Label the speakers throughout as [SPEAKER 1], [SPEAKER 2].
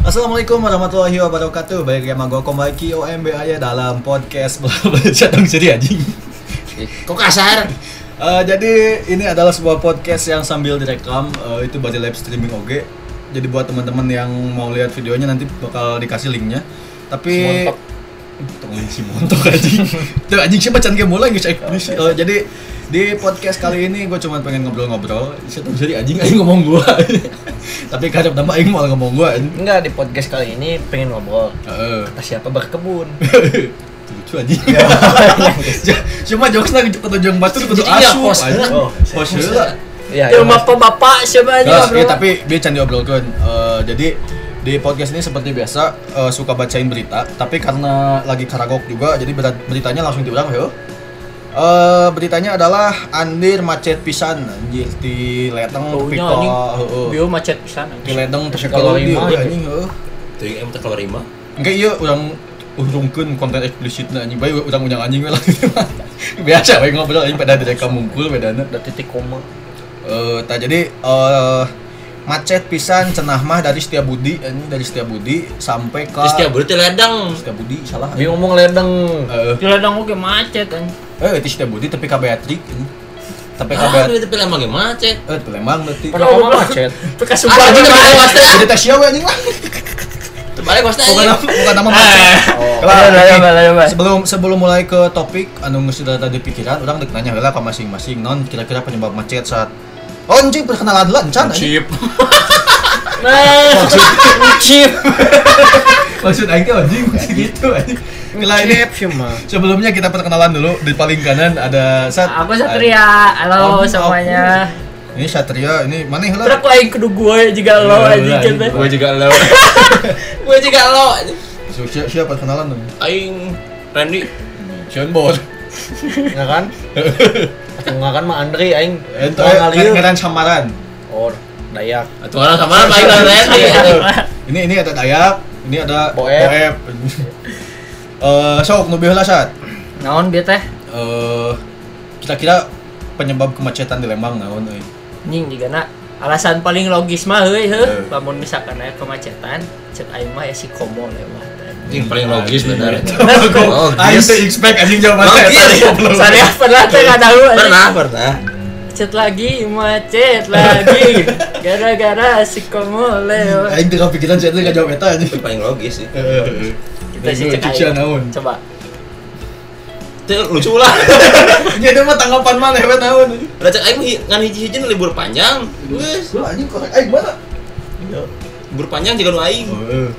[SPEAKER 1] Assalamualaikum warahmatullahi wabarakatuh. Balik sama gue Kombaki OMB aja ya, dalam podcast belajar dong jadi anjing.
[SPEAKER 2] Kok kasar?
[SPEAKER 1] Eh, jadi ini adalah sebuah podcast yang sambil direkam eh, itu berarti live streaming oke. Jadi buat teman-teman yang mau lihat videonya nanti bakal dikasih linknya. Tapi
[SPEAKER 2] Simontok.
[SPEAKER 1] Tong link si montok anjing. Tuh anjing sih bacan game mulai guys.
[SPEAKER 2] Oh, iya.
[SPEAKER 1] Eh, jadi di podcast kali ini gue cuma pengen ngobrol-ngobrol. Siapa jadi anjing aing ngomong gua. Tapi kacau tambah aing malah ngomong gua anjing.
[SPEAKER 2] Enggak, di podcast kali ini pengen ngobrol
[SPEAKER 1] Heeh.
[SPEAKER 2] kata siapa berkebun.
[SPEAKER 1] Itu lucu aja cuma jokes lagi kudu jong batur kudu
[SPEAKER 2] Jadi iya,
[SPEAKER 1] asu
[SPEAKER 2] host
[SPEAKER 1] anjing.
[SPEAKER 2] lah.
[SPEAKER 1] Oh, host lah
[SPEAKER 2] Ya,
[SPEAKER 3] Ya,
[SPEAKER 2] ya,
[SPEAKER 3] rumah
[SPEAKER 2] Mas.
[SPEAKER 3] bapak siapa aja
[SPEAKER 1] Nah, iya,
[SPEAKER 3] ngobrol.
[SPEAKER 1] tapi dia can diobrolkan Eh, jadi di podcast ini seperti biasa eh, suka bacain berita tapi karena lagi karagok juga jadi berat- beritanya langsung diulang yo Eh beritanya adalah Andir macet pisan anjir di Leteng
[SPEAKER 3] Taunya
[SPEAKER 1] Piko
[SPEAKER 3] anjing,
[SPEAKER 1] heeh.
[SPEAKER 3] bio macet pisan.
[SPEAKER 1] di Leteng Piko
[SPEAKER 2] Kalau
[SPEAKER 1] di-
[SPEAKER 2] lima,
[SPEAKER 1] oh, iya, anjing heeh.
[SPEAKER 4] Tuh yang emang keluar lima.
[SPEAKER 1] Enggak iya orang urungkeun konten eksplisitna anjing bae urang unyang anjing we lah. Biasa bae ngobrol anjing pada direkam mungkul bedana.
[SPEAKER 2] Udah titik koma.
[SPEAKER 1] Eh tah jadi eh macet pisan cenah mah dari Setiabudi anjing dari Setiabudi sampai ke
[SPEAKER 4] Terus tiap berarti ledang.
[SPEAKER 1] Setiabudi salah.
[SPEAKER 2] Bi ngomong ledeng.
[SPEAKER 1] Heeh.
[SPEAKER 3] Di ladang oke macet kan.
[SPEAKER 1] Eh itu Setiabudi tapi ka Beatrix anjing. Tapi ka
[SPEAKER 4] Ah,
[SPEAKER 1] Beatrix
[SPEAKER 4] itu pilih emang macet.
[SPEAKER 1] eh di Lembang berarti.
[SPEAKER 2] Pada koma macet.
[SPEAKER 3] Bekas
[SPEAKER 4] Ah,
[SPEAKER 3] sumpah.
[SPEAKER 4] itu terbalik pasti.
[SPEAKER 1] Jadi tes sia we anjing lah.
[SPEAKER 4] Terbalik pasti.
[SPEAKER 1] Bukan nama, bukan nama macet. Kelar,
[SPEAKER 2] Ayo, ayo,
[SPEAKER 1] oke.
[SPEAKER 2] ayo, ayo.
[SPEAKER 1] Sebelum sebelum mulai ke topik anu geus sudah tadi pikiran orang dek nanya heula ka masing-masing non kira-kira penyebab macet saat Oh, anjing perkenalan lah, encan anjing.
[SPEAKER 4] Chip.
[SPEAKER 3] Nah, chip.
[SPEAKER 1] Maksud aing teh anjing gitu anjing. Lah ini
[SPEAKER 2] Chip, cuma.
[SPEAKER 1] sebelumnya kita perkenalan dulu di paling kanan ada Sat.
[SPEAKER 3] Aku Ah, Satria. Halo
[SPEAKER 1] Om,
[SPEAKER 3] semuanya.
[SPEAKER 1] aku. Ini Satria, ini mana heula?
[SPEAKER 3] Terus aku aing kudu gue juga lo anjing
[SPEAKER 1] Iya,
[SPEAKER 3] kan.
[SPEAKER 1] iya.
[SPEAKER 4] Gue juga lo. Gue juga lo.
[SPEAKER 1] Siapa siapa perkenalan dong?
[SPEAKER 4] Aing Randy.
[SPEAKER 1] Sean Bor.
[SPEAKER 2] Ya kan? Enggak kan mah Andri aing.
[SPEAKER 1] Itu
[SPEAKER 2] Orang ngalieu.
[SPEAKER 1] ngeran Eh, samaran.
[SPEAKER 2] Oh, Dayak.
[SPEAKER 4] Atau Ah, orang sama apa? Aing lah Randy.
[SPEAKER 1] Ini ini ada Dayak, ini ada
[SPEAKER 2] Boeb.
[SPEAKER 1] Eh, sok nu biheula Sat.
[SPEAKER 3] Naon bieu teh?
[SPEAKER 1] Eh, kira-kira penyebab kemacetan di Lembang nah, eh. naon euy?
[SPEAKER 3] Nying juga nak. Alasan paling logis mah heuy
[SPEAKER 1] Eh.
[SPEAKER 3] heuh. Lamun misalkan aya kemacetan, cek aing mah ya si Komo lewat.
[SPEAKER 4] Yang paling logis benar.
[SPEAKER 1] Aing
[SPEAKER 4] Logis.
[SPEAKER 1] teh Ah, expect anjing jawabannya
[SPEAKER 4] Logis.
[SPEAKER 1] eta, tadi goblok.
[SPEAKER 3] Saya pernah teh enggak tahu. anjing.
[SPEAKER 4] Pernah, pernah.
[SPEAKER 3] Macet lagi, macet lagi. Gara-gara si Komo lewat.
[SPEAKER 1] Aing teu kepikiran sih teh jawab eta anjing.
[SPEAKER 4] Itu paling logis sih.
[SPEAKER 1] Heeh.
[SPEAKER 3] Kita sih cek
[SPEAKER 1] Cucian nah, naon?
[SPEAKER 3] aing. Coba.
[SPEAKER 4] Itu lucu lah.
[SPEAKER 1] Ya itu mah tanggapan mana nah, hebat naon.
[SPEAKER 4] Udah cek aing hi- ngan hiji-hiji libur panjang. Wes,
[SPEAKER 1] Gua anjing korek aing mana?
[SPEAKER 4] libur panjang juga nu aing.
[SPEAKER 1] Heeh. Oh, eh.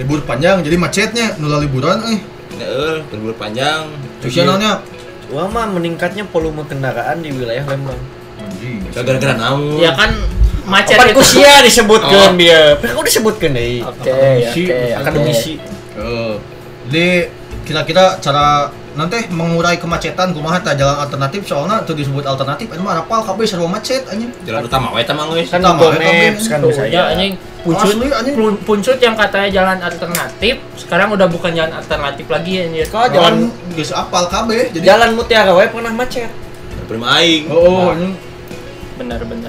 [SPEAKER 1] Libur panjang jadi macetnya nula liburan eh.
[SPEAKER 4] Heeh, libur panjang.
[SPEAKER 1] Cucian naonnya?
[SPEAKER 2] Wah mah meningkatnya volume kendaraan di wilayah Lembang.
[SPEAKER 1] Anjing.
[SPEAKER 4] Gara-gara naon?
[SPEAKER 3] Ya kan macet
[SPEAKER 2] Cepat
[SPEAKER 3] itu.
[SPEAKER 2] kusia disebutkan
[SPEAKER 4] Oh.
[SPEAKER 2] dia. Aku disebutkan deh.
[SPEAKER 3] Oke,
[SPEAKER 2] Iya,
[SPEAKER 1] Akademisi,
[SPEAKER 3] oke.
[SPEAKER 2] Akademisi.
[SPEAKER 1] Eh, jadi kira-kira cara nanti mengurai kemacetan kumaha tah jalan alternatif soalnya itu disebut alternatif ini mah rapal kabeh serba macet anjing.
[SPEAKER 4] Jalan utama wae tamang geus.
[SPEAKER 2] Kan
[SPEAKER 1] Sama,
[SPEAKER 2] Google
[SPEAKER 1] ya, tapi-
[SPEAKER 2] Maps kan
[SPEAKER 3] Tuh,
[SPEAKER 2] bisa
[SPEAKER 3] ya,
[SPEAKER 2] ya.
[SPEAKER 3] anjing. Puncut,
[SPEAKER 1] Asli, anjing.
[SPEAKER 3] pun- puncut yang katanya jalan alternatif, sekarang udah bukan jalan alternatif lagi anjir.
[SPEAKER 2] Kok jalan
[SPEAKER 1] Orang geus apal kabeh jadi
[SPEAKER 2] jalan Mutiara wae pernah macet.
[SPEAKER 4] Prima aing.
[SPEAKER 1] Oh, oh anjing.
[SPEAKER 3] Bener-bener.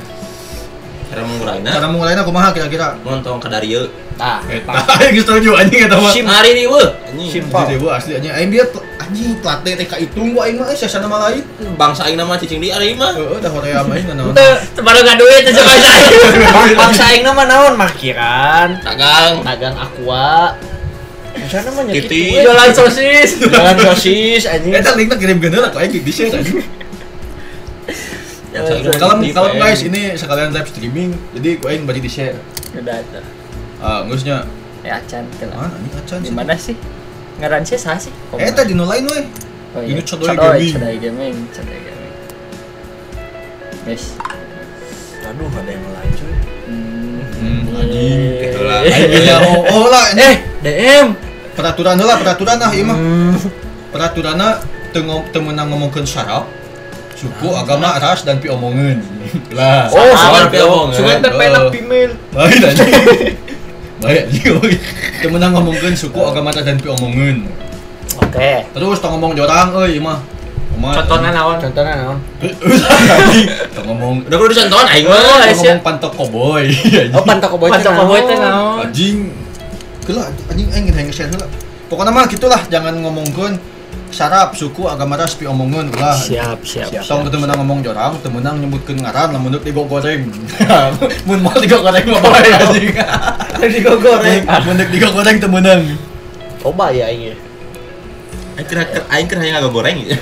[SPEAKER 4] Cara mengurainya.
[SPEAKER 1] Cara mengurainya kumaha kira-kira?
[SPEAKER 4] Montong ke Dario.
[SPEAKER 2] Tah,
[SPEAKER 1] Eta aing geus setuju anjing eta mah.
[SPEAKER 2] Sim.
[SPEAKER 4] Hari ini weh. Anjing.
[SPEAKER 2] simpel.
[SPEAKER 1] Jadi gua asli anjing aing dia tel- anjing pelatih TK hitung gua aing mah eh, sasana mah lain.
[SPEAKER 4] Bangsa aing nama cicing di hari mah.
[SPEAKER 1] Heeh, dah hoream aing naon.
[SPEAKER 3] Tuh, baru gak duit aja coba saya.
[SPEAKER 2] Bang- Bangsa aing nama naon? Markiran,
[SPEAKER 4] Tagang.
[SPEAKER 2] Tagang Aqua. Bangsa nama nya
[SPEAKER 4] Titi.
[SPEAKER 2] kitu, we.
[SPEAKER 3] Jualan sosis.
[SPEAKER 2] Jalan sosis anjing.
[SPEAKER 1] Eta Eh, linknya kirim geuna lah, kok aing di share anjing.
[SPEAKER 4] Iya.
[SPEAKER 3] Jalan sosis.
[SPEAKER 1] Kalau kalau guys ini sekalian live streaming, jadi gua aing bagi di share.
[SPEAKER 3] Udah tuh.
[SPEAKER 1] Ah, geusnya.
[SPEAKER 3] Ya acan telah.
[SPEAKER 1] Ah, anjing acan
[SPEAKER 3] Di
[SPEAKER 1] sih.
[SPEAKER 3] mana sih? Ngaran sih sah sih? Komo.
[SPEAKER 1] Eta di lain we.
[SPEAKER 3] Oh
[SPEAKER 1] Eh, Ini
[SPEAKER 3] iya,
[SPEAKER 1] Codoy Gaming.
[SPEAKER 3] Codoy Gaming, Codoy Gaming. Guys.
[SPEAKER 2] Aduh, ada yang lain cuy.
[SPEAKER 3] Hmm.
[SPEAKER 1] Hmm,
[SPEAKER 3] Eh.
[SPEAKER 4] Gitu lah.
[SPEAKER 1] Aing punya oh, oh lah ini
[SPEAKER 3] Eh, DM.
[SPEAKER 1] peraturan lah peraturan lah ieu mah.
[SPEAKER 3] Hmm.
[SPEAKER 1] Peraturanna teu ngo- teu meunang ngomongkeun saraf, suku,
[SPEAKER 3] Ah.
[SPEAKER 1] agama, ras dan piomongeun. Lah.
[SPEAKER 2] Oh,
[SPEAKER 4] sabar,
[SPEAKER 2] sabar
[SPEAKER 4] Pio.
[SPEAKER 2] Pio. Sungai teh
[SPEAKER 1] Oh.
[SPEAKER 2] penak pimil.
[SPEAKER 1] Lain aja. Baik, iya, oi. Teu meunang ngomongkeun suku, agama, ras dan piomongeun.
[SPEAKER 3] Oh. Oke.
[SPEAKER 1] Terus tong ngomong jorang euy ieu mah. Kumaha?
[SPEAKER 3] Contohnya naon?
[SPEAKER 2] Contohnya Nah, naon?
[SPEAKER 1] Tong ngomong
[SPEAKER 4] Udah kudu disentuhan aing
[SPEAKER 3] Oh,
[SPEAKER 4] mah.
[SPEAKER 1] tong
[SPEAKER 3] Aisyah. Oh,
[SPEAKER 1] ngomong pantok koboy.
[SPEAKER 2] Oh, pantok koboy.
[SPEAKER 3] Pantau Koboy teh naon?
[SPEAKER 1] Anjing gila anjing eh, aing ingin share heula. Pokoknya mah gitulah jangan ngomongkeun sarap suku agama ras pi omongan ulah.
[SPEAKER 3] Siap, siap.
[SPEAKER 1] Siap, tong teu meunang ngomong jorang, teu meunang nyebutkeun ngaran lamun deuk digo goreng. Mun mau digo goreng mah bae anjing.
[SPEAKER 2] Tadi kau goreng.
[SPEAKER 1] Oh, iya. Mun deuk digo goreng teu meunang.
[SPEAKER 2] Coba ya ini.
[SPEAKER 4] Aing kira aing kira yang agak goreng ya.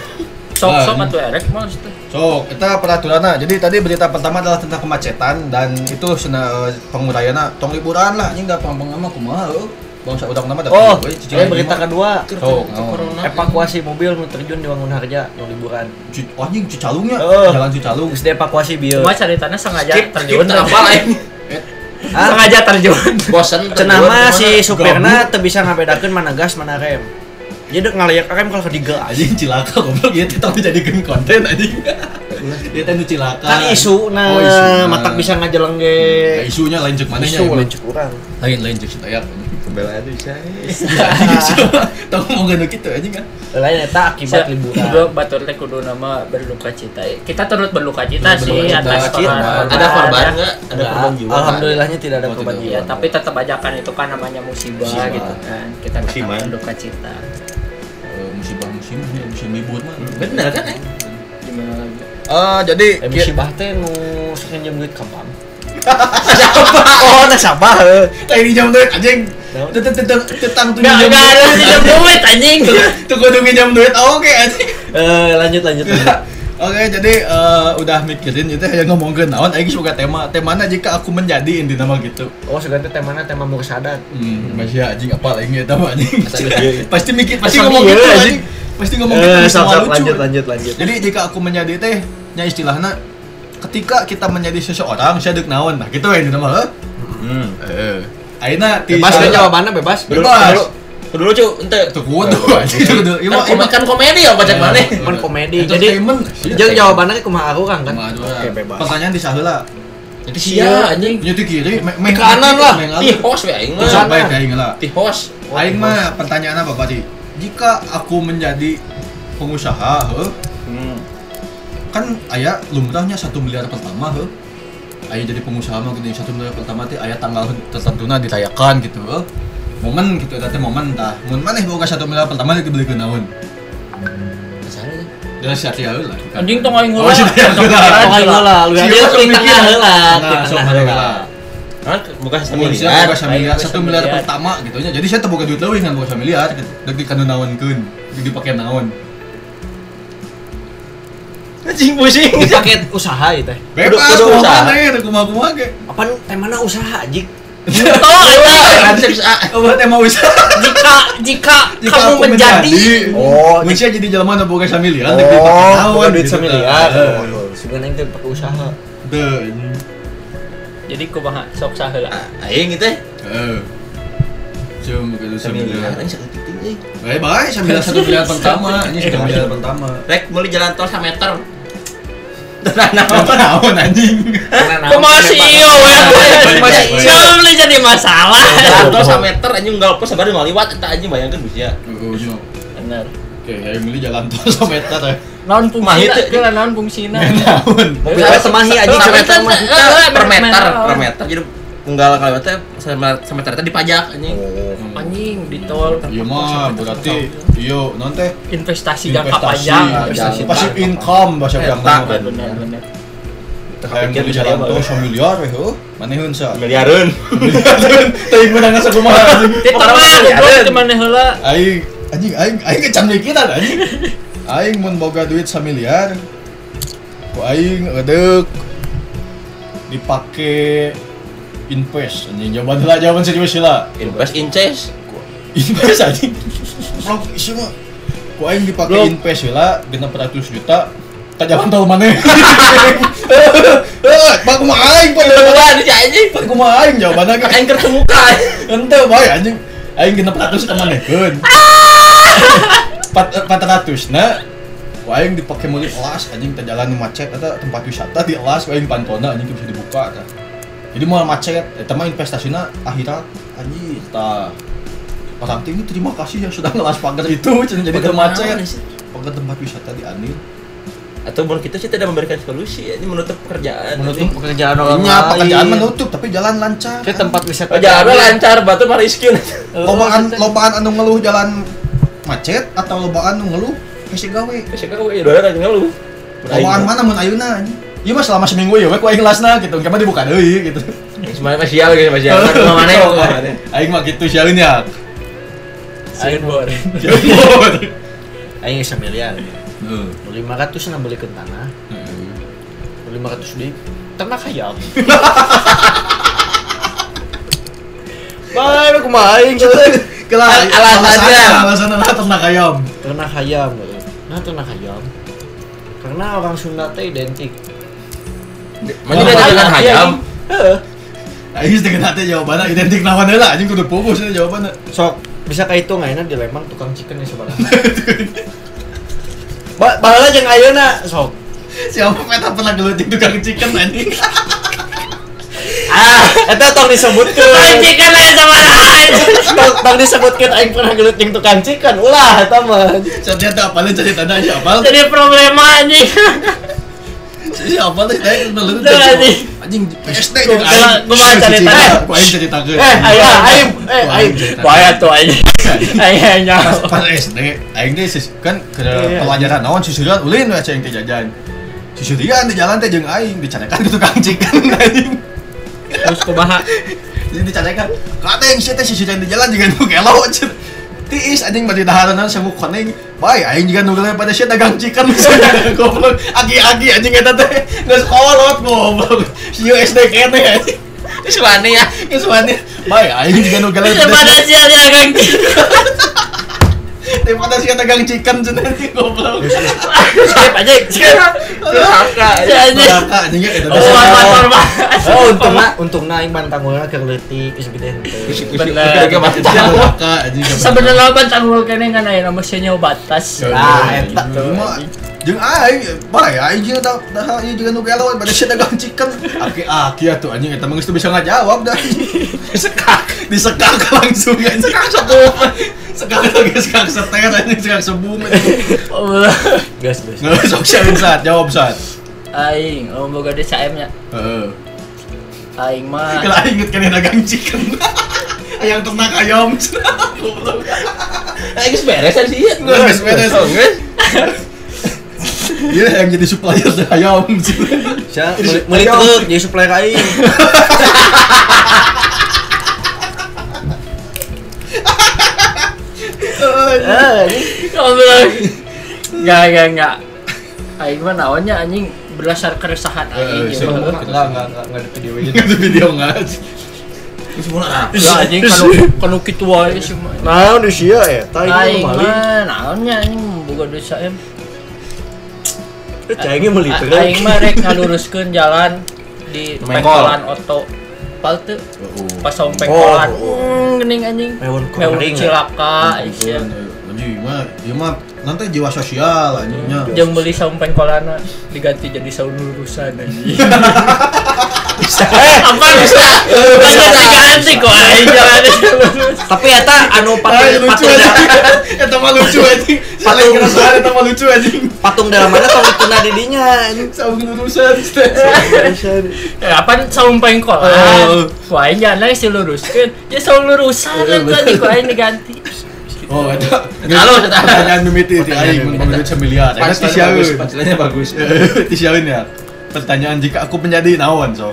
[SPEAKER 3] Sok sok
[SPEAKER 1] Nah.
[SPEAKER 3] atau erek mah situ.
[SPEAKER 1] So, kita peraturannya. Jadi tadi berita pertama adalah tentang kemacetan dan itu sena eh, penguraiannya tong liburan lah anjing da pampang mah kumaha euy. Bangsa udang nama datang
[SPEAKER 2] Oh,
[SPEAKER 1] euy, cicing
[SPEAKER 2] ini
[SPEAKER 1] aing
[SPEAKER 2] berita
[SPEAKER 1] mah.
[SPEAKER 2] kedua.
[SPEAKER 1] Sok,
[SPEAKER 4] Itu
[SPEAKER 1] naon.
[SPEAKER 4] corona.
[SPEAKER 2] Evakuasi mobil nu terjun di Wangun Harja nu liburan.
[SPEAKER 1] Ci- oh, anjing Cicalungnya,
[SPEAKER 2] Eh.
[SPEAKER 1] jalan Cicalung.
[SPEAKER 2] Geus evakuasi bieu.
[SPEAKER 3] Cuma ceritanya sengaja
[SPEAKER 4] Skip, skip
[SPEAKER 3] terjun.
[SPEAKER 4] teu apa lain.
[SPEAKER 2] Ah,
[SPEAKER 3] Sengaja terjun.
[SPEAKER 4] Bosen
[SPEAKER 2] cenah
[SPEAKER 4] terjun,
[SPEAKER 2] mah
[SPEAKER 4] kemana?
[SPEAKER 2] si supirna teu bisa ngabedakeun mana gas mana rem. Jadi dek ngalayak rem kalau ketiga aja.
[SPEAKER 1] Anjing cilaka goblok Iya, ieu teh tapi jadikeun konten anjing. Ieu teh nu cilaka.
[SPEAKER 2] Kan isu
[SPEAKER 1] Oh,
[SPEAKER 2] na
[SPEAKER 1] isuna.
[SPEAKER 2] matak bisa ngajeleng
[SPEAKER 1] Ya,
[SPEAKER 2] ge.
[SPEAKER 1] isunya lain jeung manehnya.
[SPEAKER 2] Isu
[SPEAKER 1] ya, Bang.
[SPEAKER 2] lain cukuran.
[SPEAKER 1] Lain lain jeung sitayat.
[SPEAKER 4] Pembelaan itu bisa.
[SPEAKER 1] Anjing isu. Tong mau nganu kitu anjing kan.
[SPEAKER 2] Lain eta akibat
[SPEAKER 3] Kudu
[SPEAKER 2] liburan.
[SPEAKER 3] batur teh kudu nama berduka cita. ya. Kita turut berduka cita
[SPEAKER 1] Turut
[SPEAKER 3] sih
[SPEAKER 1] berduka cita.
[SPEAKER 3] atas
[SPEAKER 1] Cita.
[SPEAKER 3] korban.
[SPEAKER 4] Ada korban enggak? Ada
[SPEAKER 2] Nggak,
[SPEAKER 4] korban jiwa? nggak?
[SPEAKER 2] Alhamdulillahnya tidak ada
[SPEAKER 1] Oh,
[SPEAKER 2] korban
[SPEAKER 1] tidak.
[SPEAKER 3] Iya,
[SPEAKER 2] jiwa.
[SPEAKER 3] tapi tetap aja kan itu kan namanya musibah,
[SPEAKER 1] Musibah.
[SPEAKER 3] gitu kan. Kita tetap
[SPEAKER 4] Musiman.
[SPEAKER 3] berduka cita.
[SPEAKER 1] Eh, musibah musim musim libur mah.
[SPEAKER 4] Bener kan? Aing?
[SPEAKER 3] Gimana lagi?
[SPEAKER 1] Eh jadi
[SPEAKER 2] Eh musibah teh nu sok nginjem duit ka bank.
[SPEAKER 1] Oh,
[SPEAKER 2] nah,
[SPEAKER 1] teh sabah. Teh ini jam duit anjing.
[SPEAKER 2] Naon?
[SPEAKER 1] Teu- teu- teu- teu- Tetang tuh minjam
[SPEAKER 3] Enggak enggak ada
[SPEAKER 1] duit.
[SPEAKER 3] pinjam duit anjing.
[SPEAKER 1] Tuh kudu minjam duit Ah, oke anjing.
[SPEAKER 2] Eh lanjut lanjut lanjut.
[SPEAKER 1] Oke, jadi eh, udah mikirin itu yang ngomongin naon aing suka tema. Temana jika aku menjadi inti nama gitu.
[SPEAKER 2] Oh sudah teh temana tema mursadat.
[SPEAKER 1] Hmm, masih anjing apa lagi ya tahu anjing.
[SPEAKER 4] Asal iya.
[SPEAKER 1] Pasti mikir, pasti
[SPEAKER 2] Asal
[SPEAKER 1] ngomong
[SPEAKER 2] iya,
[SPEAKER 1] gitu
[SPEAKER 2] anjing.
[SPEAKER 1] anjing. Pasti ngomong gitu semua
[SPEAKER 2] Eh, sok-sok,
[SPEAKER 1] lucu.
[SPEAKER 2] lanjut lanjut lanjut.
[SPEAKER 1] Jadi jika aku menjadi teh, nya istilahnya ketika kita menjadi seseorang, saya deuk naon. Nah, gitu ya ini nama heuh.
[SPEAKER 4] Hmm.
[SPEAKER 2] Eh.
[SPEAKER 1] Heeh. Ayeuna ti
[SPEAKER 2] Bebas kan jawabannya bebas.
[SPEAKER 1] Bebas.
[SPEAKER 4] Kudu lucu, ente.
[SPEAKER 1] Tuh kudu
[SPEAKER 2] Eh,
[SPEAKER 1] anjing. tuh kudu. Ieu
[SPEAKER 4] Kan
[SPEAKER 1] mah ieu
[SPEAKER 4] kom-
[SPEAKER 1] mah
[SPEAKER 4] kan komedi ya bacak mana?
[SPEAKER 2] Cuman komedi. Jadi
[SPEAKER 1] Eh, entertainment.
[SPEAKER 2] jeung jawabannya kumaha aku kan kan.
[SPEAKER 1] Iya, Kumaha dua.
[SPEAKER 2] Oke bebas.
[SPEAKER 1] Pertanyaan di saheula.
[SPEAKER 4] Jadi sia anjing.
[SPEAKER 1] Nya ti kiri, me-
[SPEAKER 4] Ke
[SPEAKER 1] meng
[SPEAKER 4] kanan lah. Iya.
[SPEAKER 1] meng
[SPEAKER 4] Ih,
[SPEAKER 1] alus.
[SPEAKER 4] host we aing
[SPEAKER 1] Terus
[SPEAKER 4] mah.
[SPEAKER 1] apa ya kayak lah.
[SPEAKER 4] Ih, host.
[SPEAKER 1] Aing mah pertanyaan apa Pak Di? Jika aku menjadi pengusaha, heuh,
[SPEAKER 4] Hmm.
[SPEAKER 1] kan ayah lumrahnya satu miliar pertama heuh. Ayah jadi pengusaha mah gini satu miliar pertama teh ayah tanggal tertentuna dirayakan gitu heuh. Momen gitu eta teh momen tah. Mun maneh boga satu miliar pertama teh dibeli naon?
[SPEAKER 4] Masalahnya.
[SPEAKER 1] Dan sia-sia heula.
[SPEAKER 3] Anjing tong aing
[SPEAKER 1] Oh,
[SPEAKER 3] heula.
[SPEAKER 1] sih, ya,
[SPEAKER 2] Tong aing heula, lu
[SPEAKER 1] Siapa
[SPEAKER 2] yang di tengah
[SPEAKER 1] mikir?
[SPEAKER 2] heula, di
[SPEAKER 1] Nah, sok
[SPEAKER 2] tengah
[SPEAKER 1] heula.
[SPEAKER 2] heula.
[SPEAKER 4] Kan bukan satu
[SPEAKER 1] Mun
[SPEAKER 4] miliar.
[SPEAKER 1] siapa boga samiliar,
[SPEAKER 3] Aing boga
[SPEAKER 1] satu miliar
[SPEAKER 3] samiliar.
[SPEAKER 1] pertama gitu nya. Jadi saya terbuka duit leuwih ngan boga samiliar gitu. Dek dikanu naonkeun, dek dipake naon.
[SPEAKER 4] Anjing pusing.
[SPEAKER 3] Iya.
[SPEAKER 2] Paket usaha ieu teh.
[SPEAKER 1] Bebas,
[SPEAKER 4] Kudu- kudu
[SPEAKER 1] kumaha
[SPEAKER 4] usaha.
[SPEAKER 1] maneh, teu kumaha-kumaha ge.
[SPEAKER 2] Apaan temana usaha jik?
[SPEAKER 3] Oh, eta.
[SPEAKER 4] Bisa bisa.
[SPEAKER 1] Obat Oh, emang usaha.
[SPEAKER 3] Jika jika
[SPEAKER 1] Jika
[SPEAKER 3] kamu
[SPEAKER 1] aku
[SPEAKER 3] menjadi
[SPEAKER 2] Oh,
[SPEAKER 1] Mun sia jadi jelema anu boga samiliar teh
[SPEAKER 2] Oh, bukan
[SPEAKER 1] gitu,
[SPEAKER 2] duit
[SPEAKER 1] eh.
[SPEAKER 2] semiliar. Oh, iya,
[SPEAKER 1] tah.
[SPEAKER 2] Sugan aing teh pake usaha.
[SPEAKER 1] Teu.
[SPEAKER 3] jadi kumaha sok saheula.
[SPEAKER 4] Aing itu
[SPEAKER 1] Heeh. Cuma kudu samiliar.
[SPEAKER 4] semiliar. Aing sakit titik euy.
[SPEAKER 1] Baik-baik samiliar satu miliar pertama, ini satu miliar pertama.
[SPEAKER 4] Rek mulai jalan tol 1 meter. Tenang,
[SPEAKER 1] Apa naon anjing?
[SPEAKER 3] Eh, Kumaha ya? si ieu we?
[SPEAKER 4] Kumaha si ieu?
[SPEAKER 3] Siapa beli jadi masalah?
[SPEAKER 4] Jalan tol 1 meter anjing nggak pos sabar ngaliwat eta anjing ya. bayangkeun bisa.
[SPEAKER 1] Oh, no.
[SPEAKER 3] Bener.
[SPEAKER 1] Oke, saya milih jalan tol semeter ya.
[SPEAKER 3] Naon fungsina?
[SPEAKER 4] Mahitu.
[SPEAKER 3] Kira naon fungsina?
[SPEAKER 1] Naon?
[SPEAKER 2] Mobilnya temahi anjing
[SPEAKER 4] Per
[SPEAKER 2] sampai
[SPEAKER 4] meter,
[SPEAKER 2] rumah.
[SPEAKER 4] per meter, per meter. Jadi tunggal kaliwat teh sampai ternyata dipajak anjing.
[SPEAKER 3] Anjing di tol kan.
[SPEAKER 1] Iya mah berarti iya non teh
[SPEAKER 3] investasi jangka panjang.
[SPEAKER 1] investasi pasif income bahasa
[SPEAKER 4] Eta,
[SPEAKER 1] Belanda.
[SPEAKER 3] Bener bener.
[SPEAKER 1] Saya milih jalan tol eh, samiliar we heuh. Manehun sa.
[SPEAKER 4] Miliarun.
[SPEAKER 1] Teuing menang sakumaha anjing.
[SPEAKER 3] Di tol
[SPEAKER 4] Pokoknya
[SPEAKER 3] mah
[SPEAKER 4] ada.
[SPEAKER 3] goblok cuman heula.
[SPEAKER 1] Aing anjing aing aing kecan mikiran anjing. Aing mun boga duit samiliar ku aing edeuk dipake invest anjing jawaban lah jawaban serius lah.
[SPEAKER 4] Invest in chess.
[SPEAKER 1] Invest anjing. Blok ieu mah. Ku aing dipake
[SPEAKER 2] Blok.
[SPEAKER 1] invest lah 600 juta. Tak jalan tahu mana. Eh, pak kumaha aing pak
[SPEAKER 4] Wah, ini si anjing.
[SPEAKER 1] Pak kumaha aing jawabanna ge.
[SPEAKER 4] Aing ketemu kan.
[SPEAKER 1] Ente bae anjing. Aing genep ratus ka manehkeun.
[SPEAKER 2] Ah!
[SPEAKER 1] Pat pat ratus na. Ku aing dipake meuli elas anjing teh jalan macet eta tempat wisata di elas ku aing pantona anjing teu bisa dibuka eta. Jadi mau macet eta mah investasinya akhirat anjing tah. Orang tinggi terima kasih yang sudah ngelas pagar itu cen jadi
[SPEAKER 4] Pagar
[SPEAKER 1] termacet.
[SPEAKER 4] mana sih?
[SPEAKER 1] Pagar tempat wisata di Anil.
[SPEAKER 4] atau menurut kita sih tidak memberikan solusi ini menutup pekerjaan
[SPEAKER 2] menutup
[SPEAKER 4] Jadi,
[SPEAKER 2] Iya, pekerjaan orang
[SPEAKER 1] Nya
[SPEAKER 2] lain.
[SPEAKER 1] Iya, pekerjaan menutup tapi jalan lancar.
[SPEAKER 2] Ke tempat Oh, wisata.
[SPEAKER 4] oh, jalan lancar batu mah riskin
[SPEAKER 1] Lobaan lobaan anu ngeluh jalan macet atau lobaan anu ngeluh hese gawe.
[SPEAKER 4] sekarang gue dolar aja lu
[SPEAKER 1] Lobaan mana mun ayeuna anjing? Ieu mah selama seminggu ya we ku aing lasna gitu. Engke mah dibuka deui gitu.
[SPEAKER 4] semuanya masih sial guys masih sial Kan rumah mana ya rumah mana
[SPEAKER 1] Aing mah gitu sialin ya.
[SPEAKER 3] Ayo boring.
[SPEAKER 2] Aing semiliar. Lima ratus beli ke tanah. Hmm. Lima ratus di ternak ayam. Baru kumaha aing gitu.
[SPEAKER 1] Kelah
[SPEAKER 4] Al- alasannya.
[SPEAKER 1] alasannya lah ternak ayam.
[SPEAKER 2] ternak ayam gitu. Nah ternak ayam karena orang Sunda teh identik
[SPEAKER 4] Maju dia dengan hayam
[SPEAKER 2] Heeh.
[SPEAKER 1] Aing geus teu teh jawabanna identik naon heula anjing kudu pupus ini jawabanna.
[SPEAKER 2] sok bisa kahitung ayeuna di Lembang tukang chicken ya sebenarnya ba bahala jeung ayeuna sok
[SPEAKER 1] Siapa peta pernah gelutik tukang chicken anjing.
[SPEAKER 2] ah eta tong disebutkeun
[SPEAKER 3] Anjingkan lah kan sama lain.
[SPEAKER 2] tong, tong disebutkeun aing pernah gelut jeung tukang chicken ulah eta mah
[SPEAKER 1] Setiap teh apalin cari tanda aja apal.
[SPEAKER 3] Jadi problema anjing.
[SPEAKER 1] Si apal teh teh gelutik.
[SPEAKER 3] Tuh, anjing.
[SPEAKER 1] Anjing PSD
[SPEAKER 2] Tuh,
[SPEAKER 1] aing.
[SPEAKER 2] kumaha carita?
[SPEAKER 1] Cicing, Ku aing cerita
[SPEAKER 2] eh ayo aing eh aing
[SPEAKER 3] Wah tuh anjing. Ayo
[SPEAKER 1] pas,
[SPEAKER 3] nyawa.
[SPEAKER 1] pas SD aing teh sis- kan ke
[SPEAKER 2] Iya, iya.
[SPEAKER 1] pelajaran naon susurian ulin we aing teh jajan susurian di jalan teh jeung aing dicarekan ke tukang chicken aing
[SPEAKER 3] Terus kumaha?
[SPEAKER 1] jadi dicarekan kateng sia teh susurian di jalan jeung nu gelo cenah. tiis anjing bari dahareunna semu koneng bae aing juga nu gelo pada sia dagang chicken misalnya goblok agi-agi anjing eta teh geus kolot goblok sieu SD kene anjing
[SPEAKER 4] suani ya
[SPEAKER 1] geus wani bae aing juga nu gelo
[SPEAKER 3] Daripada sial ya gang.
[SPEAKER 1] daripada sia dagang chicken cenah goblok
[SPEAKER 3] Skip aja. Skip.
[SPEAKER 4] Durhaka
[SPEAKER 3] Si anjing.
[SPEAKER 1] Neraka anjing ya, eta
[SPEAKER 3] Oh,
[SPEAKER 1] teh.
[SPEAKER 3] hormat, hormat.
[SPEAKER 2] oh untungna untungna aing bantang ulah kegeutik geus gede henteu.
[SPEAKER 4] Bener, gak masih
[SPEAKER 1] Jangan
[SPEAKER 4] sial
[SPEAKER 1] neraka anjing. Nah,
[SPEAKER 3] Sebenarnya ban tanggul kene kan aya nama senyo batas.
[SPEAKER 2] Ah,
[SPEAKER 1] Ah,
[SPEAKER 2] eta tuh.
[SPEAKER 1] Jeung aing, bae aing jeung da da ieu jeung nu galau anu, pada sia dagang chicken. Aki aki atuh anjing eta mah geus teu bisa ngajawab dah. Disekak, disekak langsung anjing. Sekak sebum. Sekak lagi sekak seter anjing sekak sebum.
[SPEAKER 3] Allah.
[SPEAKER 2] Gas gas.
[SPEAKER 1] Nggak sok siain saat jawab saat.
[SPEAKER 3] Aing, oh boga desa M nya.
[SPEAKER 1] Heeh.
[SPEAKER 3] Aing mah.
[SPEAKER 1] Kalau aing inget kana dagang chicken. Ayam ternak ayam. Goblok.
[SPEAKER 4] Ayo beres aja sih
[SPEAKER 1] Geus beres.
[SPEAKER 4] Oh, geus.
[SPEAKER 1] Iya yang jadi supplier ayam.
[SPEAKER 2] Sia meuli- meuli
[SPEAKER 1] Ayam.
[SPEAKER 2] truk jadi supplier aing. Eh, ini
[SPEAKER 3] Goblok. Enggak, enggak, enggak. Aing mah naonnya anjing berdasar keresahan aing.
[SPEAKER 1] Eh,
[SPEAKER 3] gitu.
[SPEAKER 1] sih.
[SPEAKER 2] Iya, Enggak, enggak, enggak, enggak, enggak ada video aja.
[SPEAKER 1] Itu video enggak.
[SPEAKER 4] Geus mulai
[SPEAKER 3] Ya anjing kalau kalau kitu wae sih mah.
[SPEAKER 2] Nah, di sia ya, tai
[SPEAKER 3] Aing
[SPEAKER 2] maling.
[SPEAKER 3] mah naonnya anjing boga desa M.
[SPEAKER 2] Cangnya meuli
[SPEAKER 3] A-
[SPEAKER 2] truk.
[SPEAKER 3] Aing mah rek ngaluruskeun jalan di
[SPEAKER 4] Mengkol.
[SPEAKER 3] pengkolan oto. Palte
[SPEAKER 2] Oh.
[SPEAKER 3] pas sompeng kolan. Hmm, geuning anjing.
[SPEAKER 2] Mewon
[SPEAKER 3] Mewah
[SPEAKER 2] kering, ya?
[SPEAKER 3] cilaka
[SPEAKER 1] Iya,
[SPEAKER 3] isya.
[SPEAKER 1] mah, iya mah nanti jiwa sosial anjingnya.
[SPEAKER 3] Jeung beli sompeng kolana diganti jadi saun lurusan anjing.
[SPEAKER 2] Eh,
[SPEAKER 3] Apa bisa? Bisa diganti kok Eh, aing jalan
[SPEAKER 2] tapi eta anu
[SPEAKER 1] Ay,
[SPEAKER 2] patung
[SPEAKER 1] lucu
[SPEAKER 2] patung
[SPEAKER 1] aja.
[SPEAKER 2] da-
[SPEAKER 1] Eta mah lucu anjing. Salah
[SPEAKER 2] Patung.
[SPEAKER 1] kerasaan eta mah lucu anjing.
[SPEAKER 2] eh. patung dalam mana tong dituna di dinya. anjing.
[SPEAKER 1] Saung lurusan.
[SPEAKER 3] Eh, apa sompeng
[SPEAKER 1] Oh.
[SPEAKER 3] kolan? Wah, aing jalan geus diluruskeun. Ya saun lurusan
[SPEAKER 1] Iya, bener.
[SPEAKER 3] anjing kok aing diganti.
[SPEAKER 1] Oh, eta.
[SPEAKER 4] Halo, eta.
[SPEAKER 1] Pertanyaan ya, mimiti ti aing mun pemilu semiliar. Eta ti
[SPEAKER 4] Pancelannya bagus,
[SPEAKER 1] siaweun.
[SPEAKER 4] pancelannya bagus.
[SPEAKER 1] Eh, Ti siaweun ya. Pertanyaan jika aku menjadi naon so.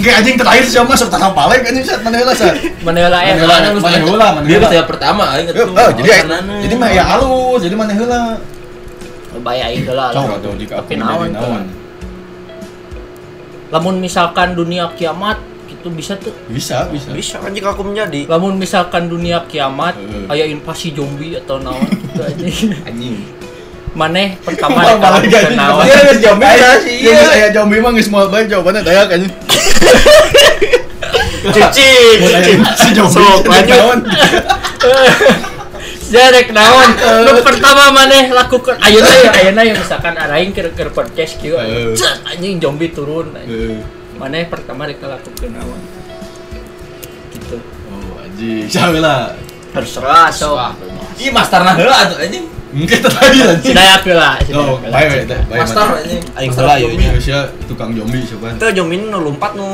[SPEAKER 1] Gak anjing terakhir siapa mah serta paling anjing saat mana heula saat.
[SPEAKER 3] Manela eh.
[SPEAKER 1] Manela,
[SPEAKER 3] mana geus
[SPEAKER 1] manela.
[SPEAKER 3] diganti.
[SPEAKER 1] heula, mana
[SPEAKER 4] Dia
[SPEAKER 1] heula.
[SPEAKER 4] pertanyaan pertama aing atuh.
[SPEAKER 1] Oh, jadi
[SPEAKER 4] Makanana.
[SPEAKER 1] jadi mah ya halus, jadi mana heula.
[SPEAKER 3] Baya aing heula. lah.
[SPEAKER 1] Cowok tuh jika aku
[SPEAKER 3] Tapi naon,
[SPEAKER 1] menjadi naon.
[SPEAKER 3] Lamun misalkan dunia kiamat itu bisa tuh.
[SPEAKER 1] Bisa, bisa.
[SPEAKER 2] Bisa anjing aku menjadi.
[SPEAKER 3] Lamun misalkan dunia kiamat
[SPEAKER 1] Heeh.
[SPEAKER 3] aya invasi zombie atau naon gitu anjing.
[SPEAKER 4] anjing.
[SPEAKER 3] Maneh pertama
[SPEAKER 1] Malah malah
[SPEAKER 3] ditawar
[SPEAKER 1] jadi
[SPEAKER 3] naon.
[SPEAKER 1] Iya, geus jombi
[SPEAKER 4] Ayo,
[SPEAKER 1] dah.
[SPEAKER 4] sih,
[SPEAKER 1] Iya,
[SPEAKER 4] iya.
[SPEAKER 1] saya jombi mah geus moal bae jawabanna dayak anjing.
[SPEAKER 2] Cici, cici.
[SPEAKER 1] Si jombi. jadi
[SPEAKER 2] Sok, lanjut.
[SPEAKER 1] naon.
[SPEAKER 3] Jarek naon? Nu pertama maneh lakukan ayeuna ya ayeuna ya misalkan arahin ke ke podcast kieu.
[SPEAKER 1] Heeh.
[SPEAKER 3] cet, Anjing zombie turun. anjing.
[SPEAKER 1] Eh,
[SPEAKER 3] Maneh pertama rek lakukan naon? Gitu.
[SPEAKER 1] Oh, anjing. Saheula.
[SPEAKER 3] Terserah sok.
[SPEAKER 4] Ih, masterna heula atuh anjing.
[SPEAKER 1] Mungkin tadi anjing.
[SPEAKER 3] Sudah ya lah. sudah
[SPEAKER 1] Oh,
[SPEAKER 3] ya,
[SPEAKER 1] bae
[SPEAKER 3] Pila.
[SPEAKER 1] bae teh. Bae
[SPEAKER 4] Master
[SPEAKER 1] mah.
[SPEAKER 4] anjing.
[SPEAKER 2] Aing
[SPEAKER 4] Master
[SPEAKER 2] salah ya.
[SPEAKER 4] zombie.
[SPEAKER 1] Indonesia tukang zombie siapa?
[SPEAKER 2] Itu jomin nu lompat nu.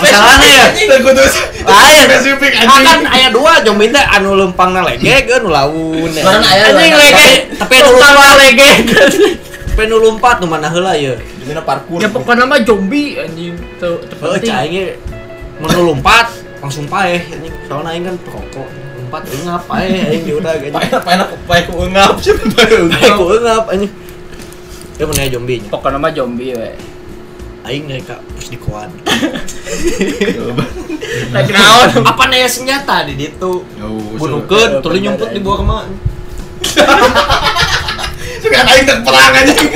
[SPEAKER 3] Masalahnya ya.
[SPEAKER 1] Terkutus.
[SPEAKER 2] Lain.
[SPEAKER 1] Spesifik
[SPEAKER 2] Ah, kan
[SPEAKER 1] anjing.
[SPEAKER 2] aya dua jomin teh anu lempangna lege ge nu laun. ya.
[SPEAKER 4] Sekarang aya
[SPEAKER 3] Anjing
[SPEAKER 4] lagi.
[SPEAKER 3] lege.
[SPEAKER 2] Tapi
[SPEAKER 3] Tapi
[SPEAKER 2] nu
[SPEAKER 3] utama
[SPEAKER 2] lompat,
[SPEAKER 3] lege.
[SPEAKER 2] tapi nu lompat nu mana heula ieu.
[SPEAKER 4] Gimana parkour?
[SPEAKER 3] Ya pokoknya mah zombie anjing. Tuh,
[SPEAKER 2] Heuh
[SPEAKER 3] terpenting.
[SPEAKER 2] Oh, cai ge mun nu lompat langsung paeh anjing. Soalna aing kan perokok. Lompat aing ngapae aing ge udah ge.
[SPEAKER 4] Paena paena paena ku ngap.
[SPEAKER 2] Aing ku eungap anjing. Ya mun aya zombie. nya.
[SPEAKER 3] Pokoknya mah zombie we.
[SPEAKER 2] Aing naik ka pus di koan.
[SPEAKER 3] Lagi naon?
[SPEAKER 2] Apa naya senjata di ditu?
[SPEAKER 1] Oh,
[SPEAKER 2] Bunukeun tuluy nyumput dibawa ka mak.
[SPEAKER 1] Suka aing teh perang anjing.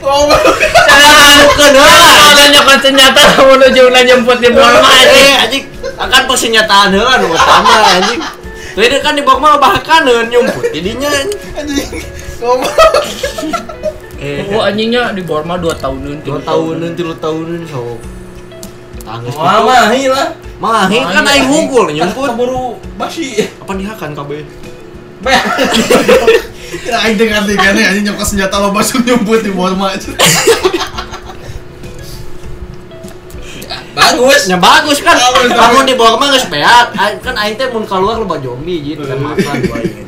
[SPEAKER 1] Oh,
[SPEAKER 2] Bunukeun heula.
[SPEAKER 3] Kalau nyokot Ah, senjata mau nuju nyemput di
[SPEAKER 2] Bukan
[SPEAKER 3] bulan
[SPEAKER 2] mah
[SPEAKER 3] mah
[SPEAKER 2] anjing, anjing akan persenjataan heula nu utama anjing. Teu dia kan di bawah mah bahkan nyumput jadinya anjing.
[SPEAKER 1] anjing. Oh,
[SPEAKER 2] eh
[SPEAKER 3] Wah Oh, anjingnya di Borma 2 tahunan.
[SPEAKER 2] dua
[SPEAKER 3] tiga
[SPEAKER 2] tahunan tilu tahunan so tangis
[SPEAKER 4] Wah,
[SPEAKER 2] gitu.
[SPEAKER 4] mah hi lah.
[SPEAKER 2] Mah ini kan
[SPEAKER 3] Mah,
[SPEAKER 2] aing hukul nyumput.
[SPEAKER 4] Keburu basi.
[SPEAKER 2] Kan Apa dihakan kabeh?
[SPEAKER 4] Bah.
[SPEAKER 1] aing teh ngerti kan anjing nyokot senjata loba sun nyumput di bawah mah.
[SPEAKER 4] Bagus.
[SPEAKER 2] Ya bagus kan.
[SPEAKER 1] Bagus,
[SPEAKER 2] Kamu di bawah mah geus beak. Aing- Kan aing teh mun keluar loba zombie jadi kan makan gua aing.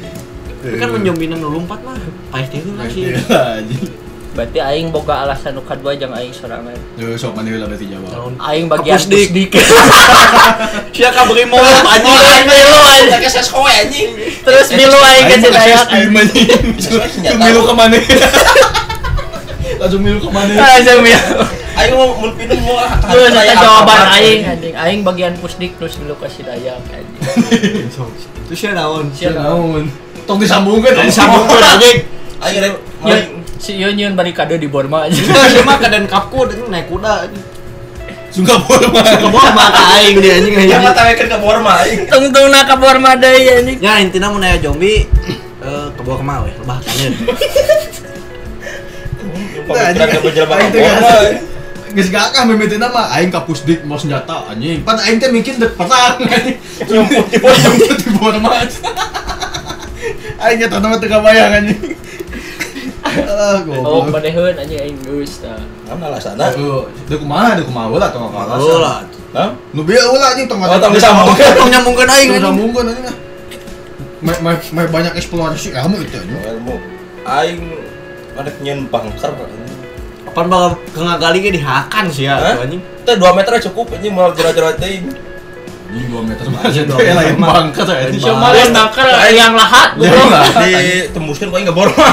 [SPEAKER 2] Tapi kan mun zombie nu lompat mah paeh teh heula sih.
[SPEAKER 1] Anjing.
[SPEAKER 3] Berarti aing boga alasan nu kadua jeung aing sorangan.
[SPEAKER 1] Yo sok mana heula berarti jawab.
[SPEAKER 2] Tahun
[SPEAKER 3] Aing bagian
[SPEAKER 2] Hapus dik.
[SPEAKER 3] pusdik.
[SPEAKER 2] Sia ka beri mau anjing.
[SPEAKER 3] Aing milu aing.
[SPEAKER 4] Pakai ses kowe anjing.
[SPEAKER 3] Terus milu Eh, aing ke
[SPEAKER 1] Aing mah
[SPEAKER 3] Cidayat.
[SPEAKER 1] kasih
[SPEAKER 3] aing.
[SPEAKER 1] steam anjing. Langsung milu ke mana? Langsung milu ke mana?
[SPEAKER 3] Aja milu.
[SPEAKER 4] Ayo mau mau pindah mau.
[SPEAKER 3] Terus eta
[SPEAKER 4] Kayak
[SPEAKER 3] Iya, jawaban
[SPEAKER 4] apa-apa.
[SPEAKER 3] aing anjing. Aing bagian pusdik terus milu ke Cidayat anjing.
[SPEAKER 2] Itu sia naon?
[SPEAKER 3] Sia
[SPEAKER 1] naon? Tong disambungkeun.
[SPEAKER 2] Dari sambungkeun anjing.
[SPEAKER 4] Ayo rep.
[SPEAKER 3] Nyun, si Yun Yun bari kado di Borma aja.
[SPEAKER 2] Itu cuma keadaan kapku dan naik kuda.
[SPEAKER 1] Sungka bola mah.
[SPEAKER 2] Kebol mata aing dia anjing
[SPEAKER 4] Jangan
[SPEAKER 2] anjing.
[SPEAKER 4] tawekeun ke Borma
[SPEAKER 2] Nah,
[SPEAKER 4] aing.
[SPEAKER 3] Tungtung na ka Borma deui anjing.
[SPEAKER 2] Ya intinya mau naya zombie eh kebol kemau ya, lebah kangen.
[SPEAKER 4] Pemikiran ke
[SPEAKER 2] nah,
[SPEAKER 4] penjelma iya. ke
[SPEAKER 1] Aing teh
[SPEAKER 2] kan.
[SPEAKER 4] Borma.
[SPEAKER 1] ngerti. Geus gagah mimiteuna mah aing kapusdik mau senjata anjing. Pan aing teh mikir dek perang anjing. Nyumput di bawah nyumput di bawah mah. Aing nya tanaman teu kabayang anjing. Ah,
[SPEAKER 3] Oh,
[SPEAKER 1] goblok.
[SPEAKER 3] maneheun anjing aing geus tah.
[SPEAKER 4] Namun alasanna?
[SPEAKER 1] Oh, Deu kumaha, deu kumaha heula tong kalah.
[SPEAKER 2] Kalau lah,
[SPEAKER 4] Hah?
[SPEAKER 1] Nu bieu heula anjing tong
[SPEAKER 4] Oh, tong disambungkeun.
[SPEAKER 2] potong nyambungkan aing
[SPEAKER 1] Tong
[SPEAKER 2] anjing.
[SPEAKER 1] disambungkeun anjing. ah. Mae mae mae banyak eksplorasi kamu itu anjing.
[SPEAKER 4] Ilmu. Aing ada nyen bangker. anjing.
[SPEAKER 2] Kapan bakal kengagali ge dihakan sih ya
[SPEAKER 4] Hah?
[SPEAKER 2] tuh anjing.
[SPEAKER 4] Teh 2 meter cukup anjing mau jero-jero teuing.
[SPEAKER 1] Ini
[SPEAKER 2] Iya,
[SPEAKER 1] 2 meter mah aja
[SPEAKER 2] Dua
[SPEAKER 1] Kayak
[SPEAKER 2] meter
[SPEAKER 1] lain
[SPEAKER 2] mah.
[SPEAKER 1] bangkat
[SPEAKER 2] Lain
[SPEAKER 1] anjing.
[SPEAKER 2] bangkat.
[SPEAKER 3] Kemarin naker yang lahat
[SPEAKER 1] Yang
[SPEAKER 3] belum.
[SPEAKER 1] lahat.
[SPEAKER 2] iya.
[SPEAKER 4] Ditembuskeun kok iya, aing ke Borma.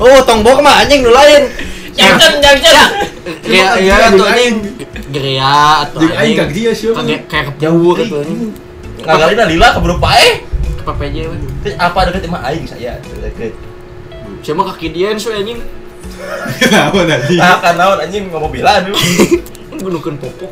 [SPEAKER 2] Oh, tombok mah anjing nu lain. kan?
[SPEAKER 3] Jangan jangan.
[SPEAKER 2] Geria,
[SPEAKER 1] Iya,
[SPEAKER 2] iya
[SPEAKER 1] iya,
[SPEAKER 2] atau
[SPEAKER 1] iya,
[SPEAKER 2] anjing. Geria atau
[SPEAKER 1] Jeung aing kag dia sieun.
[SPEAKER 2] Kayak gitu, kayak kejauh gitu anjing.
[SPEAKER 4] Ngagalina lila keburu paeh.
[SPEAKER 2] PPJ mah.
[SPEAKER 4] Teh apa deket imah aing
[SPEAKER 2] Iya.
[SPEAKER 4] saya. Deket.
[SPEAKER 2] Siapa kaki dia so anjing?
[SPEAKER 1] Kenapa tadi?
[SPEAKER 4] Ah, kan naon anjing ngomong bila dulu.
[SPEAKER 2] Gunukeun popok.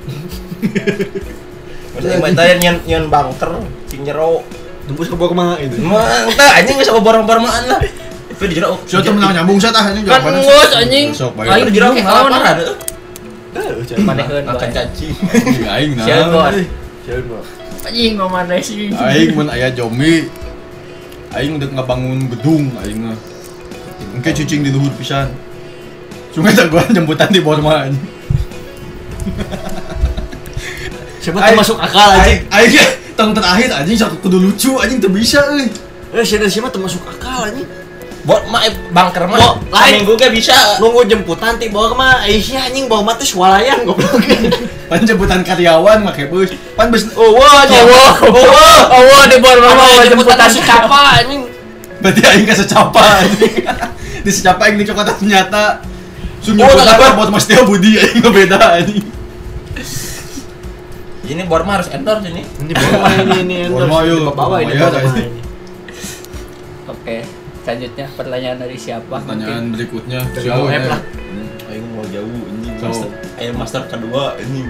[SPEAKER 4] Maksudnya mah teh nyen nyen bangker, cing nyero.
[SPEAKER 2] Tembus ke bawah kemana gitu? itu.
[SPEAKER 4] Mah teh anjing geus borong-borongan lah. Tapi dijero.
[SPEAKER 1] Sudah temen nang nyambung saya tah anjing
[SPEAKER 3] Kan
[SPEAKER 1] jawabannya.
[SPEAKER 3] ngus, anjing.
[SPEAKER 1] Sok
[SPEAKER 4] Aing
[SPEAKER 1] bae.
[SPEAKER 4] dijero
[SPEAKER 3] Aing
[SPEAKER 4] kayak kalah
[SPEAKER 3] naon?
[SPEAKER 4] parah tuh.
[SPEAKER 3] Maneheun
[SPEAKER 4] Nah, Makan
[SPEAKER 3] bae.
[SPEAKER 4] caci.
[SPEAKER 1] Aing nah.
[SPEAKER 3] Sial, Bos.
[SPEAKER 2] Jalan mah.
[SPEAKER 3] Anjing mau mana sih?
[SPEAKER 1] Aing mun aya zombie aing udah ngebangun gedung aing mah. Engke cicing di luhur pisan. Cuma tak gua nyemputan di Borma anjing.
[SPEAKER 2] Siapa tuh masuk akal anjing?
[SPEAKER 1] Aing aing tong terakhir anjing sok kudu lucu anjing teu bisa euy.
[SPEAKER 2] Eh, siapa siapa tuh masuk akal anjing?
[SPEAKER 4] Bot mah eh, bangker
[SPEAKER 2] Bo,
[SPEAKER 4] mah.
[SPEAKER 2] lain.
[SPEAKER 4] Minggu ge bisa.
[SPEAKER 2] Nunggu jemputan ti bawa mah Aisyah iya, anjing bawa mah tuh swalayan goblok.
[SPEAKER 1] Pan jemputan karyawan make bus. Pan bus
[SPEAKER 2] Oh, wah,
[SPEAKER 3] Allah, Allah, Allah di Borma
[SPEAKER 2] Apa
[SPEAKER 3] mau
[SPEAKER 2] yang jemputan
[SPEAKER 3] jemputan
[SPEAKER 2] si
[SPEAKER 3] si
[SPEAKER 2] Kapa anjing?
[SPEAKER 1] berarti aing ka secapa anjing. Di secapa aing dicokotan senjata. Sun
[SPEAKER 4] Oh, tak
[SPEAKER 1] nyemputan
[SPEAKER 4] apa.
[SPEAKER 1] buat Mas Tio Budi aing ngebeda anjing.
[SPEAKER 4] Ini Borma harus endorse ini.
[SPEAKER 2] Ini bawa mah ini ini ini.
[SPEAKER 1] Bawa mah, yuk.
[SPEAKER 2] Bawa
[SPEAKER 1] Bawa ya,
[SPEAKER 2] ini bawa mah
[SPEAKER 1] guys.
[SPEAKER 2] ini.
[SPEAKER 3] Oke, selanjutnya pertanyaan dari siapa?
[SPEAKER 1] Pertanyaan berikutnya ya.
[SPEAKER 2] Dari Bang Ep lah.
[SPEAKER 4] Hmm, Aing mau jauh ini
[SPEAKER 1] Jauh.
[SPEAKER 4] master. Aing master kedua ini.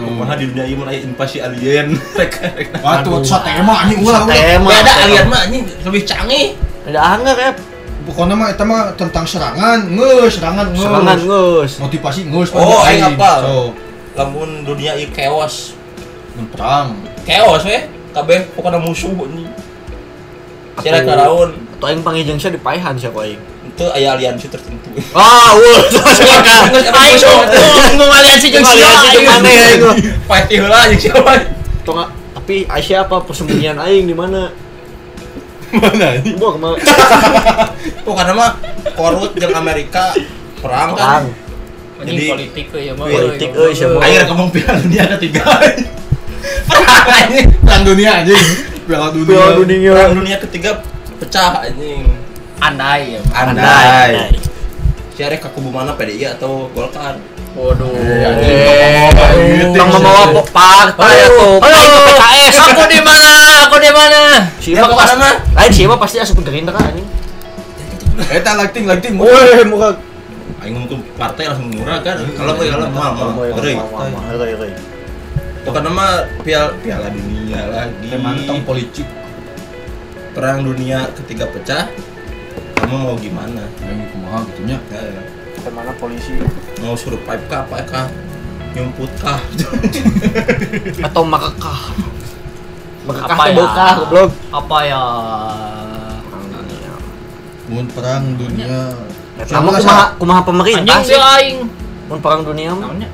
[SPEAKER 1] Oh.
[SPEAKER 4] Kumaha di dunia ieu mun aya invasi alien. Rek, rek.
[SPEAKER 1] Waduh,
[SPEAKER 2] Aduh.
[SPEAKER 1] satema anjing ulah ulah.
[SPEAKER 2] Tema.
[SPEAKER 4] Beda alien mah anjing lebih canggih.
[SPEAKER 2] Ada anggar ya.
[SPEAKER 1] Pokoknya mah itu mah tentang serangan, ngeus, serangan ngeus.
[SPEAKER 2] Serangan ngus.
[SPEAKER 1] Motivasi ngeus.
[SPEAKER 4] Oh, aing hafal.
[SPEAKER 1] So,
[SPEAKER 4] Lamun dunia ieu chaos.
[SPEAKER 1] mun perang.
[SPEAKER 4] Chaos we. Kabeh pokoknya musuh ini. Jarak naraun
[SPEAKER 2] atau yang panggil jengsa di paihan siapa aing
[SPEAKER 4] itu aya aliansi tertentu.
[SPEAKER 2] ah wul
[SPEAKER 3] Aing ngomong aliansi jeung
[SPEAKER 2] Ngomong aliansi
[SPEAKER 3] siapa?
[SPEAKER 2] jeung mana,
[SPEAKER 3] aing?
[SPEAKER 2] aing?
[SPEAKER 4] Pasti heula jeung siapa?
[SPEAKER 2] Tonga, tapi Aisyah apa persembunyian aing di mana?
[SPEAKER 4] Mana?
[SPEAKER 2] Gua kemana?
[SPEAKER 4] Pokoknya mah Korut jeung Amerika perang
[SPEAKER 2] Perang.
[SPEAKER 4] kan.
[SPEAKER 3] Anjing
[SPEAKER 4] Jadi-
[SPEAKER 3] politik euy ya mah.
[SPEAKER 2] Politik,
[SPEAKER 3] euy,
[SPEAKER 2] euy, siapa?
[SPEAKER 3] euy.
[SPEAKER 4] Akhirnya ngomong piala dunia ketiga.
[SPEAKER 1] Perang dunia anjing. Piala dunia.
[SPEAKER 2] Piala
[SPEAKER 4] Perang
[SPEAKER 2] dunia.
[SPEAKER 4] dunia ketiga pecah anjing.
[SPEAKER 3] Andai ya. mah.
[SPEAKER 4] Andai. Si Arek ke kubu mana PDI atau Golkar?
[SPEAKER 3] Waduh.
[SPEAKER 2] Eh, Tong membawa po- ya, partai atau Aing ke PKS.
[SPEAKER 3] Aku di mana? Aku di mana?
[SPEAKER 2] Si Ima
[SPEAKER 4] kemana mah?
[SPEAKER 2] Lain si Ima pasti asup gerindra kan anjing.
[SPEAKER 1] Eh, tak lighting, lighting.
[SPEAKER 2] Woi, muka.
[SPEAKER 4] Aing ngomong ke partai langsung murah kan. Kalau gue kalau mal mal. Teuing. Pokoknya mah piala piala dunia lagi.
[SPEAKER 1] Mantong politik.
[SPEAKER 4] perang dunia ketiga pecah. Kamu mau gimana?
[SPEAKER 1] Yang kumaha gitu gitunya.
[SPEAKER 4] Ya, ya.
[SPEAKER 2] Kemana polisi?
[SPEAKER 4] Mau survive kah apa kah? Nyumput kah?
[SPEAKER 2] Atau makekah? Makekah
[SPEAKER 3] Apa
[SPEAKER 2] teh
[SPEAKER 3] ya?
[SPEAKER 2] bokah goblok.
[SPEAKER 3] Apa ya?
[SPEAKER 1] Mun perang dunia.
[SPEAKER 2] Kamu kumaha kumaha pemerintah
[SPEAKER 3] Anjing
[SPEAKER 2] sih?
[SPEAKER 3] ya aing.
[SPEAKER 2] Mun perang dunia mah.
[SPEAKER 3] Namanya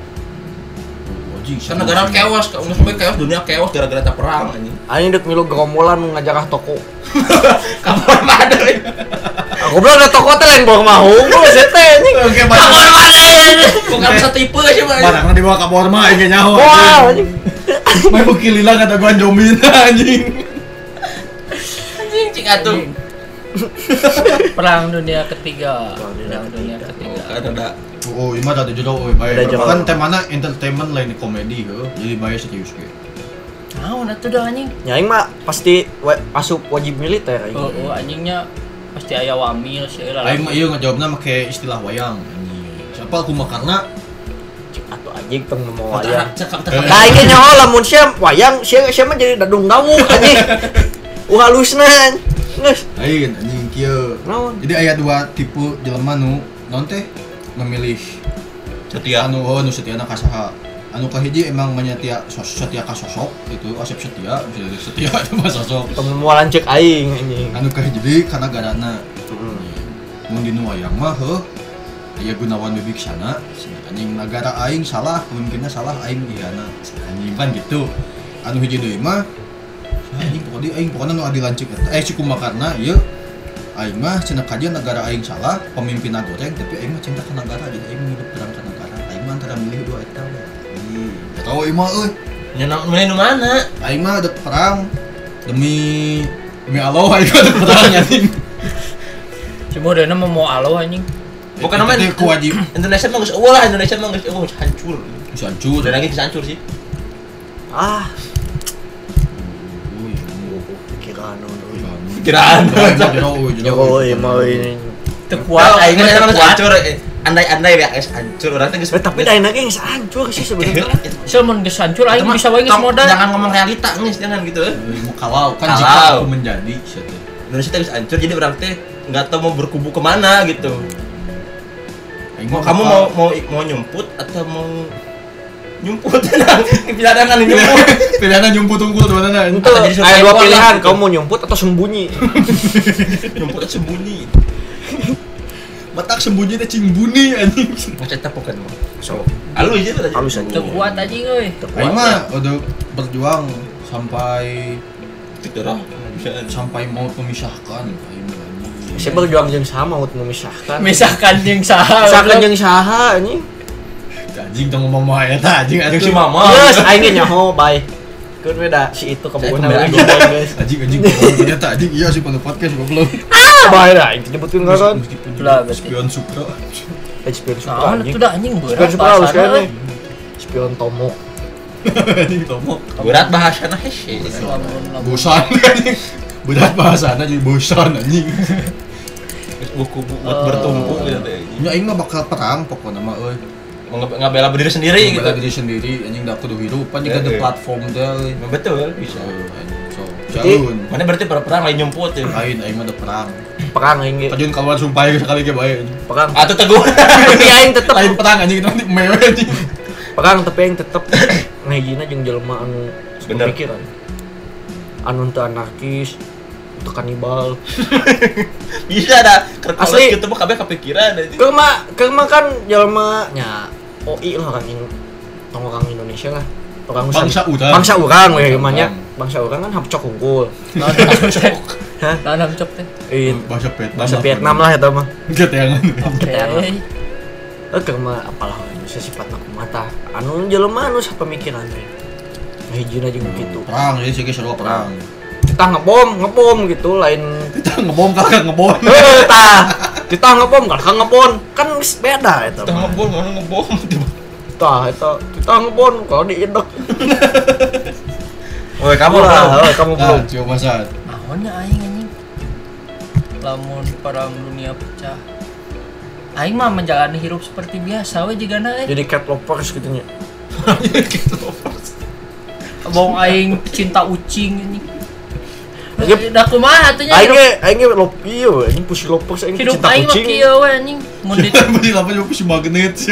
[SPEAKER 1] Wajib.
[SPEAKER 4] Kan negara kewas, kamu sampai kewas dunia kewas gara-gara tak perang anjing.
[SPEAKER 2] Anjing dek milu gerombolan nu ngajarah toko.
[SPEAKER 4] Kamar mana?
[SPEAKER 2] Ah, Goblok ada toko teh lain bawa mau. Goblok sete anjing.
[SPEAKER 1] Oke,
[SPEAKER 2] Kamar mana ya?
[SPEAKER 4] Bukan bisa tipe sih mah.
[SPEAKER 1] Barangnya dibawa ke Borma aja nyaho.
[SPEAKER 2] Wow,
[SPEAKER 1] anjing. Main bukil hilang kata gua jomin anjing.
[SPEAKER 4] Anjing cing atuh.
[SPEAKER 3] Perang Dunia Ketiga.
[SPEAKER 2] Perang Dunia
[SPEAKER 3] Perang Dunia
[SPEAKER 4] Oh,
[SPEAKER 3] Ketiga.
[SPEAKER 4] Kan ada
[SPEAKER 1] Oh, ini mah tadi jodoh, oh, baik.
[SPEAKER 2] Ada jodoh.
[SPEAKER 1] Kan temanya entertainment lain komedi, heuh. Jadi baik serius ge.
[SPEAKER 3] Naon atuh dah anjing?
[SPEAKER 2] Nyaing mah pasti wa- asup wajib militer aing.
[SPEAKER 3] Oh, oh, anjingnya pasti aya wamil sih lah.
[SPEAKER 1] Aing mah ieu ngejawabna make istilah wayang. anjing. Siapa aku mah karena
[SPEAKER 2] Atau anjing teu mau wayang.
[SPEAKER 4] anak cakap
[SPEAKER 2] Nah,
[SPEAKER 4] tak.
[SPEAKER 2] ini nyaho lamun sia wayang sia sia mah jadi dadung dawuh anjing. Uh halusna. Nges.
[SPEAKER 1] lain anjing kieu.
[SPEAKER 2] Naon?
[SPEAKER 1] Jadi aya dua tipe jelema nu naon teh memilih
[SPEAKER 4] Setia.
[SPEAKER 1] anu oh nu setia na kasaha. Anu kahiji emang menyetia sos, setia ka sosok gitu, asep setia, bisa jadi setia sama sosok.
[SPEAKER 2] Teu mau lancek aing anjing.
[SPEAKER 1] Anu kahiji karena garana
[SPEAKER 4] Hmm.
[SPEAKER 2] Heeh.
[SPEAKER 1] mun dinu wayang mah heuh aya Gunawan Bibik sana anjing negara aing salah pemimpinnya salah aing dihana anjing kan gitu anu hiji deui mah anjing pokoknya aing pokoknya nu adi lanceuk eta eh kumakarna ieu aing mah cenah kajian negara aing salah pemimpinna goreng tapi aing mah cinta ka negara jadi aing hidup perang ka negara aing mah antara milih dua eta we. Ih, gak tahu aing mah euy
[SPEAKER 4] Nyenang mulai nu mana?
[SPEAKER 1] aing mah ada perang demi demi Allah aing mah ada perang anjing
[SPEAKER 3] Cuma udah nama mau alo anjing.
[SPEAKER 4] Bukan namanya-
[SPEAKER 1] Itu teh kewajib
[SPEAKER 4] Indonesia mah geus eueuh lah, Indonesia mah geus eueuh geus hancur.
[SPEAKER 1] bisa hancur
[SPEAKER 4] Udah lagi geus hancur sih.
[SPEAKER 2] Ah,
[SPEAKER 1] Uy, anjing.
[SPEAKER 2] pikiran anu, euy.
[SPEAKER 4] Pikiran.
[SPEAKER 2] Jokowi mau ini.
[SPEAKER 4] Wah,
[SPEAKER 3] Tekuat aing
[SPEAKER 4] aing mah emang geus
[SPEAKER 3] tekuat.
[SPEAKER 4] hancur. eh, Andai-andai ya geus hancur, urang teh geus.
[SPEAKER 2] Eh, tapi daina ge geus hancur sih sebenarnya.
[SPEAKER 3] Sel mun geus hancur aing
[SPEAKER 4] Itu mah,
[SPEAKER 3] bisa wae geus
[SPEAKER 4] kamu
[SPEAKER 3] modal.
[SPEAKER 4] Jangan ngomong realita nih, jangan gitu. eh.
[SPEAKER 1] Mau kalau kan
[SPEAKER 4] Kalau.
[SPEAKER 1] jika aku menjadi siya teh.
[SPEAKER 4] Indonesia teh geus hancur, jadi orang teh nggak tahu mau berkubu kemana gitu.
[SPEAKER 1] Aing mah
[SPEAKER 4] Mau kamu mau
[SPEAKER 1] bakal-
[SPEAKER 4] mau mau nyumput atau mau nyumput tenang pilihan kan nyumput
[SPEAKER 1] pilihannya nyumpu tunggu teman teman
[SPEAKER 2] Itu
[SPEAKER 4] Atau jadi survei
[SPEAKER 2] ada dua
[SPEAKER 4] pola
[SPEAKER 2] pilihan,
[SPEAKER 4] gitu.
[SPEAKER 2] kamu mau nyumput atau sembunyi.
[SPEAKER 4] nyumput atau sembunyi
[SPEAKER 1] batak sembunyi teh cing buni anjing
[SPEAKER 4] mau cetak pokoknya mau
[SPEAKER 2] So,
[SPEAKER 4] halus ya, aja tadi
[SPEAKER 2] halus aja.
[SPEAKER 3] Tekuat anjing euy.
[SPEAKER 1] Aing mah udah berjuang sampai
[SPEAKER 4] Tidurah.
[SPEAKER 1] sampai mau memisahkan Aing mah, anjing.
[SPEAKER 2] Saya berjuang jeung sama untuk memisahkan.
[SPEAKER 3] Misahkan jeung saha.
[SPEAKER 2] Misalkan jeung saha anjing.
[SPEAKER 1] anjing tong ngomong mah eta anjing
[SPEAKER 4] Yang
[SPEAKER 1] anjing
[SPEAKER 4] si mama
[SPEAKER 2] Yes, aing ge nyaho bye. Kun beda si itu kebunan
[SPEAKER 4] Saya
[SPEAKER 2] lagi
[SPEAKER 4] kembali.
[SPEAKER 2] guys.
[SPEAKER 1] anjing anjing ngomong ternyata anjing iya sih pada podcast goblok
[SPEAKER 2] Bye dah, aing nyebutkeun kan.
[SPEAKER 1] meskipun
[SPEAKER 3] Lah,
[SPEAKER 1] juga
[SPEAKER 3] berarti.
[SPEAKER 1] spion supra
[SPEAKER 2] Spion Supra
[SPEAKER 3] Naon
[SPEAKER 2] anjing.
[SPEAKER 3] atuh Ah, dah anjing
[SPEAKER 2] Spion
[SPEAKER 3] berat
[SPEAKER 2] Supra halus kan
[SPEAKER 3] bahasana.
[SPEAKER 2] nih. Spion Tomok.
[SPEAKER 1] anjing tomok
[SPEAKER 4] berat bahasa nah sih
[SPEAKER 3] Lamun lamun.
[SPEAKER 1] bosan anjing berat bahasana jadi bosan anjing
[SPEAKER 4] buku bu- buat bertumpu gitu teh
[SPEAKER 1] nya aing Ya, mah bakal perang pokoknya mah euy
[SPEAKER 4] Mau nge- nggak bela diri sendiri
[SPEAKER 1] Membela
[SPEAKER 4] gitu
[SPEAKER 1] diri sendiri anjing dak kudu hidup pan
[SPEAKER 4] Eh,
[SPEAKER 1] jika ada
[SPEAKER 4] eh.
[SPEAKER 1] platform teh euy.
[SPEAKER 4] Nah, betul bisa
[SPEAKER 1] so
[SPEAKER 2] Jadi-
[SPEAKER 1] jalun
[SPEAKER 4] mana berarti per perang lain nyumput ya
[SPEAKER 1] lain aing mah ada perang
[SPEAKER 2] Perang aing ge.
[SPEAKER 1] tajun kaluar sumpah aing sekali ge bae anjing.
[SPEAKER 2] Perang.
[SPEAKER 4] atau Ah, teguh
[SPEAKER 2] Tapi aing tetep
[SPEAKER 1] lain perang anjing itu nanti mewe anjing
[SPEAKER 2] perang tapi aing tetep ngahijina jeung jelema anu
[SPEAKER 4] Bener.
[SPEAKER 2] pemikiran. Anu teu anarkis, teu kanibal.
[SPEAKER 4] Bisa dah. Kertas
[SPEAKER 2] Asli.
[SPEAKER 4] kita mah kabeh kepikiran anjing.
[SPEAKER 2] Keur mah keur mah kan jelema nya OI lah kan in- tong orang Indonesia lah. Orang usan-
[SPEAKER 1] Bangsa urang.
[SPEAKER 2] Bangsa urang we mah nya. Bangsa urang kan hapcok unggul. Hah?
[SPEAKER 3] Lawan hamcok teh.
[SPEAKER 2] In
[SPEAKER 1] bahasa Vietnam
[SPEAKER 2] bahasa Vietnam lah eta mah.
[SPEAKER 1] gitu ya
[SPEAKER 3] Oke.
[SPEAKER 2] Eh keur mah apalah Indonesia sifatna kumaha Anu jelema anu sapamikiran we. Nah, hijina jeung gitu.
[SPEAKER 1] perang ya sih seru perang
[SPEAKER 2] Kita ngebom, ngebom gitu lain
[SPEAKER 1] kita ngebom kakak ngebom
[SPEAKER 2] Eh, tah. Kita ngebom kan kan ngebom kan geus beda eta.
[SPEAKER 4] Kita
[SPEAKER 2] mah.
[SPEAKER 4] ngebom, mana ngebom. gitu.
[SPEAKER 2] Tah eta kita ngebom kalau diindek.
[SPEAKER 4] Woi, kamu
[SPEAKER 2] Ulah,
[SPEAKER 4] lah.
[SPEAKER 2] eh, kamu
[SPEAKER 1] nah
[SPEAKER 2] belum.
[SPEAKER 1] coba saat
[SPEAKER 3] Naonnya aing anjing? Lamun perang dunia pecah. Aing mah menjalani hidup seperti biasa we jigana eh.
[SPEAKER 2] Jadi cat lovers gitu nya.
[SPEAKER 3] Bong aing cinta ucing anjing.
[SPEAKER 2] Anjing.
[SPEAKER 3] Udah kumaha tuh nya
[SPEAKER 2] Aing
[SPEAKER 3] hidup,
[SPEAKER 2] ge aing ge love ieu, anjing pussy lovers aing
[SPEAKER 3] hidup
[SPEAKER 2] cinta
[SPEAKER 3] aing mah
[SPEAKER 2] kucing.
[SPEAKER 3] kieu we anjing. Mun di
[SPEAKER 1] beli apa juga si magnet sih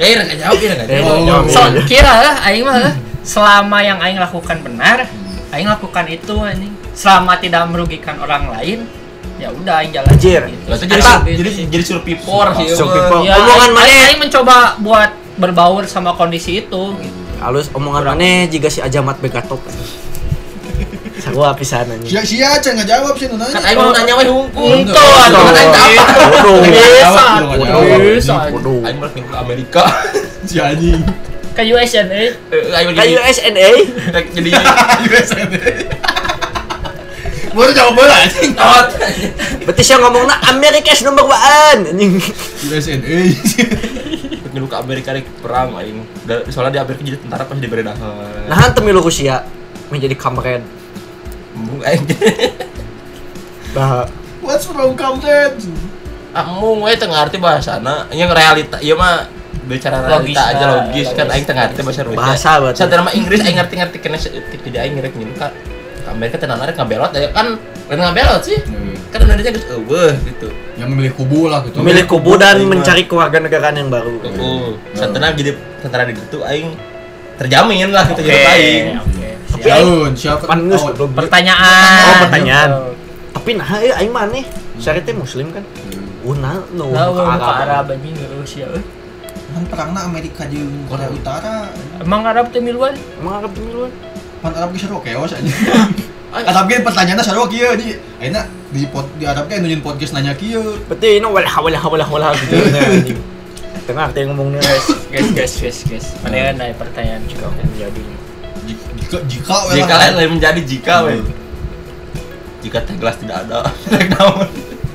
[SPEAKER 4] Eh, enggak jawab, eh, enggak
[SPEAKER 2] Eh,
[SPEAKER 1] Oh.
[SPEAKER 2] jawab.
[SPEAKER 4] jawab.
[SPEAKER 3] so, kira lah aing mah lah. selama yang aing lakukan benar, aing lakukan itu anjing. Selama tidak merugikan orang lain, ya udah aing jalan
[SPEAKER 2] Anjir.
[SPEAKER 4] Lah, itu jadi
[SPEAKER 2] Eta.
[SPEAKER 4] jadi jadi suruh pipor sih.
[SPEAKER 2] Suruh
[SPEAKER 4] Bang.
[SPEAKER 2] pipor.
[SPEAKER 3] Ya,
[SPEAKER 2] Omongan
[SPEAKER 3] aing-
[SPEAKER 2] mana?
[SPEAKER 3] aing- Aing mencoba buat berbaur sama kondisi itu. gitu.
[SPEAKER 2] Halus omongan maneh jika si Ajamat begatok. Sagua pisan anjing.
[SPEAKER 1] sia sia aja nggak jawab sih nanya
[SPEAKER 2] Eh,
[SPEAKER 4] Kan aing mau nanya wae hukum.
[SPEAKER 3] Untung aduh.
[SPEAKER 4] Kan aing tak apa.
[SPEAKER 2] Bodoh.
[SPEAKER 1] Bisa.
[SPEAKER 2] Bodoh.
[SPEAKER 3] Bisa.
[SPEAKER 2] Bodoh.
[SPEAKER 4] Aing mau ke Amerika.
[SPEAKER 1] si anjing
[SPEAKER 3] Ke US ya, eh.
[SPEAKER 4] Eh, Aing mau jadi
[SPEAKER 2] Kayu SNA.
[SPEAKER 4] jadi
[SPEAKER 1] baru jawab bola anjing
[SPEAKER 4] tot.
[SPEAKER 2] Berarti saya ngomongnya Amerika is number one anjing.
[SPEAKER 1] USNA
[SPEAKER 4] Ngilu ke Amerika rek perang aing. Da- Soalnya di Amerika jadi tentara pas di beredahan.
[SPEAKER 2] Nah, temilu Rusia menjadi kamren.
[SPEAKER 4] Embung aing.
[SPEAKER 2] Bah,
[SPEAKER 1] what's wrong Kamden
[SPEAKER 4] Amung we teu ngarti bahasana. Nya nah. Iya, realita ieu mah bicara
[SPEAKER 3] Logis,
[SPEAKER 4] realita aja
[SPEAKER 3] nah,
[SPEAKER 4] logis kan
[SPEAKER 3] logis.
[SPEAKER 4] aing teu ngarti bahasa Rusia.
[SPEAKER 2] Bahasa berarti.
[SPEAKER 4] Sadar mah Inggris aing ngerti-ngerti kena seutik jadi aing rek ngilu ka ka Amerika teh nanarik ngabelot aya kan lain ngabelot sih. Kan Indonesia geus eueuh gitu.
[SPEAKER 1] Eh, yang memilih kubu lah gitu
[SPEAKER 2] memilih kubu dan
[SPEAKER 4] Aing mah.
[SPEAKER 2] mencari kewarganegaraan yang baru.
[SPEAKER 4] Heeh. Santana jadi tentara di gitu aing terjamin lah gitu jadi aing.
[SPEAKER 1] Jaun, siapa?
[SPEAKER 2] Pan geus
[SPEAKER 1] Oh,
[SPEAKER 2] goblok.
[SPEAKER 3] Pertanyaan.
[SPEAKER 2] Oh, pertanyaan. Tapi nah ieu aing mah aneh. Syari teh muslim kan. Una no
[SPEAKER 3] Lah,
[SPEAKER 2] ke
[SPEAKER 3] wong ke
[SPEAKER 2] Arab.
[SPEAKER 3] Nah, Arab anjing ke Rusia. eh.
[SPEAKER 1] Kan perangna Amerika jeung Korea Utara.
[SPEAKER 3] Emang Arab teh miluan?
[SPEAKER 2] Emang Arab eh? duluan.
[SPEAKER 1] Pan Arab ge seru keos anjing. kan Arab ge pertanyaanna seru kieu iya, di ayeuna di pod, di Arab ge nunjun podcast nanya kieu.
[SPEAKER 2] Berarti ini wala wala wala wala gitu. nah, anjing. Tengah arti ngomongnya guys.
[SPEAKER 3] Guys, guys, guys, guys. Mana ada pertanyaan juga kan jadi.
[SPEAKER 1] Ji- Jika jika we
[SPEAKER 4] Jika
[SPEAKER 1] lah.
[SPEAKER 4] lain lain menjadi jika we. Jika teh gelas tidak ada, rek naon?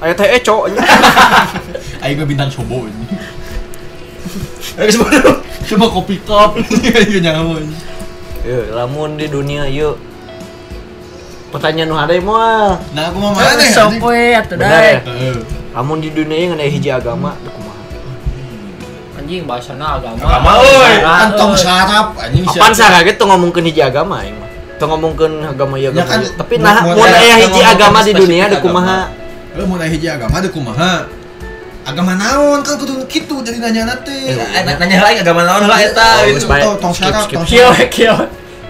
[SPEAKER 2] Ayo teh eh cowok.
[SPEAKER 1] aing mah bintang sobo anjing. Eh semua dulu. Cuma kopi cup Iya, anjing nyaho anjing.
[SPEAKER 2] Yeuh, lamun di dunia yuk. Pertanyaan nu hade moal.
[SPEAKER 1] Nah, aku mah mana
[SPEAKER 3] Ah,
[SPEAKER 1] anjing? Eh.
[SPEAKER 3] Sok we atuh
[SPEAKER 2] Benar ya?
[SPEAKER 3] dai.
[SPEAKER 1] Heeh.
[SPEAKER 2] Lamun di dunia yang ada hiji agama, teu kumaha.
[SPEAKER 3] Anjing bahasana agama.
[SPEAKER 4] Agama, euy.
[SPEAKER 3] Agama,
[SPEAKER 1] Kantong
[SPEAKER 3] euy.
[SPEAKER 1] sarap anjing
[SPEAKER 2] Apaan sih kaget tuh ngomongin hiji agama aing mah. Tuh ngomongkeun agama ieu
[SPEAKER 1] Ya
[SPEAKER 2] agama.
[SPEAKER 1] kan,
[SPEAKER 2] ieu. Tapi nah
[SPEAKER 1] mau-
[SPEAKER 2] mun
[SPEAKER 1] mau-
[SPEAKER 2] aya
[SPEAKER 4] mau
[SPEAKER 2] hiji
[SPEAKER 4] ngomongkeun
[SPEAKER 2] agama di
[SPEAKER 4] spesifik
[SPEAKER 2] dunia ada
[SPEAKER 4] agama.
[SPEAKER 2] kumaha?
[SPEAKER 1] Lu mau nanya hiji agama ada kumaha? Agama naon kan kudu kitu jadi nanya
[SPEAKER 2] Eh,
[SPEAKER 1] nate.
[SPEAKER 4] Eh, nanya lain agama naon lah eta.
[SPEAKER 1] Tahu
[SPEAKER 2] baik.
[SPEAKER 1] Oh, tong sarap,
[SPEAKER 2] Skip, skip.
[SPEAKER 1] tong
[SPEAKER 3] Kieu,
[SPEAKER 1] sarap.
[SPEAKER 3] kieu.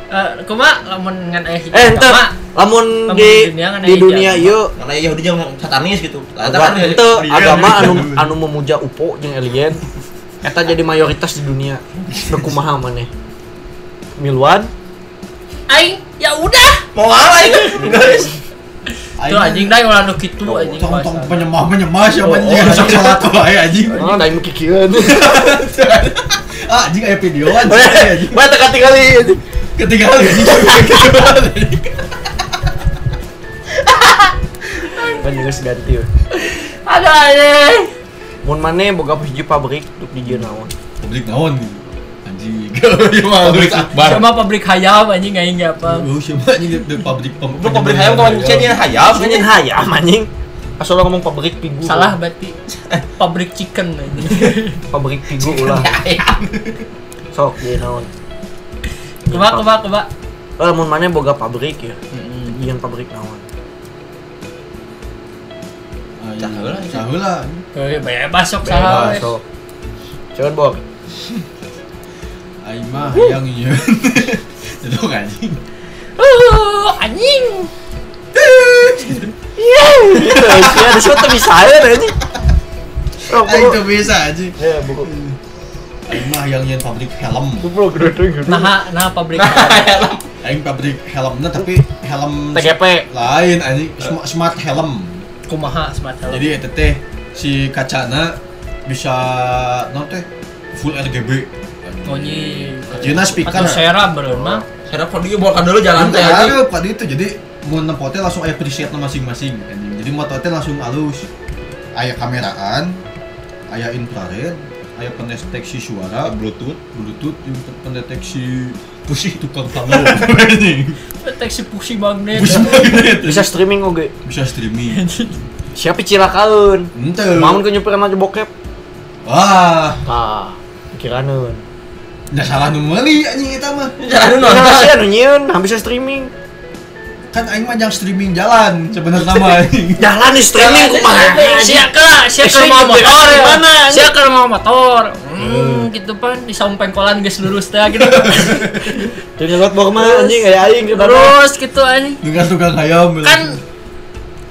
[SPEAKER 3] Eh, kumaha lamun ngan aya hiji
[SPEAKER 2] Eh, ente
[SPEAKER 3] agama?
[SPEAKER 2] lamun
[SPEAKER 3] lamun
[SPEAKER 2] di
[SPEAKER 3] di dunia kan ada
[SPEAKER 2] di
[SPEAKER 3] hiji
[SPEAKER 2] dunia
[SPEAKER 3] agama.
[SPEAKER 2] ieu
[SPEAKER 4] Karena Yahudi yang satanis gitu. Lah, eta kan
[SPEAKER 2] agama
[SPEAKER 4] di-
[SPEAKER 2] ente
[SPEAKER 4] di-
[SPEAKER 2] agama anu anu memuja UPO jeung alien. Eta jadi mayoritas di dunia. Teu kumaha maneh? Miluan,
[SPEAKER 3] Aing, ya udah.
[SPEAKER 4] mau apa itu? Guys.
[SPEAKER 3] Tuh anjing dai ulah nu kitu anjing.
[SPEAKER 1] tong tong
[SPEAKER 3] bahasa.
[SPEAKER 1] penyembah penyembah siapa
[SPEAKER 2] Oh,
[SPEAKER 1] anjing sok salat wae anjing
[SPEAKER 2] ah da ieu kikieun.
[SPEAKER 1] ah anjing aya video
[SPEAKER 2] Oh, iya.
[SPEAKER 1] anjing
[SPEAKER 2] Mana teka kali.
[SPEAKER 1] ketiga kali anjing
[SPEAKER 2] Kan geus ganti. we.
[SPEAKER 3] Aduh anjing.
[SPEAKER 2] Mun maneh boga hiji pabrik untuk di jieun naon.
[SPEAKER 1] publik naon nih? anjing ya mah
[SPEAKER 4] Pabrik Akbar.
[SPEAKER 3] Sama pabrik hayam anjing aing ge
[SPEAKER 2] Uh.
[SPEAKER 3] apa.
[SPEAKER 1] Oh, siapa anjing di pabrik pem- ya.
[SPEAKER 4] Lu pabrik hayam kawan Cen ya? yang hayam.
[SPEAKER 2] Apa nyen hayam anjing? Asal lo ngomong pabrik pigu.
[SPEAKER 3] Salah berarti pabrik chicken anjing.
[SPEAKER 2] pabrik pigu ulah.
[SPEAKER 4] Hayam.
[SPEAKER 2] Sok ye naon.
[SPEAKER 3] Kumaha kumaha kumaha.
[SPEAKER 2] Eh mun maneh boga pabrik ya. Ian pabrik naon.
[SPEAKER 1] Anjing,
[SPEAKER 4] Saheula, anjing.
[SPEAKER 1] saheula.
[SPEAKER 3] Eh, bebas sok
[SPEAKER 2] Bebas
[SPEAKER 3] salah.
[SPEAKER 2] Ah, sok. Cuman bok.
[SPEAKER 1] aing mah hayang ieu Duduk, anjing
[SPEAKER 3] Uh, anjing.
[SPEAKER 1] gitu.
[SPEAKER 2] Gitu, ya, di situ bisa aja aja.
[SPEAKER 1] Aing tuh bisa aja.
[SPEAKER 2] Ya, buku.
[SPEAKER 1] Aing mah yang nyen pabrik helm.
[SPEAKER 2] Buku gede-gede.
[SPEAKER 3] Nah, nah pabrik.
[SPEAKER 1] Aing pabrik helmnya tapi helm
[SPEAKER 2] TGP.
[SPEAKER 1] lain anjing smart, smart helm.
[SPEAKER 3] Kumaha smart helm.
[SPEAKER 1] Jadi eta teh si kacana bisa non teh full RGB.
[SPEAKER 3] Oh, Ngonyi.
[SPEAKER 1] Jeuna speaker.
[SPEAKER 3] Atau sera beureun mah.
[SPEAKER 4] Serap podium bawa dulu jalan teh
[SPEAKER 1] Ada
[SPEAKER 4] anjing.
[SPEAKER 1] ada pada itu jadi mau nempotnya langsung aya preset-na masing-masing anjing. Jadi mototnya langsung alus. Aya kameraan, aya infrared, aya pendeteksi suara, bluetooth, bluetooth yang pendeteksi pusih tukang tamu anjing.
[SPEAKER 3] Deteksi pusi magnet.
[SPEAKER 1] Pusih magnet, anjing.
[SPEAKER 2] Bisa streaming oke.
[SPEAKER 1] bisa streaming.
[SPEAKER 2] Siapa cilakaun?
[SPEAKER 1] Ente.
[SPEAKER 2] Mau ke nyupir aja bokep. Ah,
[SPEAKER 1] Wah,
[SPEAKER 2] Tah, kiraneun.
[SPEAKER 1] nggak salah numeli anjing eta mah.
[SPEAKER 4] Jalan
[SPEAKER 2] Nah,
[SPEAKER 4] nonton.
[SPEAKER 2] sih anu nyieun, habis streaming.
[SPEAKER 1] Kan aing mah yang streaming jalan sebenarnya mah anjing.
[SPEAKER 2] Jalan nih streaming kumaha?
[SPEAKER 3] Siaka, siaka
[SPEAKER 2] Istri
[SPEAKER 3] mau
[SPEAKER 2] juga
[SPEAKER 3] motor
[SPEAKER 2] ada di
[SPEAKER 3] ya.
[SPEAKER 2] mana, anjing?
[SPEAKER 3] Siaka mau motor. Hmm, gitu pan di saung pengkolan geus lurus teh gitu.
[SPEAKER 2] Tuh nyelot bawa kemana anjing kayak aing ke tanah.
[SPEAKER 3] Terus gitu anjing.
[SPEAKER 1] Dengan tukang ayam.
[SPEAKER 3] Kan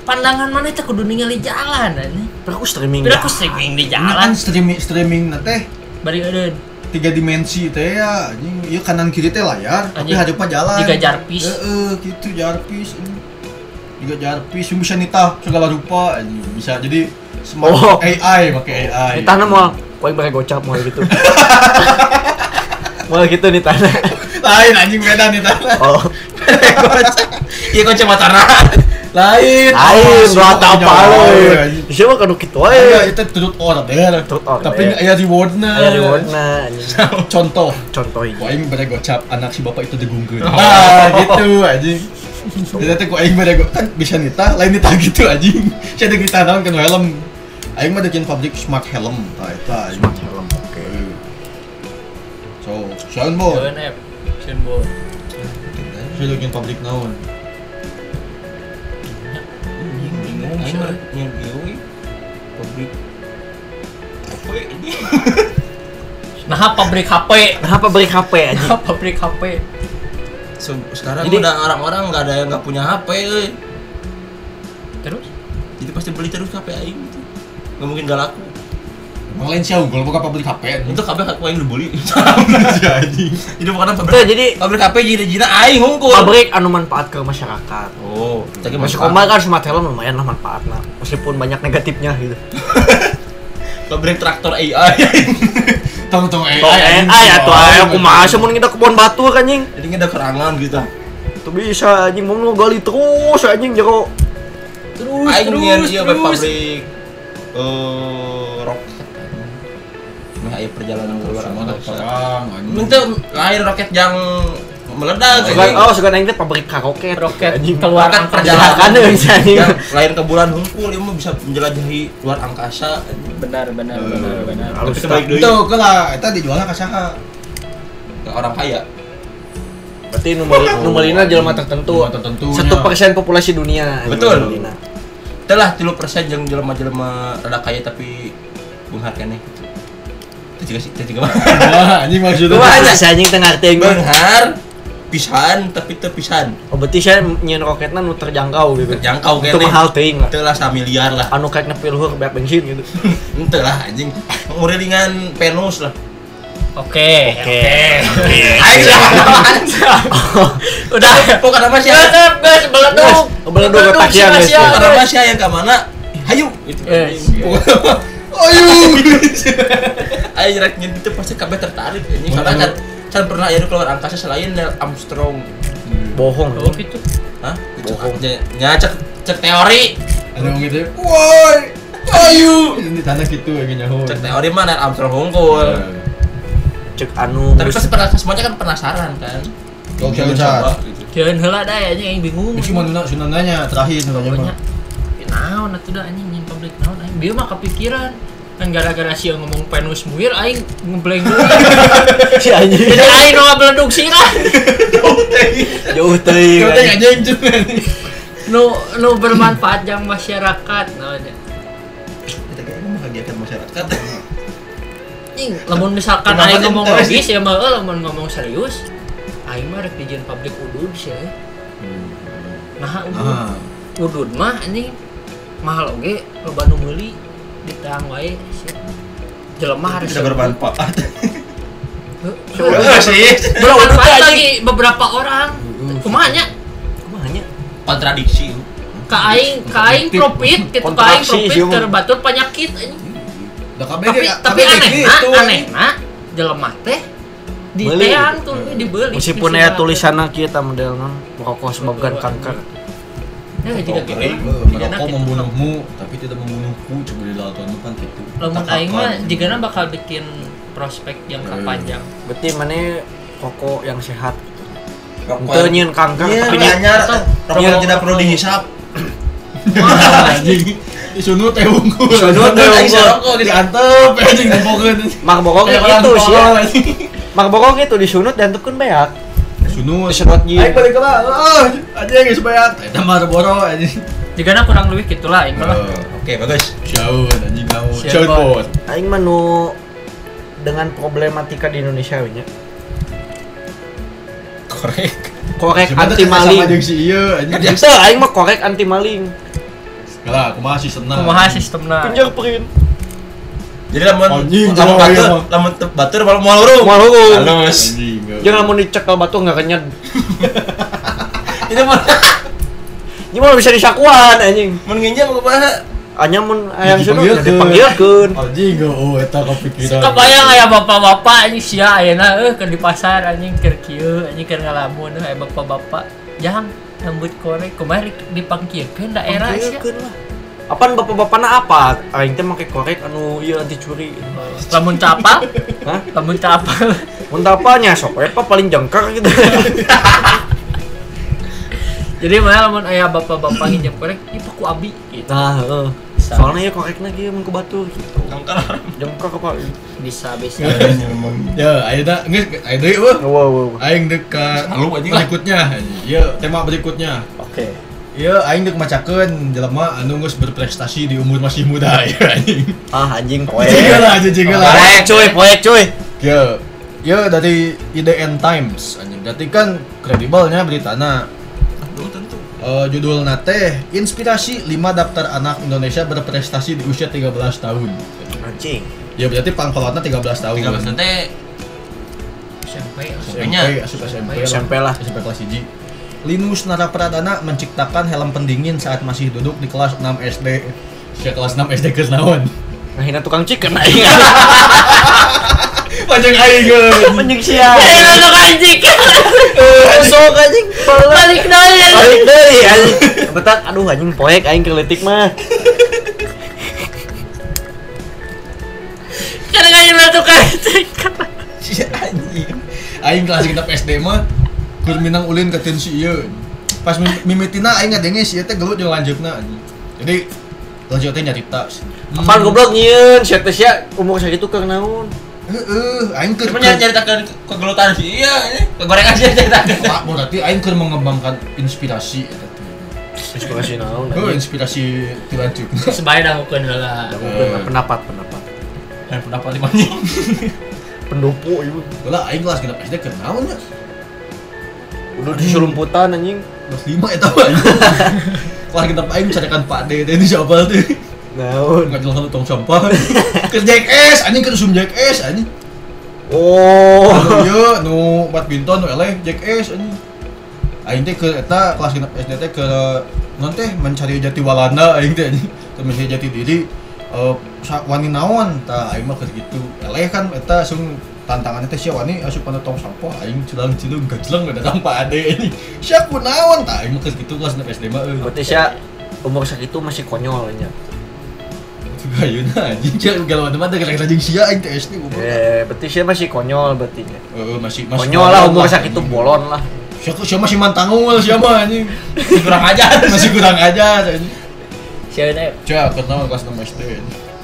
[SPEAKER 3] pandangan mana teh kudu ningali jalan anjing.
[SPEAKER 2] Tapi aku streaming.
[SPEAKER 3] Biar aku streaming di
[SPEAKER 1] kan
[SPEAKER 3] jalan.
[SPEAKER 1] streaming streaming na teh
[SPEAKER 3] Bari eureun.
[SPEAKER 1] tiga dimensi teh ya anjing ieu kanan kiri teh layar tapi
[SPEAKER 3] Anjing.
[SPEAKER 1] hadapna jalan
[SPEAKER 3] Jiga jarpis.
[SPEAKER 1] heeh gitu jarpis anjing. juga jarpis yang bisa nitah segala rupa anjing bisa jadi smart
[SPEAKER 2] Oh.
[SPEAKER 1] AI pakai AI
[SPEAKER 2] Di tanah mau, kau yang pakai gocap mau gitu. mau gitu di tanah.
[SPEAKER 1] lain anjing beda nitah
[SPEAKER 2] Oh,
[SPEAKER 4] Iya kau cuma tanah.
[SPEAKER 1] lain
[SPEAKER 2] lain
[SPEAKER 1] Awas,
[SPEAKER 2] rata
[SPEAKER 1] pokoknya,
[SPEAKER 2] apa
[SPEAKER 1] woy,
[SPEAKER 2] lain?
[SPEAKER 1] anjing.
[SPEAKER 2] Siapa kan gitu
[SPEAKER 1] Iya,
[SPEAKER 2] aja?
[SPEAKER 1] itu truth order.
[SPEAKER 2] Truth order.
[SPEAKER 1] Tapi nggak ada rewardnya.
[SPEAKER 2] Ada rewardnya. anjing.
[SPEAKER 1] Contoh,
[SPEAKER 2] Contohnya.
[SPEAKER 1] ku aing bade gocap anak si bapak itu digungkeun.
[SPEAKER 2] Oh.
[SPEAKER 1] Ah, gitu anjing. Jadi teh ku aing bade go- kan bisa nita, lain nita gitu anjing. Saya ada kita naon kan helm. Aing mah dekin pabrik smart helm tah eta anjing.
[SPEAKER 2] Smart helm. Oke.
[SPEAKER 1] So, sound bo.
[SPEAKER 3] Jalan app. Sun bo.
[SPEAKER 1] Saya dekin pabrik naon.
[SPEAKER 4] Bingung
[SPEAKER 1] Aing mah
[SPEAKER 4] yang bingung. Pabrik.
[SPEAKER 3] Nah, pabrik HP.
[SPEAKER 2] Kenapa beri HP anjing?
[SPEAKER 3] Nah, pabrik HP.
[SPEAKER 4] Sekarang
[SPEAKER 2] Jadi-
[SPEAKER 4] udah orang-orang nggak ada yang nggak punya HP, euy.
[SPEAKER 3] Terus
[SPEAKER 4] jadi pasti beli terus HP aing gitu. Nggak mungkin nggak laku.
[SPEAKER 2] Eh.
[SPEAKER 1] Emang lain sih unggul buka pabrik HP anjing.
[SPEAKER 4] Itu HP aku aing dibully.
[SPEAKER 1] Si anjing.
[SPEAKER 4] Jadi bukan
[SPEAKER 2] Tuh
[SPEAKER 4] pabrik.
[SPEAKER 2] jadi
[SPEAKER 4] Pabrik HP jadi jina aing hunkul.
[SPEAKER 2] pabrik anu manfaat ke masyarakat.
[SPEAKER 4] Oh, tapi
[SPEAKER 2] Masuk koma kan smart helm lumayan lah manfaatnya meskipun banyak negatifnya gitu.
[SPEAKER 4] Pabrik traktor AI.
[SPEAKER 1] Tong-tong AI.
[SPEAKER 2] Oh,
[SPEAKER 1] anjing.
[SPEAKER 2] eh, ah ya tuh ayo
[SPEAKER 1] Wah,
[SPEAKER 2] kumaha sih mun kita ke pohon batu anjing.
[SPEAKER 4] Jadi nggak ada kerangan gitu.
[SPEAKER 2] Tuh bisa anjing mau gali terus anjing jago
[SPEAKER 3] terus
[SPEAKER 4] Aing nian
[SPEAKER 3] terus
[SPEAKER 4] ieu bae
[SPEAKER 3] terus.
[SPEAKER 4] pabrik eh roket. Nah, ayo perjalanan keluar
[SPEAKER 1] Semua
[SPEAKER 4] angkasa.
[SPEAKER 1] tak perang anjing.
[SPEAKER 4] Menteu lain roket yang meledak
[SPEAKER 2] Sugan,
[SPEAKER 4] anjing.
[SPEAKER 2] oh sugan aing teh pabrik karaoke
[SPEAKER 3] roket
[SPEAKER 2] anjing.
[SPEAKER 3] keluar
[SPEAKER 4] Roket
[SPEAKER 3] angkasa.
[SPEAKER 4] perjalanan
[SPEAKER 2] Perjalanan bisa anjing.
[SPEAKER 4] yang lain ke bulan hunkul ieu mah bisa menjelajahi luar angkasa. eh, anjing.
[SPEAKER 3] Benar benar benar benar.
[SPEAKER 2] Halus
[SPEAKER 4] Tapi baik
[SPEAKER 2] tak.
[SPEAKER 4] deui.
[SPEAKER 1] Itu kala eta dijualna ka saha?
[SPEAKER 4] Ke orang kaya.
[SPEAKER 2] Berarti numeri numerina jelema tertentu.
[SPEAKER 1] Cuma tertentunya.
[SPEAKER 2] Satu persen populasi dunia. anjing,
[SPEAKER 4] Betul.
[SPEAKER 2] numerina.
[SPEAKER 4] Telah 3% yang jelema-jelema rada kaya tapi mengharkannya gitu. Itu juga sih, itu juga mah.
[SPEAKER 1] Wah, anjing maksudnya.
[SPEAKER 4] Wah,
[SPEAKER 2] Berarti saya anjing teh ngarti anjing.
[SPEAKER 4] Benghar pisan tapi teu pisan.
[SPEAKER 2] Oh berarti saya nyen roketna nu terjangkau gitu.
[SPEAKER 4] Terjangkau
[SPEAKER 2] Itu
[SPEAKER 4] kene.
[SPEAKER 2] mahal teuing lah.
[SPEAKER 4] Teu lah samiliar lah.
[SPEAKER 2] Anu kayak nepi luhur banyak bensin gitu.
[SPEAKER 4] Ente lah anjing. Ngurilingan penus lah.
[SPEAKER 3] Oke. Oke.
[SPEAKER 4] Ayo
[SPEAKER 3] Udah.
[SPEAKER 4] Pokok kenapa sih?
[SPEAKER 3] Meledup, guys, meledup.
[SPEAKER 2] Meledup otak ya, guys.
[SPEAKER 3] sia-sia.
[SPEAKER 4] Pokok kenapa sih yang ke mana? Hayu gitu.
[SPEAKER 1] Eh.
[SPEAKER 3] Yes.
[SPEAKER 4] Pokok-
[SPEAKER 1] Ayo.
[SPEAKER 4] Ayo nyerak nyen itu pasti kabeh tertarik anjing karena kan kan pernah ya keluar angkasa selain Neil Armstrong.
[SPEAKER 2] Bohong.
[SPEAKER 3] Oh gitu.
[SPEAKER 4] Hah? Itu
[SPEAKER 2] Bohong.
[SPEAKER 4] aja. Ya cek cek teori.
[SPEAKER 1] Ada yang gitu, woi, ayu. Ini tanah gitu ya nyaho.
[SPEAKER 4] Cek teori mah Neil Armstrong
[SPEAKER 1] Iya,
[SPEAKER 4] hongkul.
[SPEAKER 2] Cek anu.
[SPEAKER 4] Tapi pasti pernah semuanya kan penasaran kan.
[SPEAKER 1] Oke,
[SPEAKER 4] Ingin
[SPEAKER 1] oke.
[SPEAKER 4] mencoba, gitu.
[SPEAKER 3] Jangan heula dah ya anjing aing bingung.
[SPEAKER 1] Ini cuma nuna sunananya terakhir nunanya mah.
[SPEAKER 3] Pokoknya naon atuh da anjing nyin pabrik naon aing. Bieu mah kepikiran. Kan gara-gara si yang ngomong penus muir aing ngebleng dulu.
[SPEAKER 2] si anjing.
[SPEAKER 3] Jadi aing nu meleduk sirah.
[SPEAKER 2] Jauh teuing.
[SPEAKER 1] Kita
[SPEAKER 2] anjing.
[SPEAKER 1] aja yang cuma.
[SPEAKER 3] Nu nu bermanfaat yang masyarakat naon ya.
[SPEAKER 4] Kita kayaknya membahagiakan masyarakat.
[SPEAKER 3] Anjing, lamun misalkan
[SPEAKER 1] Kenapa
[SPEAKER 3] aing
[SPEAKER 1] sih
[SPEAKER 3] ngomong
[SPEAKER 1] terus?
[SPEAKER 3] logis ya mah eh, lamun ngomong serius aing mah rek dijieun pabrik udud sih. eh. Nah, udud.
[SPEAKER 1] Ah,
[SPEAKER 3] udun mah anjing mahal oge loba nu meuli diteang wae sia. jelema harus Eh,
[SPEAKER 1] Tidak bermanfaat.
[SPEAKER 4] Iya.
[SPEAKER 3] Heuh.
[SPEAKER 4] sih
[SPEAKER 3] bermanfaat lagi beberapa orang kumanya
[SPEAKER 2] Kumanya?
[SPEAKER 4] kontradiksi
[SPEAKER 3] ka aing ka aing profit gitu ka aing
[SPEAKER 2] Kontraksi,
[SPEAKER 3] profit
[SPEAKER 2] siung.
[SPEAKER 3] terbatur penyakit anjing
[SPEAKER 1] Da kabeh
[SPEAKER 3] tapi
[SPEAKER 1] ge-
[SPEAKER 3] tapi
[SPEAKER 1] kabeh
[SPEAKER 3] nah,
[SPEAKER 1] ge
[SPEAKER 3] anehna
[SPEAKER 1] iya, gitu,
[SPEAKER 3] anehna jelema teh di
[SPEAKER 2] Beli.
[SPEAKER 3] teang tuh dibeli
[SPEAKER 2] Meskipun
[SPEAKER 3] Di
[SPEAKER 2] ya
[SPEAKER 3] sumber.
[SPEAKER 2] tulisannya kita model non merokok sebabkan kanker.
[SPEAKER 3] ya jika
[SPEAKER 1] Oke,
[SPEAKER 3] gitu
[SPEAKER 1] eh,
[SPEAKER 3] jika na
[SPEAKER 1] merokok
[SPEAKER 3] gitu.
[SPEAKER 1] membunuhmu, tapi tidak membunuhku. Coba di laut itu kan gitu.
[SPEAKER 3] lamun
[SPEAKER 1] Takakan.
[SPEAKER 3] aing mah jigana bakal bikin prospek jangka
[SPEAKER 1] Hmm.
[SPEAKER 3] panjang
[SPEAKER 2] Berarti mana rokok yang sehat?
[SPEAKER 5] Rokok.
[SPEAKER 2] Itu nyin kanker
[SPEAKER 5] Iya,
[SPEAKER 2] tapi nyin-
[SPEAKER 5] anyar.
[SPEAKER 3] Atau-
[SPEAKER 5] Rokok yang tidak perlu dihisap.
[SPEAKER 1] Anjing, isunut teh unggul.
[SPEAKER 2] Isunut teh
[SPEAKER 1] Aing
[SPEAKER 2] unggul.
[SPEAKER 1] sarokok
[SPEAKER 5] Iya.
[SPEAKER 1] diantep anjing dipokeun.
[SPEAKER 2] Marboro
[SPEAKER 1] Kayak
[SPEAKER 2] gitu
[SPEAKER 1] orang
[SPEAKER 2] sih.
[SPEAKER 1] tolol, anjing.
[SPEAKER 2] Marboro gitu disunut dan tekun beak.
[SPEAKER 1] Isunut.
[SPEAKER 2] Disunut nyin.
[SPEAKER 1] Aing balik ke lah. Ah, anjing geus bayar. Eta mah boro anjing.
[SPEAKER 3] jigana kurang lebih gitulah aing
[SPEAKER 1] Hmm.
[SPEAKER 3] mah
[SPEAKER 5] Oke, bagus.
[SPEAKER 1] Jauh anjing kau.
[SPEAKER 3] Siapa?
[SPEAKER 1] Jauh.
[SPEAKER 2] Aing menu dengan problematika di Indonesia we nya.
[SPEAKER 1] Korek.
[SPEAKER 2] Korek
[SPEAKER 1] Sebenarnya
[SPEAKER 2] anti
[SPEAKER 1] sama jeung
[SPEAKER 2] maling.
[SPEAKER 1] si ieu anjing.
[SPEAKER 2] Bisa, aing mah korek anti maling.
[SPEAKER 1] Lah, kumaha sistemna?
[SPEAKER 3] kumaha sistemna
[SPEAKER 2] Fingerprint.
[SPEAKER 5] Jadi lamun
[SPEAKER 1] Anjing,
[SPEAKER 5] lamun
[SPEAKER 1] jauh, iya,
[SPEAKER 5] batur,
[SPEAKER 1] mah.
[SPEAKER 5] lamun te- batur malah moal urung.
[SPEAKER 2] Moal urung.
[SPEAKER 5] Halus.
[SPEAKER 1] Anjing. gak-
[SPEAKER 2] Jangan mau dicekal batu nggak kenyang.
[SPEAKER 5] Ini mun
[SPEAKER 2] Ini mah bisa disakuan anjing.
[SPEAKER 5] mun nginjem kumaha?
[SPEAKER 2] Hanya mun ayam
[SPEAKER 1] Jadi
[SPEAKER 2] sunut
[SPEAKER 1] panggilkeun.
[SPEAKER 2] dipanggilkeun.
[SPEAKER 1] Anjing gak oh eta kepikiran.
[SPEAKER 3] kebayang aya bapak-bapak anjing sia ayeuna eh keur di pasar anjing keur kieu anjing keur ngalamun eh aya bapak-bapak jang rambut korek kemarin dipangkiekeun daerah sia
[SPEAKER 2] Panggilkeun lah. Apaan bapak-bapakna apa? Aing teh make korek anu ieu anti curi.
[SPEAKER 3] lamun capal
[SPEAKER 2] Hah?
[SPEAKER 3] lamun capal
[SPEAKER 2] Mun teu apanya sok we pa paling jengker gitu.
[SPEAKER 3] jadi mana lamun aya bapak-bapak nginjam korek ieu paku abi gitu
[SPEAKER 2] Nah, heeh. Soalnya ya korekna ge mun ku batur gitu.
[SPEAKER 5] Tongkar.
[SPEAKER 2] Jengker apa?
[SPEAKER 3] bisa bisa
[SPEAKER 1] Ya, ayeuna geus ayeuna deui weh.
[SPEAKER 2] Wow, wow.
[SPEAKER 1] Aing dekat
[SPEAKER 5] Malu anjing lah.
[SPEAKER 1] berikutnya. Iya, tema berikutnya.
[SPEAKER 2] Oke.
[SPEAKER 1] Iya, aing deuk macakeun jelema anu geus berprestasi di umur masih muda ya anjing.
[SPEAKER 2] Ah anjing poe.
[SPEAKER 1] Jigala, jigala.
[SPEAKER 2] Poek cuy, poek cuy.
[SPEAKER 1] Ya, ya dari IDN Times anjing. Berarti kan kredibelnya beritana.
[SPEAKER 5] Aduh, tentu.
[SPEAKER 1] Eh, judul nate inspirasi 5 daftar anak Indonesia berprestasi di usia 13 tahun.
[SPEAKER 2] Anjing.
[SPEAKER 1] Ya berarti pangkolotna 13 tahun.
[SPEAKER 5] 13 nanti
[SPEAKER 3] sampai
[SPEAKER 1] SMP, asup SMP, lah.
[SPEAKER 2] SMP lah.
[SPEAKER 1] SMP kelas 1. Linus Narapradana menciptakan helm pendingin saat masih duduk di kelas 6 SD. Sia kelas 6 SD keus naon?
[SPEAKER 2] Nah, hina tukang chicken aing.
[SPEAKER 1] Panjang aing.
[SPEAKER 2] Anjing sia.
[SPEAKER 3] Ayo Eh, anjing
[SPEAKER 2] Sok anjing.
[SPEAKER 3] balik deui
[SPEAKER 2] Balik deui anjing. Betak aduh anjing poek aing keletik mah.
[SPEAKER 3] kan anjing tukang
[SPEAKER 1] Sia anjing. Aing kelas kita SD mah keur minang ulin ke tin si ieu. Pas mim- mimitina aing ngadenge si ieu teh gelut jeung lanjeutna anjing. Jadi lanjut teh nyarita.
[SPEAKER 2] Apaan goblok nyieun sia teh sia umur sakitu keur naon.
[SPEAKER 1] Heeh, aing keur
[SPEAKER 5] cuma nyari takkan kegelutan sih. Iya, ini kegorengan sih ceritakan.
[SPEAKER 1] Pak, berarti aing keur mengembangkan inspirasi eta teh.
[SPEAKER 2] Inspirasi naon
[SPEAKER 1] Oh,
[SPEAKER 2] anjing.
[SPEAKER 1] inspirasi tilanjut.
[SPEAKER 3] sebaya dah hukeun heula
[SPEAKER 2] Pendapat, pendapat.
[SPEAKER 5] Dan pendapat di mana?
[SPEAKER 2] Pendopo ieu.
[SPEAKER 1] Lah aing kelas genep SD keur naon ya? nya?
[SPEAKER 2] Udah diserumputan anjing.
[SPEAKER 1] Kelas 5 eta mah. Kelas genep aing carikan Pak D teh di Jabal teh.
[SPEAKER 2] Naon.
[SPEAKER 1] Enggak jelas satu tong sampah. Ke JKS anjing ke Zoom JKS anjing.
[SPEAKER 2] Oh.
[SPEAKER 1] Oh iya nu badminton nu eleh JKS anjing. Aing teh ke eta kelas genep SD teh ke non teh mencari jati walana aing teh anjing. Teu mencari jati diri eh sa- wani naon tah aing mah keur kitu. Eleh kan eta sung tantangannya teh sia wani asupan tong sampah aing cilang-cileung gajleng ada tanpa ade anjing. Sia kunaon tah aing mah keur kitu kelas genep SD mah euy.
[SPEAKER 2] Berarti sia umur sakitu masih konyol nya.
[SPEAKER 1] Gayuna anjing sia galau mah teh gerak anjing sia aing teh SD goblok.
[SPEAKER 2] Eh, berarti sia masih konyol berarti nya.
[SPEAKER 1] Heeh Eh, masih masih
[SPEAKER 2] Konyol lah umur
[SPEAKER 1] sakit
[SPEAKER 2] sakitu bolon lah.
[SPEAKER 1] Siapa siapa masih mantangul siapa anjing.
[SPEAKER 5] Kurang ajar.
[SPEAKER 1] Masih kurang aja anjing.
[SPEAKER 3] sia deui
[SPEAKER 1] Cah, aku tahu kelas 6 SD.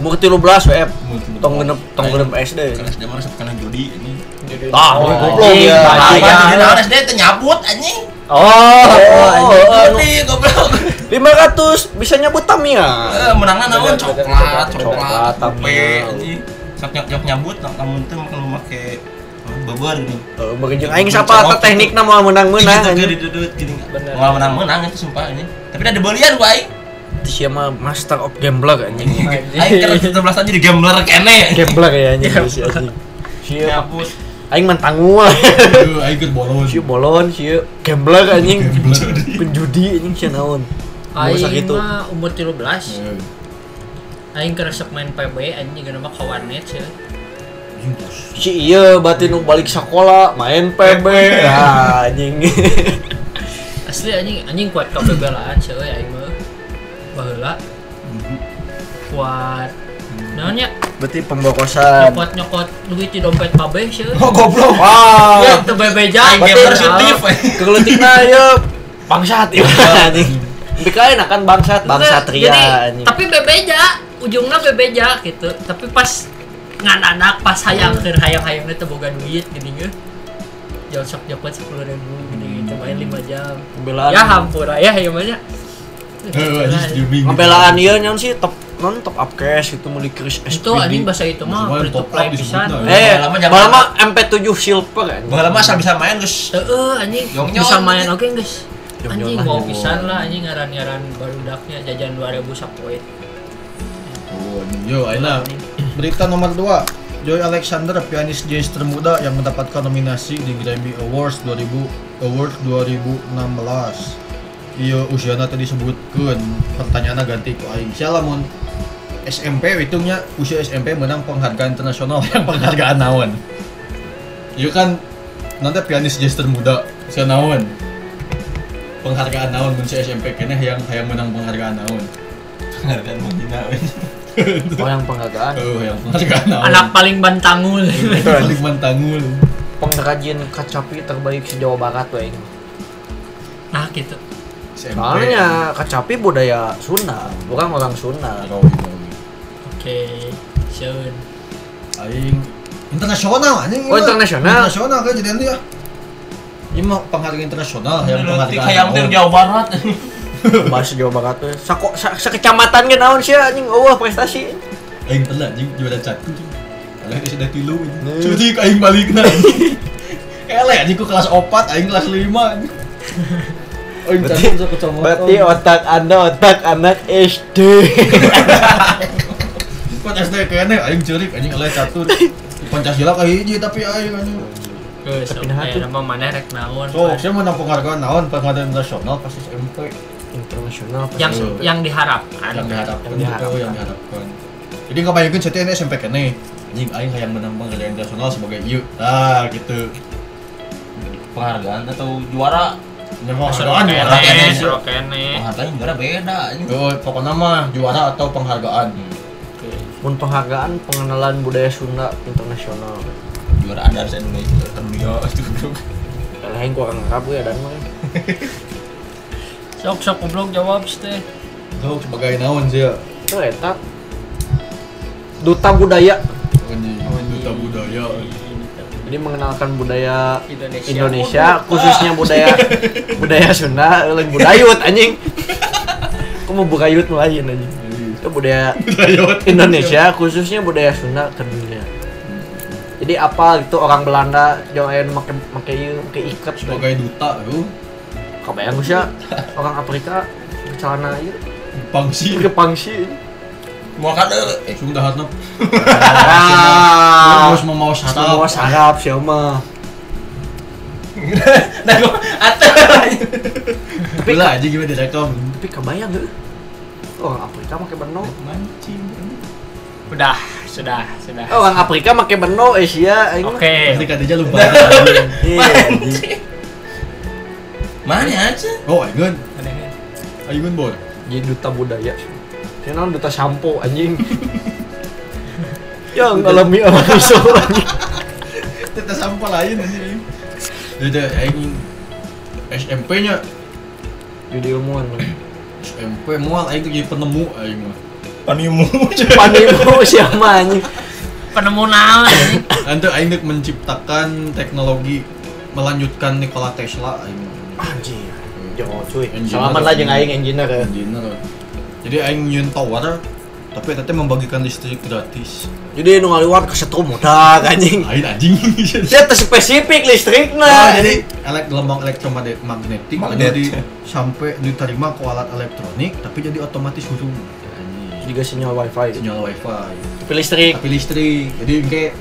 [SPEAKER 2] Umur 13 WF.
[SPEAKER 1] Umur 13.
[SPEAKER 2] Tong genep tong genep SD.
[SPEAKER 5] Karena sudah masuk karena judi ini. kan?
[SPEAKER 2] Tah,
[SPEAKER 3] Oh,
[SPEAKER 2] goblok
[SPEAKER 3] anjing,
[SPEAKER 2] bahaya.
[SPEAKER 5] Jadi lawan SD itu nyabut anjing.
[SPEAKER 2] Oh, anjing.
[SPEAKER 5] Judi goblok.
[SPEAKER 2] 500 bisa nyabut Tamiya.
[SPEAKER 5] Eh, menangnya naon coklat,
[SPEAKER 2] Coklat,
[SPEAKER 5] coklat,
[SPEAKER 2] tapi-
[SPEAKER 5] tapi oh, anjing. Sok nyok nyok nyabut, nak lamun teu kalau make Bebar gini.
[SPEAKER 2] Begejeung Eh, aing siapa teh teknikna moal meunang-meunang
[SPEAKER 5] Gitu
[SPEAKER 2] anjing.
[SPEAKER 5] gede dudut gini.
[SPEAKER 2] Bener.
[SPEAKER 5] Mau menang-menang itu sumpah ini. Tapi ada belian gua aing.
[SPEAKER 2] Sia mah master of gambler anjing.
[SPEAKER 5] Aing kan 17 tahun jadi gambler kene.
[SPEAKER 2] Gambler ya anjing si anjing. Sia
[SPEAKER 5] Ngapus.
[SPEAKER 2] aing mantan ngul.
[SPEAKER 1] Aduh, aing keur bolos.
[SPEAKER 2] Sia bolon, sia gambler anjing. Penjudi anjing sia naon. Mau
[SPEAKER 3] Aing
[SPEAKER 2] sakitu.
[SPEAKER 3] mah umur 13
[SPEAKER 1] Heeh.
[SPEAKER 3] Aing keresek main PB anjing gak nama kawanet sih
[SPEAKER 2] Si iya batin nu balik sekolah main PB ya anjing.
[SPEAKER 3] Asli anjing anjing kuat kafe belaan sih aing mah Baheula Kuat Naonnya
[SPEAKER 2] Berarti pembokosan.
[SPEAKER 3] nyokot nyokot duit di dompet kabeh sih
[SPEAKER 1] Oh, goblok.
[SPEAKER 2] Wow.
[SPEAKER 3] Ya tebebeja
[SPEAKER 5] Aing gambler sutif.
[SPEAKER 2] Kegelutikna ya bangsat ya anjing. Dikain akan kan bangsat bangsat ria anjing.
[SPEAKER 3] Tapi bebeja ujungnya bebeja gitu Tapi pas ngan anak pas hayang keur hayang-hayangnya teboga duit gini ge. Jauh sok japat 10 ribu gini gitu main 5 jam
[SPEAKER 2] Pembelaan.
[SPEAKER 3] Ya hampura ya ya banyak Nah,
[SPEAKER 1] Heeh, Eh, anjing streaming.
[SPEAKER 2] Pembelaan ieu nyaon sih top non top up cash itu meli Chris SPD.
[SPEAKER 3] Itu anjing bahasa itu
[SPEAKER 1] Maksud
[SPEAKER 3] mah
[SPEAKER 1] gua
[SPEAKER 3] free to
[SPEAKER 1] top up
[SPEAKER 3] play
[SPEAKER 1] disebutna,
[SPEAKER 3] pisan
[SPEAKER 1] ya.
[SPEAKER 2] Eh,
[SPEAKER 5] Lama
[SPEAKER 2] lama
[SPEAKER 5] jangan-
[SPEAKER 2] lama MP7 silver kan.
[SPEAKER 5] Bang lama asal bisa main guys.
[SPEAKER 3] Heeh, Eh, anjing
[SPEAKER 5] Yong-yong.
[SPEAKER 3] bisa main oke guys.
[SPEAKER 2] Yong-yong
[SPEAKER 3] Anjing
[SPEAKER 2] lah.
[SPEAKER 3] mau pisan lah anjing ngaran-ngaran barudaknya jajan 2000 sapoe.
[SPEAKER 1] Oh, Yo, Ayla. Berita nomor 2. Joy Alexander, pianis jazz termuda yang mendapatkan nominasi di Grammy Awards 2000 Award 2016. Iya, usianya tadi sebutkan. Pertanyaannya ganti ku aing. Sia lamun SMP hitungnya usia SMP menang penghargaan internasional yang penghargaan naon. Iya kan nanti pianis jazz termuda sia naon. Penghargaan naon mun si SMP kene yang yang menang penghargaan naon.
[SPEAKER 5] Penghargaan menghina. weh.
[SPEAKER 2] Oh yang penghargaan.
[SPEAKER 1] Oh, yang penghargaan naon.
[SPEAKER 3] Anak paling bantangul.
[SPEAKER 1] Paling mantangul.
[SPEAKER 2] Pengrajin kacapi terbaik se Jawa Barat we.
[SPEAKER 3] Nah gitu.
[SPEAKER 1] SMP.
[SPEAKER 2] Soalnya kacapi budaya Sunda, bukan orang Sunda.
[SPEAKER 1] Rawi, rawi.
[SPEAKER 3] Oke. Seun.
[SPEAKER 1] Aing internasional anjing.
[SPEAKER 2] Oh, internasional.
[SPEAKER 1] Internasional kan jadi nanti ya. Ini mah penghargaan internasional yang
[SPEAKER 5] Nanti
[SPEAKER 1] penghargaan.
[SPEAKER 5] kayak
[SPEAKER 1] tahun.
[SPEAKER 5] yang Jawa Barat.
[SPEAKER 2] Bahasa Jawa Barat we. Sako sa, sekecamatan ge naon sih anjing eueuh prestasi.
[SPEAKER 1] Aing telah anjing juara satu. Aing sudah tilu anjing. Cuci ke aing balik anjing. Eleh anjing ku kelas 4, aing kelas 5 anjing. Aing
[SPEAKER 2] Berarti-
[SPEAKER 1] cantik bisa kecamatan.
[SPEAKER 2] Berarti otak Anda otak anak SD.
[SPEAKER 1] Pas SD kene E, aing ceurik anjing eleh catur. Pancasila ka hiji tapi aing anjing.
[SPEAKER 3] Geus
[SPEAKER 2] Tapi
[SPEAKER 3] sok
[SPEAKER 2] nah,
[SPEAKER 3] aya
[SPEAKER 2] tuh.
[SPEAKER 3] ya? nama mana rek naon.
[SPEAKER 1] So, saya menang penghargaan naon? Penghargaan nasional pas SMP.
[SPEAKER 2] Internasional apa
[SPEAKER 3] Yang
[SPEAKER 2] sih?
[SPEAKER 1] Tuh.
[SPEAKER 3] yang diharapkan.
[SPEAKER 1] yang diharapkan
[SPEAKER 2] Yang
[SPEAKER 1] itu yang diharapkan jadi nggak bayangin CTN SMP kene anjing aing eh. hayang menang penghargaan internasional sebagai ieu ah gitu
[SPEAKER 5] Penghargaan atau juara?
[SPEAKER 1] nyemong penghargaan
[SPEAKER 3] Sorokan ya,
[SPEAKER 1] juara
[SPEAKER 5] kene,
[SPEAKER 1] kene
[SPEAKER 5] sorokan.
[SPEAKER 3] kene.
[SPEAKER 5] Penghargaan juara beda. anjing.
[SPEAKER 1] Oh, pokoknya mah juara atau penghargaan
[SPEAKER 2] Mun penghargaan pengenalan budaya Sunda internasional.
[SPEAKER 5] Juara ada harus Indonesia. Terdunia itu goblok.
[SPEAKER 2] Dan aing kurang ngarap we dan mah.
[SPEAKER 3] Sok sok goblok jawab teh.
[SPEAKER 1] lo sebagai naon sih ya
[SPEAKER 2] Itu eta duta budaya.
[SPEAKER 1] anjing duta budaya
[SPEAKER 2] Jadi mengenalkan budaya
[SPEAKER 3] Indonesia.
[SPEAKER 2] Indonesia khususnya budaya budaya Sunda lain budayut anjing aku mau bukayut lain anjing itu budaya
[SPEAKER 1] budayot
[SPEAKER 2] Indonesia khususnya budaya Sunda ke dunia jadi apa gitu orang Belanda jangan make make ieu, make ikat gitu.
[SPEAKER 1] sebagai duta oh. yo
[SPEAKER 2] kebayang gue sih orang Afrika ke celana ieu
[SPEAKER 1] pangsi
[SPEAKER 2] ke pangsi
[SPEAKER 5] Mau kada.
[SPEAKER 1] eh sung dahatna
[SPEAKER 2] ah
[SPEAKER 1] harus mau
[SPEAKER 2] Sarap,
[SPEAKER 1] sarap
[SPEAKER 2] sarap, siapa?
[SPEAKER 5] Nah, gua atur.
[SPEAKER 2] Tapi,
[SPEAKER 1] Bila aja gimana direkam
[SPEAKER 2] tapi kebayang gak? Orang Afrika pakai beno.
[SPEAKER 5] Mancing.
[SPEAKER 3] Udah, sudah, sudah.
[SPEAKER 2] Orang Afrika pakai beno, Asia. ini mah.
[SPEAKER 1] pasti
[SPEAKER 3] Oke.
[SPEAKER 1] katanya lupa
[SPEAKER 2] Iya, anjing.
[SPEAKER 5] Mana ya, aja?
[SPEAKER 1] oh aingun aingun bor
[SPEAKER 2] jadi duta budaya saya nang duta sampo anjing ya ngalami apa iso anjing
[SPEAKER 1] Teta sampah lain anjing. Jadi aing SMP-nya
[SPEAKER 2] jadi ilmuwan
[SPEAKER 1] SMP mual aing tuh jadi penemu aing mah.
[SPEAKER 5] Panimu.
[SPEAKER 2] panimu siapa anjing
[SPEAKER 3] Penemu naon anjing?
[SPEAKER 1] Ante aing deuk menciptakan teknologi melanjutkan Nikola Tesla aing. mah.
[SPEAKER 2] anjing jangan cuy
[SPEAKER 1] Engineer.
[SPEAKER 2] salaman lah jeung aing engineer ya
[SPEAKER 1] Engineer. Jadi aing nyieun tower tapi teteh membagikan listrik gratis.
[SPEAKER 2] jadi nu ngaliwat ke setrum udah anjing
[SPEAKER 4] Lain anjing.
[SPEAKER 2] saya spesifik listriknya
[SPEAKER 1] Nah, Ah, jadi elek gelombang elektromagnetik
[SPEAKER 6] Magnet.
[SPEAKER 1] jadi sampai diterima ke alat elektronik tapi jadi otomatis hujung
[SPEAKER 2] juga sinyal wifi
[SPEAKER 1] sinyal wifi
[SPEAKER 3] tapi listrik
[SPEAKER 1] tapi listrik jadi kayak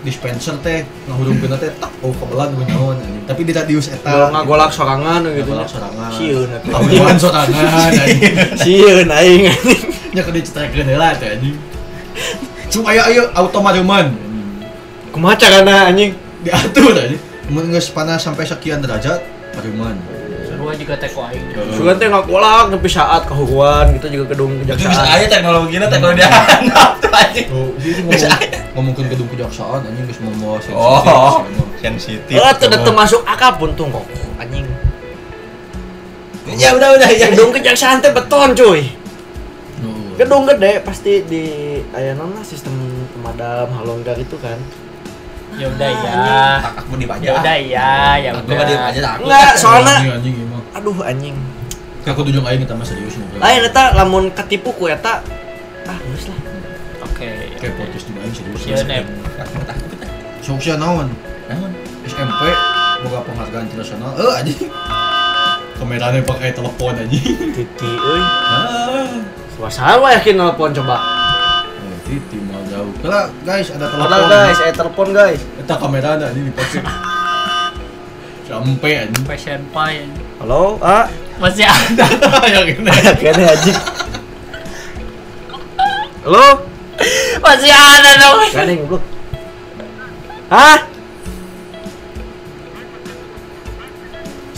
[SPEAKER 1] dispenser teh ngahurung kena teh tak oh kebelan benyawan tapi di radius eta
[SPEAKER 2] Kalau nggak golak sorangan gitu
[SPEAKER 1] Golak sorangan.
[SPEAKER 2] Sieun
[SPEAKER 1] Tahu bukan sorangan anjing.
[SPEAKER 2] Sieun aing anjing.
[SPEAKER 1] nya kudu dicetakeun heula teh anjing cuma ayo ayo automateman
[SPEAKER 2] Kumaha carana anjing?
[SPEAKER 1] Hmm. diatur anjing mun geus panas sampai sekian derajat paruman
[SPEAKER 3] seru juga teko aing
[SPEAKER 2] Sugan teh nggak golak tapi saat kehuruan gitu juga gedung
[SPEAKER 4] Itu bisa
[SPEAKER 2] kejaksaan.
[SPEAKER 4] aja teknologinya teknologi dia handap tuh anjing.
[SPEAKER 1] Oh, jadi ngomong, ngomongin gedung kejaksaan anjing geus membawa sensitif.
[SPEAKER 4] Oh,
[SPEAKER 1] anjing.
[SPEAKER 4] sensitif.
[SPEAKER 2] Oh, tidak termasuk akal pun tuh kok anjing.
[SPEAKER 4] Ya udah udah ya.
[SPEAKER 2] Gedung kejaksaan teh beton cuy.
[SPEAKER 1] Oh.
[SPEAKER 2] Gedung gede pasti di aya naon lah, sistem pemadam halonggar itu kan.
[SPEAKER 3] ya udah ya
[SPEAKER 4] Tak aku di
[SPEAKER 3] ya udah ya ya
[SPEAKER 4] Aku mah diem
[SPEAKER 3] udah
[SPEAKER 4] aja tak aku.
[SPEAKER 2] Enggak, soalnya
[SPEAKER 1] Anjing, anjing emang.
[SPEAKER 2] aduh anjing.
[SPEAKER 1] Aku tunjuk aing eta mah serius gitu. ngobrol.
[SPEAKER 2] Lain eta lamun ketipu ku eta ah geus lah.
[SPEAKER 3] oke
[SPEAKER 1] Kayak podcast juga aing serius.
[SPEAKER 3] Iya, Nep.
[SPEAKER 4] Aku mah takut.
[SPEAKER 1] Soksia naon?
[SPEAKER 4] Naon?
[SPEAKER 1] SMP boga penghargaan internasional. Eh anjing. Kameranya pakai telepon anjing.
[SPEAKER 2] Titi euy.
[SPEAKER 4] Ah.
[SPEAKER 2] Suasana yakin nelpon coba.
[SPEAKER 1] Oh, titi mau jauh. Kala guys ada telepon.
[SPEAKER 2] Padahal guys, eh telepon guys.
[SPEAKER 1] Eta kameranya anjing di podcast. Sampai anjing.
[SPEAKER 3] fashion pie
[SPEAKER 2] Halo, ah.
[SPEAKER 3] masih ada
[SPEAKER 1] Ya gini.
[SPEAKER 2] Kayaknya haji. Halo?
[SPEAKER 3] masih ada dong
[SPEAKER 2] Gandeng goblok. Hah?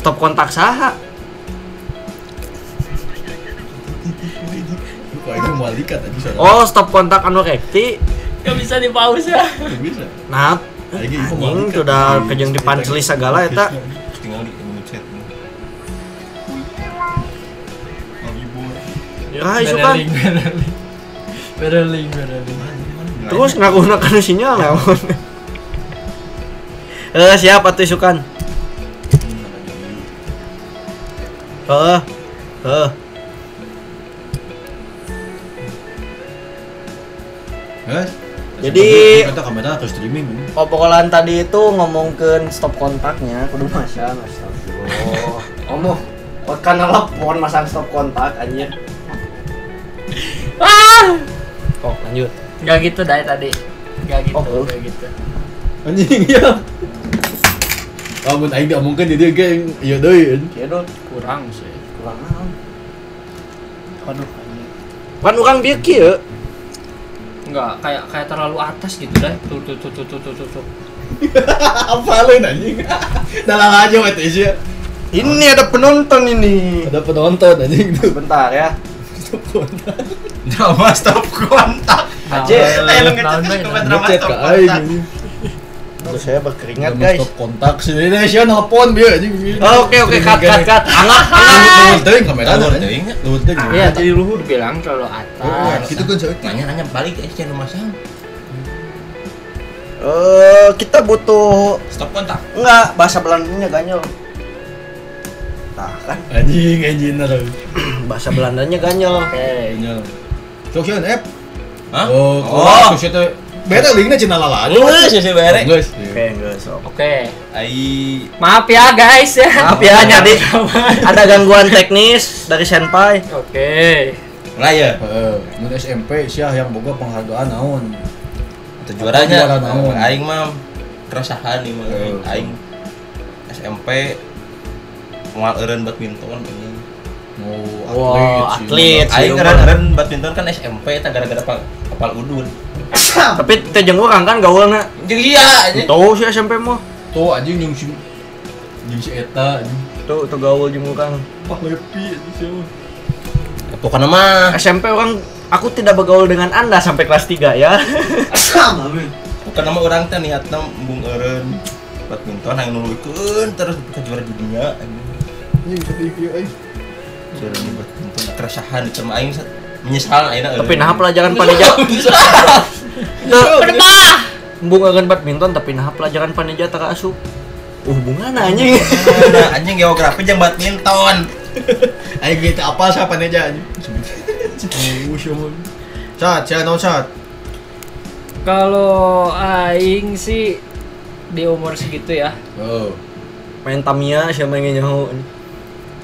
[SPEAKER 2] Stop kontak saha?
[SPEAKER 1] Kok aing mau likat anjing soalnya.
[SPEAKER 2] Oh, stop kontak anu rekti.
[SPEAKER 3] nggak bisa di pause ya
[SPEAKER 1] Teu bisa.
[SPEAKER 2] Nah,
[SPEAKER 1] Aing info mau
[SPEAKER 2] anjing
[SPEAKER 1] likat.
[SPEAKER 2] sudah kejeng dipanceli segala ya, eta.
[SPEAKER 4] Tinggal di di chat. Oh, ibu.
[SPEAKER 3] Iya.
[SPEAKER 2] Ah, isu kan.
[SPEAKER 3] beraling beraling
[SPEAKER 2] Terus ngagunakeun sinyal naon? Eh, siap atuh isukan. Heeh. Heeh.
[SPEAKER 1] Hah?
[SPEAKER 2] Jadi-
[SPEAKER 1] Eta kamera atau streaming.
[SPEAKER 2] Opokolan tadi itu ngomongkeun stop kontaknya, kudu masang astagfirullah. Omong, kan telepon masang stop kontak anjir. Ah! Oh, lanjut.
[SPEAKER 3] nggak gitu dari tadi nggak gitu
[SPEAKER 2] Oh.
[SPEAKER 3] nggak gitu
[SPEAKER 1] Anjing ya. Lamun aing diomongkeun jadi geng, ya deui. anjing.
[SPEAKER 2] Ya dong,
[SPEAKER 3] kurang sih
[SPEAKER 2] kurang
[SPEAKER 3] aduh anjing.
[SPEAKER 2] Kan urang bieu kieu.
[SPEAKER 3] nggak kayak kayak terlalu atas gitu deh tuh tuh tuh tuh tuh tuh tuh, tuh.
[SPEAKER 1] Apa lu anjing? Dalah aja wet sih.
[SPEAKER 2] Ini ada penonton ini.
[SPEAKER 1] Ada penonton anjing tuh.
[SPEAKER 2] Bentar ya.
[SPEAKER 4] Drama stop kontak.
[SPEAKER 7] Nah,
[SPEAKER 2] Aje,
[SPEAKER 4] Eh, lu
[SPEAKER 3] Naon
[SPEAKER 4] ngechat
[SPEAKER 3] bae,
[SPEAKER 4] ke
[SPEAKER 3] naon.
[SPEAKER 4] drama
[SPEAKER 1] Ngechat
[SPEAKER 4] stop
[SPEAKER 1] ke aing.
[SPEAKER 4] kontak.
[SPEAKER 1] anjing.
[SPEAKER 2] Terus saya
[SPEAKER 1] Ingat
[SPEAKER 2] berkeringat
[SPEAKER 1] guys.
[SPEAKER 2] guys.
[SPEAKER 1] Stop kontak sih. Ini sih nelpon bieu anjing.
[SPEAKER 2] Oh, Oke oke, cut cut cut. Anggap
[SPEAKER 1] Luhur teuing kamera
[SPEAKER 4] Luhur
[SPEAKER 1] luhur teuing.
[SPEAKER 4] teuing.
[SPEAKER 1] Iya, Luhur teuing.
[SPEAKER 3] ya tadi luhur bilang terlalu atas
[SPEAKER 1] Gitu kan saya.
[SPEAKER 4] Nanya nanya balik aja jangan rumah saya.
[SPEAKER 2] Eh, kita butuh
[SPEAKER 4] Stop kontak.
[SPEAKER 2] enggak bahasa Belandanya ganyol. Tah kan
[SPEAKER 1] Anjing anjing nara.
[SPEAKER 2] bahasa Belandanya ganyol.
[SPEAKER 1] Anjing. Sosial app.
[SPEAKER 4] Hah?
[SPEAKER 1] Oh,
[SPEAKER 4] Oh.
[SPEAKER 1] sosial teh. Beda linknya cina lala.
[SPEAKER 4] Lu sih sih bare.
[SPEAKER 1] Guys.
[SPEAKER 2] Oke, guys.
[SPEAKER 3] oke
[SPEAKER 4] Ai
[SPEAKER 3] maaf ya guys ya
[SPEAKER 2] Maaf ya, jadi ada gangguan teknis dari senpai.
[SPEAKER 3] oke
[SPEAKER 4] mulai ya.
[SPEAKER 1] Heeh, mun SMP sih yang boga penghargaan naon?
[SPEAKER 4] Itu juaranya.
[SPEAKER 1] Juara naon?
[SPEAKER 4] Aing mah keresahan nih mah.
[SPEAKER 2] Oh,
[SPEAKER 1] Heeh.
[SPEAKER 4] Aing SMP mual eureun badminton ini.
[SPEAKER 1] Oh,
[SPEAKER 2] Wow, atlet. Siung,
[SPEAKER 4] Aing eureun badminton kan SMP eta gara-gara pa- kapal udun.
[SPEAKER 2] Tapi teh jeung urang kan gaulna.
[SPEAKER 4] Jeung iya anjing.
[SPEAKER 2] Tuh si SMP mah.
[SPEAKER 1] Tuh anjing jeung si jeung si eta anjing.
[SPEAKER 2] Tuh tuh gaul jeung urang.
[SPEAKER 1] Wah, lepi anjing si Ewa.
[SPEAKER 2] kan
[SPEAKER 4] Pokoknya mah
[SPEAKER 2] SMP orang aku tidak bergaul dengan Anda sampai kelas 3 ya.
[SPEAKER 4] pokoknya mah urang teh niatna embung eureun badminton yang nuluykeun terus ke juara dunia anjing.
[SPEAKER 1] Anjing sedih kieu euy.
[SPEAKER 4] Juara dunia badminton keresahan itu mah aing sa- menyesal ayeuna
[SPEAKER 2] tapi
[SPEAKER 4] eureun.
[SPEAKER 2] nah pelajaran panijat.
[SPEAKER 3] berapa
[SPEAKER 2] Embung eureun badminton tapi nah pelajaran panijat tak asup. Uh, bunga anjing.
[SPEAKER 4] Nah, anjing geografi jeung badminton. gitu,
[SPEAKER 1] Aing ge teu apal siapa neja anjing. Oh, si Ewa. Sat, sia naon sat?
[SPEAKER 7] Kalau aing sih di umur segitu ya.
[SPEAKER 1] Oh.
[SPEAKER 2] Main Tamiya siapa yang nyaho?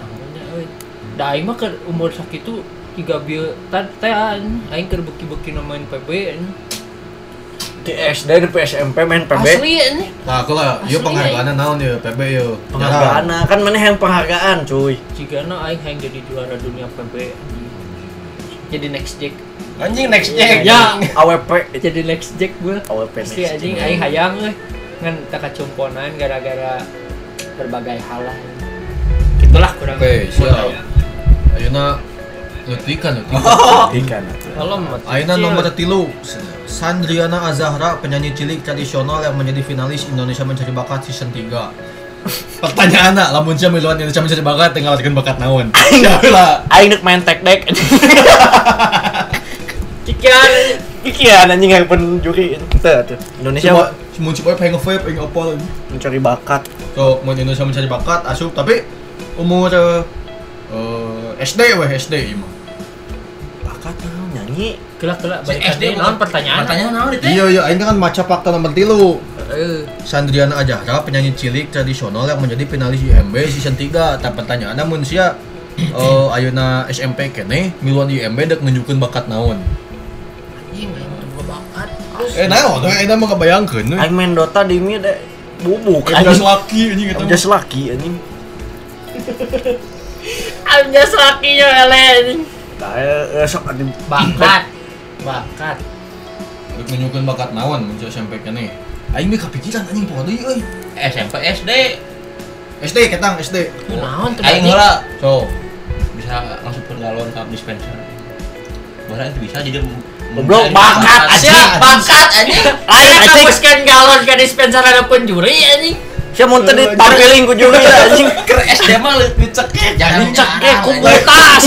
[SPEAKER 7] Tahunnya euy. Da aing mah ke umur sakitu tiga bil tatean aing keur beki-beki nu main PB anjing.
[SPEAKER 2] Di SD, di PSMP main PB.
[SPEAKER 7] Asli anjing.
[SPEAKER 1] Nah, aku lah, yuk
[SPEAKER 7] Asli,
[SPEAKER 1] penghargaannya naon ya, PB yuk.
[SPEAKER 2] Penghargaan, nah, kan mana yang penghargaan, cuy.
[SPEAKER 7] Jigana aing hayang jadi juara dunia PB. anjing. Jadi next jack.
[SPEAKER 4] Anjing next check.
[SPEAKER 7] Ya,
[SPEAKER 2] AWP.
[SPEAKER 7] jadi next jack gue.
[SPEAKER 3] Oh,
[SPEAKER 2] AWP.
[SPEAKER 7] Pasti anjing aing hayang euy. ngan tak kacumponan gara-gara berbagai hal lah. Gitulah kurang.
[SPEAKER 1] Oke, siap.
[SPEAKER 3] ya.
[SPEAKER 1] Ayuna letikan letikan.
[SPEAKER 2] Ikan.
[SPEAKER 7] Kalau mah
[SPEAKER 1] Ayuna nomor tilu. Sandriana Azahra, penyanyi cilik tradisional yang menjadi finalis Indonesia Mencari Bakat season 3. Pertanyaan nak, lamun siapa miluan Indonesia Mencari Bakat tinggal latihan bakat naon? Siapa lah?
[SPEAKER 2] Aing dek main tag deck.
[SPEAKER 7] Cikian. anjing.
[SPEAKER 2] Ikan anjing yang pun juri. Tuh, tuh. Indonesia
[SPEAKER 1] Cuma cuma cuma pengen nge-vape, pengen apa lagi.
[SPEAKER 2] mencari bakat.
[SPEAKER 1] So, mau Indonesia Mencari Bakat asup tapi umur eh, eh, SD weh SD imah.
[SPEAKER 2] Bakat nah, nyanyi.
[SPEAKER 7] Kelak kelak
[SPEAKER 4] Si
[SPEAKER 7] balik
[SPEAKER 4] SD
[SPEAKER 7] SD
[SPEAKER 4] bukan
[SPEAKER 7] non pertanyaan.
[SPEAKER 4] Pertanyaan naon itu? eh?
[SPEAKER 1] Iya iya, ini kan maca fakta nomor tilu.
[SPEAKER 7] Eh,
[SPEAKER 1] Sandriana Azahra, penyanyi cilik tradisional yang menjadi finalis IMB season 3. Tapi pertanyaannya mun sia eh, ayeuna SMP kene miluan IMB dek nunjukeun bakat naon?
[SPEAKER 4] Anjing, emang gua bakat.
[SPEAKER 1] Eh naon? Ayeuna mah kebayangkeun. we.
[SPEAKER 2] Aing main Dota di mid deh. Bubuk.
[SPEAKER 1] Ayeuna
[SPEAKER 2] Anjing.
[SPEAKER 1] laki anjing eta.
[SPEAKER 2] Just laki anjing.
[SPEAKER 3] Amnya selakinya ele anjing.
[SPEAKER 2] Nah, eh, eh, sok Eh, anjing.
[SPEAKER 3] Bakat. Bakat.
[SPEAKER 1] Dek nunjukeun bakat naon mun sia SMP kene? Aing mah kepikiran anjing poho deui euy.
[SPEAKER 4] SMP SD.
[SPEAKER 1] SD ketang SD.
[SPEAKER 3] Lu naon tuh?
[SPEAKER 4] Aing
[SPEAKER 3] anjing?
[SPEAKER 4] heula
[SPEAKER 1] So,
[SPEAKER 4] bisa langsung galon ke dispenser. Barang itu bisa jadi
[SPEAKER 2] Goblok,
[SPEAKER 4] mencari
[SPEAKER 2] bakat,
[SPEAKER 4] Sia,
[SPEAKER 2] anjing.
[SPEAKER 4] bakat anjing.
[SPEAKER 2] Aing
[SPEAKER 3] Aing
[SPEAKER 2] anjing.
[SPEAKER 3] kampuskan galon ke dispenser ada pun juri anjing.
[SPEAKER 2] Siapa mau tadi targeling ku juri anjing.
[SPEAKER 4] Ke SD mah leutik dicekek. Jangan
[SPEAKER 3] Eh,
[SPEAKER 2] Dicekek ku
[SPEAKER 4] anjing.
[SPEAKER 2] botas.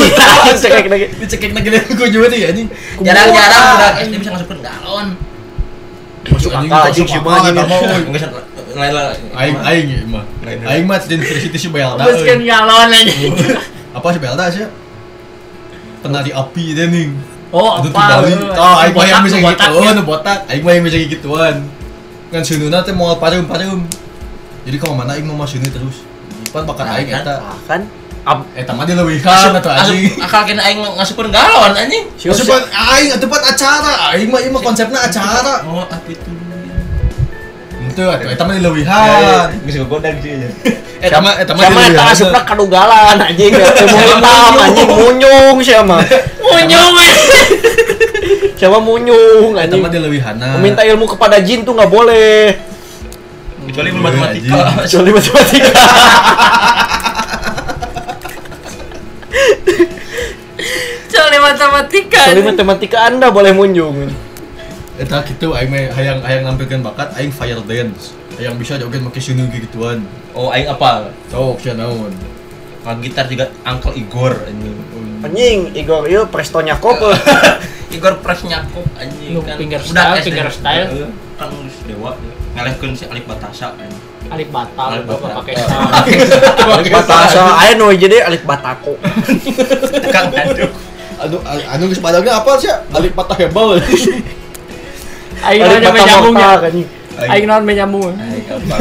[SPEAKER 2] Cekek lagi.
[SPEAKER 1] dicekek lagi deui ku juri anjing.
[SPEAKER 4] Jarang-jarang budak SD bisa ngasup galon.
[SPEAKER 2] Masuk akal anjing si mah
[SPEAKER 4] Ya,
[SPEAKER 2] anjing.
[SPEAKER 4] Enggak usah lain lah.
[SPEAKER 1] Aing aing ieu mah. Aing mah di University Sibelda.
[SPEAKER 2] kan
[SPEAKER 3] Kampuskan galon anjing.
[SPEAKER 1] Apa Sibelda sih? Penari api deh nih.
[SPEAKER 3] Oh,
[SPEAKER 1] Itu
[SPEAKER 3] apa?
[SPEAKER 1] di Bali.
[SPEAKER 3] lu?
[SPEAKER 1] Tah, aing mah yang
[SPEAKER 3] Botak,
[SPEAKER 1] bisa
[SPEAKER 3] lu
[SPEAKER 4] gitu.
[SPEAKER 3] botak,
[SPEAKER 1] gituan,
[SPEAKER 3] ya?
[SPEAKER 1] nu botak. Aing mah yang bisa gituan. Ngan seununa teh moal pareum-pareum. Jadi kalau mana aing mah seuneu terus. Pan bakat
[SPEAKER 4] Nah,
[SPEAKER 1] aing
[SPEAKER 4] kan?
[SPEAKER 1] eta.
[SPEAKER 2] Kan
[SPEAKER 1] Eta mah dileuwihkan atuh anjing.
[SPEAKER 4] Akal kena aing ngasupkeun galon anjing.
[SPEAKER 1] Asup pan aing atuh pan acara. Aing mah ieu mah konsepna acara.
[SPEAKER 4] Oh, apa itu? Ya,
[SPEAKER 1] Henteu atuh eta
[SPEAKER 7] Ah.
[SPEAKER 1] mah
[SPEAKER 4] Iya,
[SPEAKER 1] dileuwihan.
[SPEAKER 5] Geus gogodang sih aja.
[SPEAKER 1] Eta mah eta mah
[SPEAKER 2] Siapa eta
[SPEAKER 1] dileuwihan.
[SPEAKER 2] asupna kadugalan anjing muntah anjing munyung siapa
[SPEAKER 3] Munyung anjing.
[SPEAKER 2] siapa munyung
[SPEAKER 1] Eta
[SPEAKER 2] anjing
[SPEAKER 1] mah Iya, dileuwihanna.
[SPEAKER 2] meminta ilmu kepada jin tuh nggak boleh
[SPEAKER 5] Kecuali
[SPEAKER 1] Iya,
[SPEAKER 5] matematika.
[SPEAKER 2] kecuali matematika
[SPEAKER 3] Kecuali matematika.
[SPEAKER 2] kecuali
[SPEAKER 3] anjing.
[SPEAKER 2] matematika anda boleh munyung
[SPEAKER 1] Eta gitu aing mah hayang hayang nampilkeun bakat aing fire dance. Hayang bisa joget make seuneu gituan.
[SPEAKER 4] Oh, aing apal.
[SPEAKER 1] Sok sia naon.
[SPEAKER 4] Kalau gitar juga Uncle Igor anjing.
[SPEAKER 2] anjing Igor yuk prestonya koper
[SPEAKER 4] Igor Pres nyakup anjing
[SPEAKER 7] Lu
[SPEAKER 4] kan.
[SPEAKER 7] finger style, finger style.
[SPEAKER 4] Heeh, Kan geus dewa ya. ngalehkeun si Alif Batasa anjing.
[SPEAKER 7] Alif batal,
[SPEAKER 4] Alif
[SPEAKER 7] gua
[SPEAKER 4] batal.
[SPEAKER 7] pakai style.
[SPEAKER 2] alif batasa ayo nu hiji deh alif batako
[SPEAKER 4] Tekan aduk.
[SPEAKER 1] Aduh, anu geus padahal apa sih? Balik patah hebel.
[SPEAKER 3] Eh,
[SPEAKER 7] Aing
[SPEAKER 2] alif
[SPEAKER 7] naon yang menyambung ya?
[SPEAKER 2] batamortal anjing
[SPEAKER 7] Aing naon menyambung. ya?
[SPEAKER 4] Aing apa?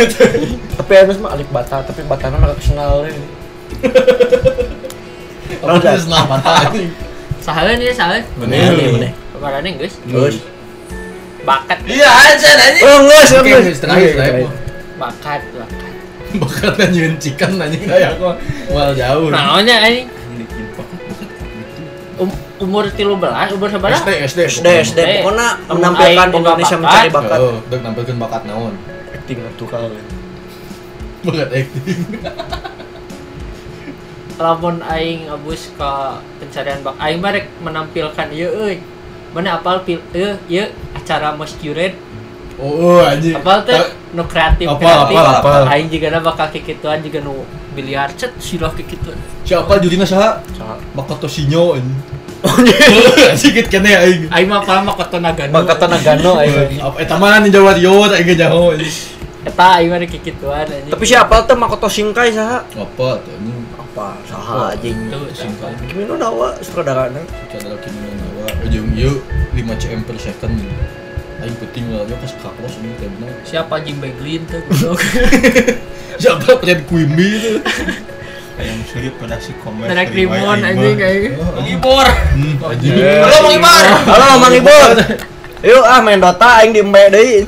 [SPEAKER 2] tapi anu mah alif bata tapi batana mah kenal
[SPEAKER 1] Orang geus lah patah.
[SPEAKER 3] Sahalan ya, sahalan.
[SPEAKER 1] Iya.
[SPEAKER 2] Meneh,
[SPEAKER 3] Kabarane geus.
[SPEAKER 2] Terus,
[SPEAKER 3] Bakat,
[SPEAKER 4] Iya, anjir anjing.
[SPEAKER 2] oh enggak,
[SPEAKER 1] Oke,
[SPEAKER 2] enggak,
[SPEAKER 1] geus terakhir
[SPEAKER 2] iya,
[SPEAKER 1] terakhir.
[SPEAKER 3] bakat, bakat.
[SPEAKER 1] Bakal nanyain cikan nanya kayak aku. Wal jauh.
[SPEAKER 3] Naonnya anjing?
[SPEAKER 4] Ini impak.
[SPEAKER 3] Um- umur 13, umur sabaraha?
[SPEAKER 1] SD SD
[SPEAKER 2] SD SD pokoknya
[SPEAKER 3] Temen
[SPEAKER 2] menampilkan
[SPEAKER 3] aing boga
[SPEAKER 2] Indonesia
[SPEAKER 3] bakat.
[SPEAKER 2] mencari bakat
[SPEAKER 1] Bakat. Udah nampilkan bakat naon.
[SPEAKER 2] acting tuh kalian
[SPEAKER 1] Bakat acting.
[SPEAKER 3] lamun aing abus ke pencarian bak aing mah rek menampilkan ieu euy mana apal pil euy ieu acara mascured
[SPEAKER 1] Oh, oh, anjing.
[SPEAKER 3] apal teh nu kreatif
[SPEAKER 1] Apal,
[SPEAKER 3] kreatif
[SPEAKER 1] apal, apal.
[SPEAKER 3] aing juga na bakal kikituan juga nu biliar cet silah kikituan
[SPEAKER 1] Siapa judina saha? Bakat Toshinyo anjing.
[SPEAKER 3] Oh,
[SPEAKER 1] Anjing gitu kene aing.
[SPEAKER 3] aing mah apal mah kota nagano
[SPEAKER 2] Bangkatan Nagano aja
[SPEAKER 1] Eh, Apa eta mah nih Jawa eh. Timur aing ge jauh. anjing.
[SPEAKER 3] eta aing mah rek kikituan anjing
[SPEAKER 2] tapi siapa tuh Makoto Shinkai saha
[SPEAKER 1] Apa tuh anjing?
[SPEAKER 2] apa saha Ah, anjing
[SPEAKER 3] Tuh, sumpah.
[SPEAKER 2] Kimi no Nawa sutradarana
[SPEAKER 1] Cara kini nawa. Ujung yuk 5 cm per second. Aing penting lah, ya kasih kaplos ini kayak bener.
[SPEAKER 7] Siapa Jim Beglin tuh? goblok.
[SPEAKER 1] Siapa Fred Quimby itu?
[SPEAKER 5] Kayak musuhnya pada si komen.
[SPEAKER 7] Tadak Rimon
[SPEAKER 5] Oh,
[SPEAKER 7] anjing anjing.
[SPEAKER 4] Ngibor.
[SPEAKER 1] Hmm, anjing.
[SPEAKER 4] Halo Mang Ibar.
[SPEAKER 2] Halo Mang Ibul. Yuk ah main Dota aing di embe deui.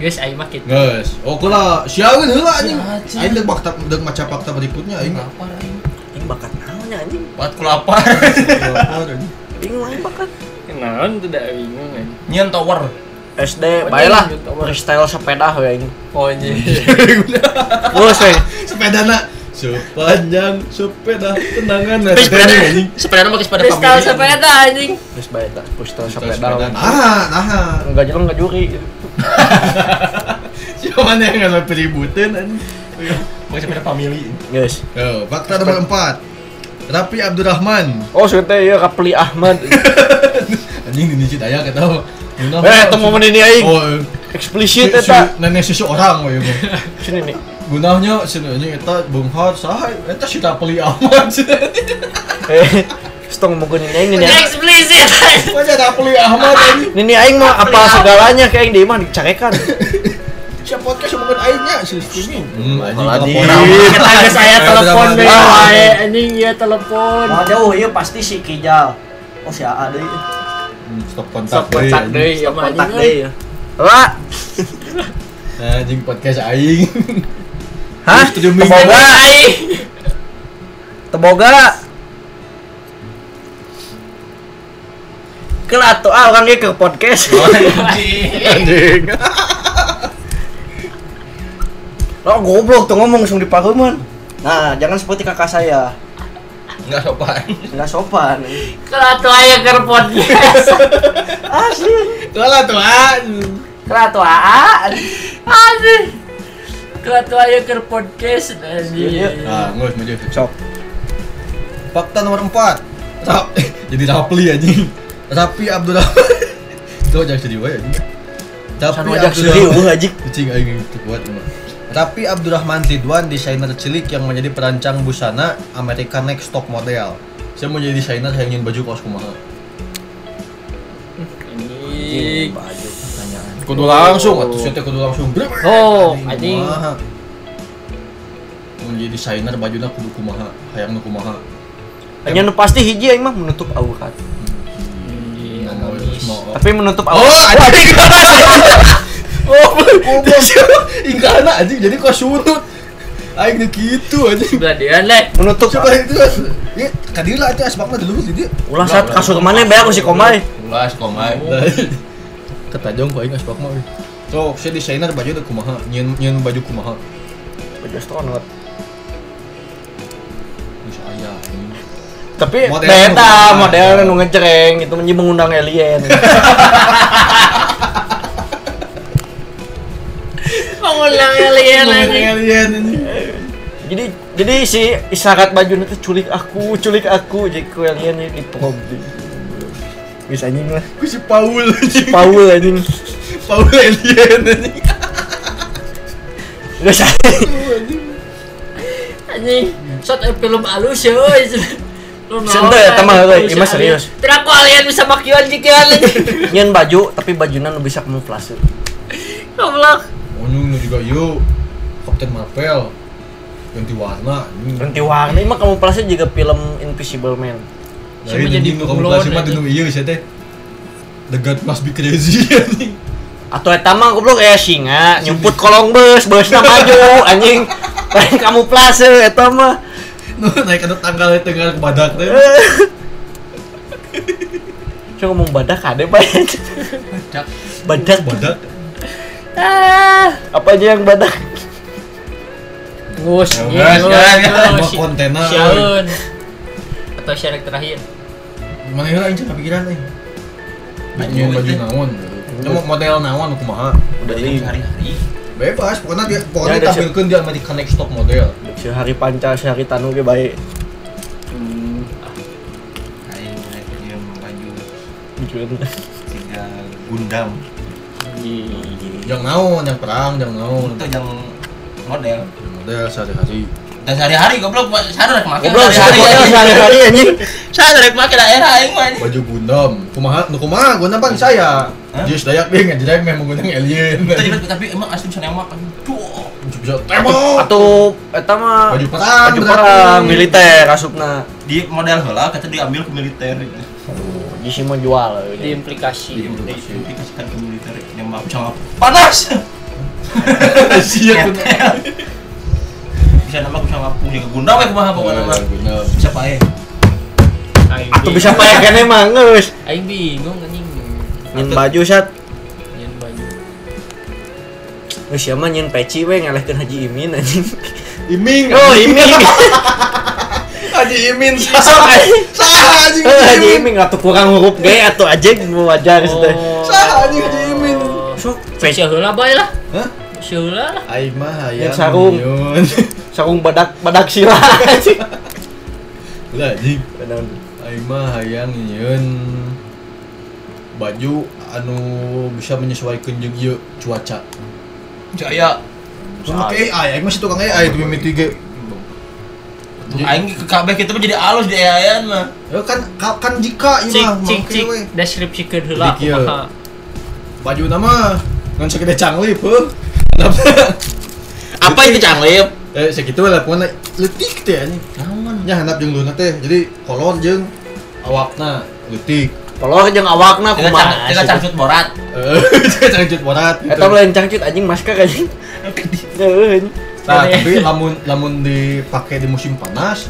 [SPEAKER 7] Guys, aing mah gitu.
[SPEAKER 1] Guys, oke lah, siapa gitu lah anjing. Aing dek fakta dek maca fakta berikutnya aing.
[SPEAKER 4] Lapar aing.
[SPEAKER 2] Aing bakat naon ya, anjing?
[SPEAKER 4] Buat ku lapar.
[SPEAKER 1] Lapar, anjing.
[SPEAKER 2] Bingung aing bakat.
[SPEAKER 7] Kenalan tuh da bingung anjing.
[SPEAKER 4] Nyian tower.
[SPEAKER 2] SD
[SPEAKER 7] Wajar,
[SPEAKER 2] baiklah
[SPEAKER 7] gitu.
[SPEAKER 2] freestyle sepeda we aing.
[SPEAKER 7] Oh anjing.
[SPEAKER 2] Terus we.
[SPEAKER 1] Sepeda nak sepanjang sepeda eh, tenangan
[SPEAKER 4] Tapi sepeda
[SPEAKER 1] anjing.
[SPEAKER 4] sepeda mah sepeda
[SPEAKER 3] Freestyle
[SPEAKER 4] family.
[SPEAKER 3] sepeda anjing.
[SPEAKER 2] Terus baik tak freestyle sepeda.
[SPEAKER 1] Sepeda
[SPEAKER 2] we.
[SPEAKER 1] nah, nah.
[SPEAKER 2] Enggak jelas enggak juri.
[SPEAKER 1] Siapa nih yang nggak peributin anjing?
[SPEAKER 4] Bukan sepeda family.
[SPEAKER 2] Guys.
[SPEAKER 1] Yo, fakta nomor empat. Raffi Abdurrahman.
[SPEAKER 2] Oh, sudah ya Kapli Ahmad.
[SPEAKER 1] Anjing ini cita ya kata.
[SPEAKER 2] Eh, itu momen ini aing.
[SPEAKER 1] Oh, si,
[SPEAKER 2] Eksplisit
[SPEAKER 1] si,
[SPEAKER 2] eta.
[SPEAKER 1] nenek susu orang we. we.
[SPEAKER 2] Sini nih.
[SPEAKER 1] Gunanya sebenarnya eta benghar saha eta si Raffi Ahmad.
[SPEAKER 2] Eh, stong mungkin ini aing ini.
[SPEAKER 3] Ini eksplisit anjing.
[SPEAKER 1] Wajah Raffi Ahmad anjing.
[SPEAKER 2] Nini aing mah apa segalanya kayak aing di mah dicarekan.
[SPEAKER 1] Siapa podcast mungkin aingnya si streaming. Hmm, anjing
[SPEAKER 2] Apalagi.
[SPEAKER 1] teleponan.
[SPEAKER 7] Kita guys saya telepon deh.
[SPEAKER 1] Ah.
[SPEAKER 7] Wae anjing iya telepon.
[SPEAKER 2] Mau jauh ya pasti si Kijal. Oh si Aa deui.
[SPEAKER 1] Hmm, Stop
[SPEAKER 7] Sok
[SPEAKER 1] kontak.
[SPEAKER 7] kontak
[SPEAKER 1] anjing.
[SPEAKER 7] deui sama
[SPEAKER 2] Kontak
[SPEAKER 7] anjing.
[SPEAKER 2] deui ya. Lah,
[SPEAKER 1] Nah, anjing podcast aing.
[SPEAKER 2] hah?
[SPEAKER 1] Streaming.
[SPEAKER 2] Teboga aing. Teboga. Kelatu ah orang ge ke podcast. Anjing. Lah goblok tuh ngomong langsung di pareuman. Nah, jangan seperti kakak saya.
[SPEAKER 4] Enggak sopan.
[SPEAKER 2] Enggak sopan.
[SPEAKER 3] Kelatu aya keur podcast.
[SPEAKER 2] Asli.
[SPEAKER 1] Kalau tuh ah.
[SPEAKER 3] Kelatu aa. Anjing. Kelatu aya keur podcast anjing.
[SPEAKER 1] Nah, ngus maju.
[SPEAKER 2] Sok.
[SPEAKER 1] Fakta nomor 4 Rap Jadi Rapli anjing Rapi Abdurrahman Itu wajah sedih wae eh, anjing Rapi
[SPEAKER 2] Kan wajah sedih eueuh anjing.
[SPEAKER 1] Kucing aing itu kuat emang Rapi Abdurrahman Ridwan desainer cilik yang menjadi perancang busana American Next Top Model Saya mau jadi desainer saya ingin baju kaos kumaha
[SPEAKER 7] Anjing.
[SPEAKER 1] Kudu langsung atuh saya teh kudu langsung Brek.
[SPEAKER 7] Oh, anjing.
[SPEAKER 1] kumaha. Mau jadi desainer bajunya kudu kumaha hayang nu kumaha
[SPEAKER 2] Hanya nu pasti hiji aing mah menutup aurat.
[SPEAKER 1] Nah, mau semua-
[SPEAKER 2] Tapi menutup
[SPEAKER 1] Oh,
[SPEAKER 2] aurat.
[SPEAKER 1] anjing. oh, goblok. Ingkana anjing jadi kok sunut. Aing nu kitu anjing.
[SPEAKER 7] Beladian leh.
[SPEAKER 2] Menutup
[SPEAKER 1] Coba itu. Ya, kadila itu asbakna dulu di dieu.
[SPEAKER 2] ulah saat kasur mana bayar ku si komai.
[SPEAKER 4] Ulas komai.
[SPEAKER 1] Oh. Ketajong ku aing asbakna euy. Sok, saya desainer baju teh kumaha? Nyeun nyeun baju kumaha?
[SPEAKER 2] Baju astronot.
[SPEAKER 1] Geus aya anjing.
[SPEAKER 2] Tapi
[SPEAKER 1] Model
[SPEAKER 2] beta
[SPEAKER 1] nu-
[SPEAKER 2] model nu ngecereng itu menjadi mengundang alien.
[SPEAKER 3] Mengulang alien anjing.
[SPEAKER 1] Alien anjing.
[SPEAKER 2] jadi jadi si isyarat baju itu culik aku, culik aku jadi ku alien di prom. Wis anjing lah.
[SPEAKER 1] Ku si Paul anjing.
[SPEAKER 2] Paul anjing.
[SPEAKER 1] Paul alien anjing.
[SPEAKER 2] Wis anjing.
[SPEAKER 3] Anjing, shot eh, film alus ya, oi. Lu
[SPEAKER 2] Sente,
[SPEAKER 3] naon,
[SPEAKER 2] eta mah,
[SPEAKER 3] anjing,
[SPEAKER 2] euy,
[SPEAKER 3] alus
[SPEAKER 2] ieu mah
[SPEAKER 3] ya,
[SPEAKER 2] serius.
[SPEAKER 3] anjing. Tira ku alien bisa makian jikian anjing.
[SPEAKER 2] Nyen baju tapi bajunya nu bisa kamuflase.
[SPEAKER 3] Goblok.
[SPEAKER 1] Onyung nu juga yuk. Kapten Marvel. Ganti warna. anjing.
[SPEAKER 2] Ganti warna ini mah kamuflase juga film Invisible Man.
[SPEAKER 1] Dari
[SPEAKER 7] Cuma jadi
[SPEAKER 1] jadi nu kamu
[SPEAKER 7] kulon,
[SPEAKER 1] kelas mah
[SPEAKER 7] anjing.
[SPEAKER 1] dinu ieu sia Iya, teh. The God must be crazy anjing.
[SPEAKER 2] Atau eta mah goblok eh singa nyumput kolong bus, busna maju anjing. Lain kamuflase eta mah.
[SPEAKER 1] Nu naik ke tanggal teh tengah badak teh.
[SPEAKER 2] Cuma ngomong badak ada banyak. Badak. Badak.
[SPEAKER 1] Badak.
[SPEAKER 2] Ah, apa aja yang badak?
[SPEAKER 7] Gus.
[SPEAKER 1] Ya,
[SPEAKER 7] iya, gus,
[SPEAKER 1] gus, gus.
[SPEAKER 7] gus.
[SPEAKER 1] Mau kontener.
[SPEAKER 7] Siaun. Atau syarat terakhir.
[SPEAKER 1] Mana heula anjing kepikiran euy. Baju baju naon? Cuma model naon nu kumaha?
[SPEAKER 2] Udah
[SPEAKER 4] Hari-hari.
[SPEAKER 1] Bebas, pokoknya dia pokoknya
[SPEAKER 2] Ya, ada
[SPEAKER 1] ditampilkeun di American Next Top Model.
[SPEAKER 2] Sehari panca, sehari tanu ge bae.
[SPEAKER 5] Aing naik dia baju
[SPEAKER 2] Jujur.
[SPEAKER 5] tiga Gundam.
[SPEAKER 1] Yang naon, yang perang, yang naon.
[SPEAKER 4] Hmm.
[SPEAKER 5] Itu yang model.
[SPEAKER 1] Model sehari-hari.
[SPEAKER 4] Dan sehari-hari goblok sadar rek make.
[SPEAKER 2] Goblok
[SPEAKER 4] sehari-hari.
[SPEAKER 2] sehari-hari anjing.
[SPEAKER 4] Sadar rek make daerah aing mah. anjing.
[SPEAKER 1] baju gundam kumaha nu kumaha gundam pan saya
[SPEAKER 8] Hah?
[SPEAKER 1] jus dayak deh nggak jadi memang gundam alien
[SPEAKER 4] Tadi bet- tapi emang asli bisa nembak anjing. Duh.
[SPEAKER 1] bisa tembok
[SPEAKER 2] Atau eta mah
[SPEAKER 1] baju perang
[SPEAKER 2] baju
[SPEAKER 1] berarti.
[SPEAKER 2] perang militer asupna.
[SPEAKER 8] di model heula kata diambil ke militer
[SPEAKER 2] Di sini mau jual. eh,
[SPEAKER 3] diimplikasi
[SPEAKER 8] diimplikasikan ke militer nembak sama panas
[SPEAKER 1] Siap.
[SPEAKER 8] bisa nembak sama punya ke gundam
[SPEAKER 4] eh,
[SPEAKER 8] ya kumaha
[SPEAKER 1] Iya,
[SPEAKER 8] pokoknya mah
[SPEAKER 1] Gundam.
[SPEAKER 8] bisa pae
[SPEAKER 3] aing
[SPEAKER 2] Atau
[SPEAKER 3] bingung.
[SPEAKER 2] bisa pakai kene mah geus.
[SPEAKER 3] aing bingung anjing
[SPEAKER 2] Nyen baju sat.
[SPEAKER 3] nyen baju
[SPEAKER 2] Geus ieu mah nyen peci we ngalehkeun Haji Imin anjing.
[SPEAKER 1] Iming.
[SPEAKER 2] Oh, Imin.
[SPEAKER 1] Haji Imin.
[SPEAKER 2] Sok, anjing.
[SPEAKER 1] Sah anjing
[SPEAKER 2] Eh,
[SPEAKER 1] Haji
[SPEAKER 2] Haji
[SPEAKER 1] Imin.
[SPEAKER 2] Imin atuh kurang huruf ge atuh aja nu wajar gitu.
[SPEAKER 3] Oh.
[SPEAKER 1] Sah anjing Haji Imin.
[SPEAKER 2] Sok peci
[SPEAKER 3] Siapa lah boy lah?
[SPEAKER 1] Hah?
[SPEAKER 3] Siapa lah?
[SPEAKER 1] Aing mah hayang.
[SPEAKER 2] Yang sarung.
[SPEAKER 1] nyun.
[SPEAKER 2] sarung badak badak sila anjing.
[SPEAKER 1] Lah anjing.
[SPEAKER 2] Benar.
[SPEAKER 1] Aing mah hayang nyieun baju anu bisa menyesuaikan jeung ieu cuaca.
[SPEAKER 4] Jaya.
[SPEAKER 1] Oke, AI, aing mah si tukang AI di mimiti ge.
[SPEAKER 4] Aing ke kabeh kita mah jadi alus di ayahan mah.
[SPEAKER 1] Ya kan ka- kan jika ieu
[SPEAKER 3] Cik
[SPEAKER 1] mah
[SPEAKER 3] cik
[SPEAKER 1] make
[SPEAKER 3] cik
[SPEAKER 1] we.
[SPEAKER 3] deskripsikeun heula
[SPEAKER 1] Jadi kieu.
[SPEAKER 3] kumaha.
[SPEAKER 1] Baju nama ngan sakede canglip heuh. Kenapa?
[SPEAKER 4] Apa itu canglip?
[SPEAKER 1] Eh segitu lah pokoknya letik teh anjing. Ya handap jeung luna teh. Jadi kolor jeung awakna letik.
[SPEAKER 2] Kalau jeung awakna
[SPEAKER 4] Kita
[SPEAKER 2] kumaha?
[SPEAKER 4] cang- kita cangcut borat.
[SPEAKER 1] Eh cangcut borat. gitu.
[SPEAKER 2] Eta lain cangcut anjing masker anjing. Heeh. anjing.
[SPEAKER 1] Nah, tapi lamun lamun dipakai di musim panas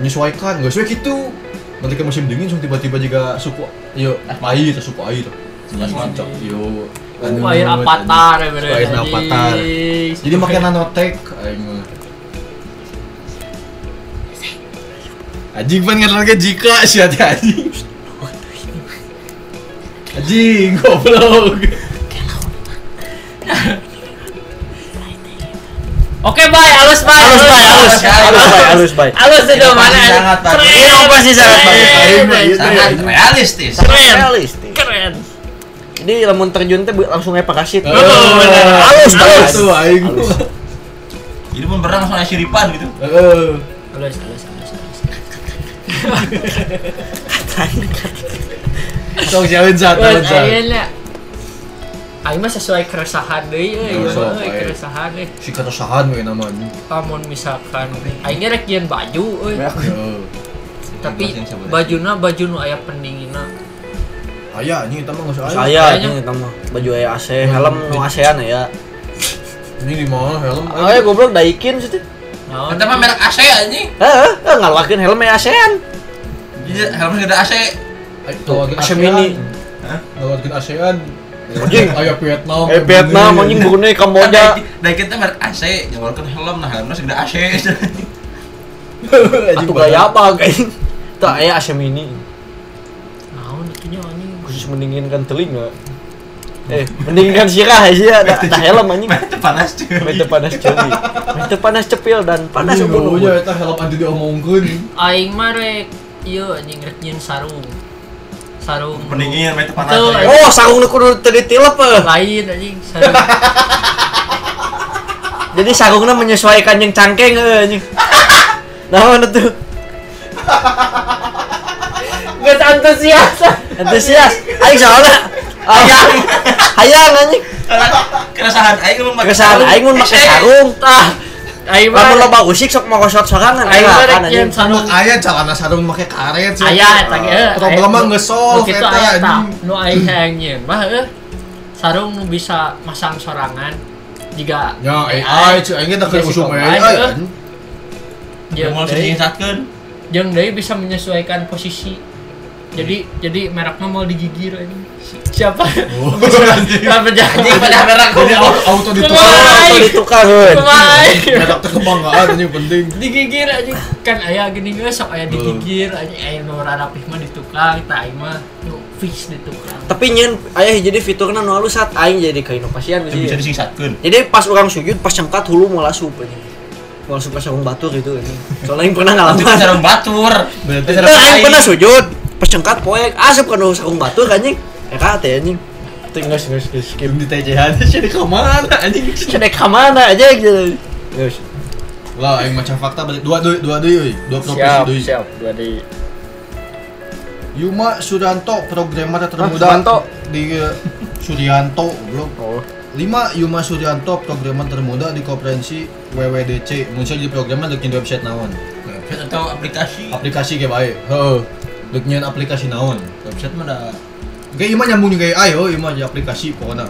[SPEAKER 1] menyesuaikan geus we kitu. Nanti ke musim dingin langsung tiba-tiba juga suku yo air atau suku air. Jelas mancok iya. yo.
[SPEAKER 3] Ku air avatar ya bener.
[SPEAKER 1] Air avatar. Jadi pakai nanotech aing mah. Anjing pan ngeran ke jika sih hati anjing. Anjing goblok.
[SPEAKER 3] Oke bye, halus bye.
[SPEAKER 2] Halus bay, halus. Halus bay, halus bay.
[SPEAKER 3] Halus itu
[SPEAKER 4] Inovasi
[SPEAKER 3] mana?
[SPEAKER 4] sangat bagus.
[SPEAKER 3] Keren.
[SPEAKER 2] Inovasi sangat bagus.
[SPEAKER 3] Keren.
[SPEAKER 1] Aing mah ieu teh.
[SPEAKER 4] Sangat realistis.
[SPEAKER 2] Sangat realistis.
[SPEAKER 3] Keren.
[SPEAKER 2] Jadi lamun terjun teh langsung aja pakasit.
[SPEAKER 1] Eh, halus halus tuh aing.
[SPEAKER 8] jadi pun berang langsung asiripan gitu
[SPEAKER 1] Heeh.
[SPEAKER 3] Halus, halus, halus. halus.
[SPEAKER 1] Sok jalan satu
[SPEAKER 3] Wah,
[SPEAKER 1] satu.
[SPEAKER 3] ayeuna nya. Aing mah sesuai keresahan deui euy,
[SPEAKER 1] Keresahan,
[SPEAKER 3] euy,
[SPEAKER 1] baik.
[SPEAKER 3] keresahan deui.
[SPEAKER 1] Si keresahan we namanya.
[SPEAKER 3] Lamun misalkan aing rek yeun baju euy,
[SPEAKER 2] Ya.
[SPEAKER 1] Heeh.
[SPEAKER 3] tapi bajuna baju nu aya pendinginna.
[SPEAKER 1] Aya anjing eta mah geus aya.
[SPEAKER 2] Saya anjing eta mah baju aya AC, helm nu ASEAN ya.
[SPEAKER 1] Ini di mana helm?
[SPEAKER 2] Ah, ya goblok daikin sih.
[SPEAKER 3] Naon?
[SPEAKER 4] Kita mah merek AC anjing.
[SPEAKER 2] Heeh, ngaluakeun Eh, helm aya ASEAN.
[SPEAKER 4] Jadi helmnya ada AC.
[SPEAKER 1] Tawarkeun
[SPEAKER 2] Asem ini.
[SPEAKER 1] Hah? Tawarkeun ASEAN.
[SPEAKER 2] Anjing.
[SPEAKER 1] Aya Vietnam. Iya.
[SPEAKER 2] Eh Vietnam anjing Brunei Kamboja.
[SPEAKER 4] Kan Dari kita merek AC, jangan kan helm nah helmnya segede AC.
[SPEAKER 2] Atuh gaya apa anjing? Tah aya AC mini
[SPEAKER 3] Naon itu nya anjing.
[SPEAKER 2] khusus mendinginkan telinga. Eh, mendinginkan sirah aja ada ada helm anjing.
[SPEAKER 8] Mete panas cuy
[SPEAKER 2] Mete panas cepi. Mete panas cepil dan panas
[SPEAKER 1] Panas
[SPEAKER 2] ubun-ubun.
[SPEAKER 1] eta helm anu diomongkeun.
[SPEAKER 3] Aing mah rek ieu anjing rek nyeun sarung. Sarung.
[SPEAKER 8] pendingin mete panas
[SPEAKER 3] Betul,
[SPEAKER 8] cuy.
[SPEAKER 3] ayo.
[SPEAKER 2] Oh, sarung nu kudu teu ditilep. eh.
[SPEAKER 3] lain anjing sarung.
[SPEAKER 2] Jadi sarungnya menyesuaikan yang cangkeng eh, anjing. Naon tuh?
[SPEAKER 3] Geus antusias.
[SPEAKER 2] Antusias. Aing soalnya hayang. Hayang anjing.
[SPEAKER 8] keresahan aing mun make
[SPEAKER 2] Kesan aing mun
[SPEAKER 3] Eh,
[SPEAKER 4] Eh,
[SPEAKER 2] make sarung.
[SPEAKER 3] Tah. Aing
[SPEAKER 2] Lamun
[SPEAKER 3] mah
[SPEAKER 2] loba usik sok mangosot sorangan.
[SPEAKER 3] aing mah rek
[SPEAKER 2] Aing anjing.
[SPEAKER 3] nyeun
[SPEAKER 1] Anak
[SPEAKER 3] sarung.
[SPEAKER 1] aya celana sarung make karet. sia.
[SPEAKER 3] Aya eta ge. eh,
[SPEAKER 1] Problem
[SPEAKER 3] aya-
[SPEAKER 1] mah ngesolve
[SPEAKER 3] Nu kitu
[SPEAKER 1] eta,
[SPEAKER 3] aya ta.
[SPEAKER 1] anjing.
[SPEAKER 3] Nu aing hayang nyeun mah eh sarung nu bisa masang sorangan jika
[SPEAKER 1] Ya AI cuy aing teh keur
[SPEAKER 3] Jessica
[SPEAKER 1] usum
[SPEAKER 3] Lange,
[SPEAKER 1] AI.
[SPEAKER 3] eh.
[SPEAKER 1] anjing.
[SPEAKER 4] ya
[SPEAKER 3] jeung
[SPEAKER 8] mau
[SPEAKER 3] deui-
[SPEAKER 8] sisatkeun
[SPEAKER 3] jeung deui bisa menyesuaikan posisi. Jadi jadi mereknya mau digigir anjing. Siapa?
[SPEAKER 1] Oh,
[SPEAKER 3] Apa
[SPEAKER 4] Anjing
[SPEAKER 3] jangan?
[SPEAKER 4] pada merek
[SPEAKER 1] Jadi au- auto ditukar.
[SPEAKER 3] Kumaha?
[SPEAKER 2] Atau ditukareun.
[SPEAKER 3] Kemarin.
[SPEAKER 1] Merek teh kebanggaan anjing penting.
[SPEAKER 3] digigir aja kan ayah gini nggak sok ayah digigir aja Eh, ayah nomor rapih mah di tukang tak ayah mah nu fix di tukang
[SPEAKER 2] Tapi nyen ayah jadi fiturna nu halus saat aing jadi keinovasian
[SPEAKER 8] Teu bisa
[SPEAKER 2] sih.
[SPEAKER 8] disisatkeun
[SPEAKER 2] ya. Jadi pas orang sujud pas cengkat hulu mau lasup anjing. Mau lasup ke sarung batur gitu anjing. Soalnya aing pernah
[SPEAKER 4] Itu
[SPEAKER 2] ngalaman.
[SPEAKER 4] sarung batur.
[SPEAKER 1] Berarti
[SPEAKER 4] Itu
[SPEAKER 2] Teu,
[SPEAKER 4] sarung
[SPEAKER 2] aing
[SPEAKER 4] aing.
[SPEAKER 2] pernah sujud pas cengkat poek asup kan sarung batur anjing. Eta teh anjing. Teu geus geus geus skip.
[SPEAKER 1] di TCH teh jadi ka mana anjing?
[SPEAKER 2] Cedek ka mana aja gitu. Geus.
[SPEAKER 1] Lah, aing maca fakta balik dua dua dua deui, dua profesi
[SPEAKER 3] siap
[SPEAKER 1] deui.
[SPEAKER 3] siap dua di
[SPEAKER 1] Yuma Suryanto, programmer termuda
[SPEAKER 3] Ah, Suryanto.
[SPEAKER 1] di eh, Suryanto, goblok.
[SPEAKER 3] oh
[SPEAKER 1] 5. Yuma Suryanto, programmer termuda di konferensi WWDC. Muncul jadi programmer di website naon. Nah,
[SPEAKER 4] Website atau aplikasi?
[SPEAKER 1] Aplikasi kayak baik. Heeh. Dek nyeun aplikasi naon.
[SPEAKER 4] Website mah dah.
[SPEAKER 1] Oke, Ima nyambung juga AI, oh Ima di aplikasi pokoknya.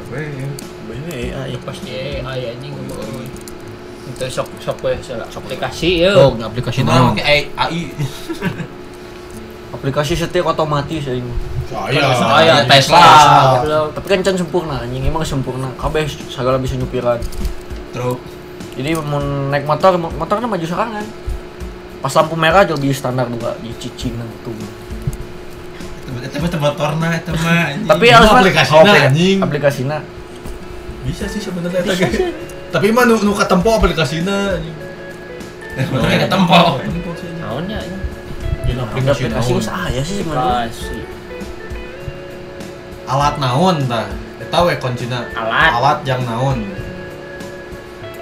[SPEAKER 2] iya.
[SPEAKER 3] ya pasti AI anjing ngomong itu sok sok we salah sok aplikasi ya
[SPEAKER 1] Oh, aplikasi
[SPEAKER 4] Cuma
[SPEAKER 1] naon?
[SPEAKER 4] pakai AI.
[SPEAKER 2] aplikasi setiap otomatis aing
[SPEAKER 1] Saya.
[SPEAKER 9] Saya, Tesla.
[SPEAKER 2] Padahal- tapi kan can sempurna anjing emang sempurna kabeh segala bisa kan. nyupiran
[SPEAKER 4] Truk.
[SPEAKER 2] jadi mau naik motor mo- motornya maju serangan pas lampu merah aja lebih standar juga di cicing tuh
[SPEAKER 4] Itu mah motorna itu mah. anjing.
[SPEAKER 2] tapi
[SPEAKER 1] Iya,
[SPEAKER 2] harus
[SPEAKER 1] aplikasina, anjing.
[SPEAKER 2] aplikasinya
[SPEAKER 4] bisa sih sebenarnya eta ge.
[SPEAKER 1] Tapi Ima nu nu katempo aplikasina.
[SPEAKER 4] Motornya ke tempo.
[SPEAKER 3] naonnya anjing?
[SPEAKER 1] Jeung aplikasi
[SPEAKER 2] aplikasi
[SPEAKER 1] naon?
[SPEAKER 2] saya sih sebenarnya
[SPEAKER 3] aplikasi
[SPEAKER 1] Alat naon tah? Eh, Eta we kuncina.
[SPEAKER 3] alat
[SPEAKER 1] Alat yang naon?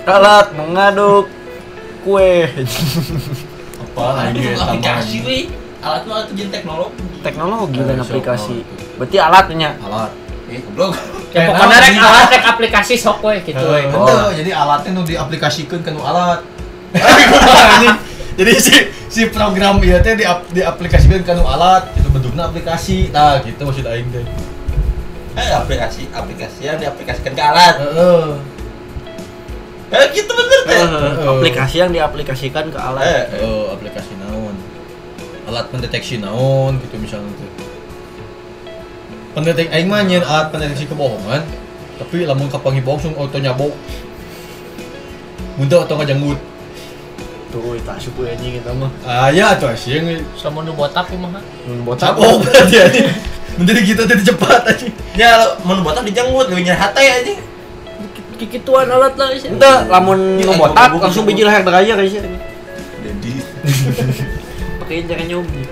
[SPEAKER 2] alat mengaduk kue
[SPEAKER 4] Iya,
[SPEAKER 1] Apa lagi eta mah?
[SPEAKER 9] aplikasi weh alat mah itu jadi teknologi
[SPEAKER 2] teknologi dan
[SPEAKER 1] Eh,
[SPEAKER 2] aplikasi
[SPEAKER 1] siapa?
[SPEAKER 2] berarti alatnya
[SPEAKER 1] Alat.
[SPEAKER 9] eh goblok
[SPEAKER 3] ya pokoknya rek alat rek aplikasi sok we gitu we
[SPEAKER 1] Heuh,
[SPEAKER 2] Oh.
[SPEAKER 1] henteu, jadi alatnya nu diaplikasikeun ka nu alat. Anjing. jadi si si program ieu teh diap, diaplikasikeun ka nu alat, itu bentukna aplikasi. Tah, gitu maksud aing teh.
[SPEAKER 4] Eh aplikasi aplikasi yang diaplikasikan ke alat.
[SPEAKER 1] Heeh.
[SPEAKER 4] Eh gitu bener teh.
[SPEAKER 2] Eh, aplikasi yang diaplikasikan ke alat
[SPEAKER 4] Eh, eh.
[SPEAKER 1] Heuh, aplikasi naon? Alat pendeteksi naon gitu misalnya teh. Pendetek aing mah nyeun alat pendeteksi kebohongan, tapi lamun kapangi bohong sung auto nyabok. Muntah atau ngajanggut.
[SPEAKER 2] tuh itu asup we anjing kita mah
[SPEAKER 1] Ah ya tuh sih
[SPEAKER 3] sama nu botak kumaha
[SPEAKER 2] Mun botak
[SPEAKER 1] Cabok Oh, berarti anjing. Menjadi kita tadi cepat anjing.
[SPEAKER 4] Ya mun botak dijenggut leuwih nyerah hate anjing.
[SPEAKER 3] kikituan alat lah sih
[SPEAKER 2] ente lamun
[SPEAKER 4] Iya,
[SPEAKER 2] nu botak
[SPEAKER 4] bukan,
[SPEAKER 2] langsung
[SPEAKER 4] bukan.
[SPEAKER 2] biji leher deraya guys ya
[SPEAKER 4] Jadi
[SPEAKER 2] pakai cara nyobi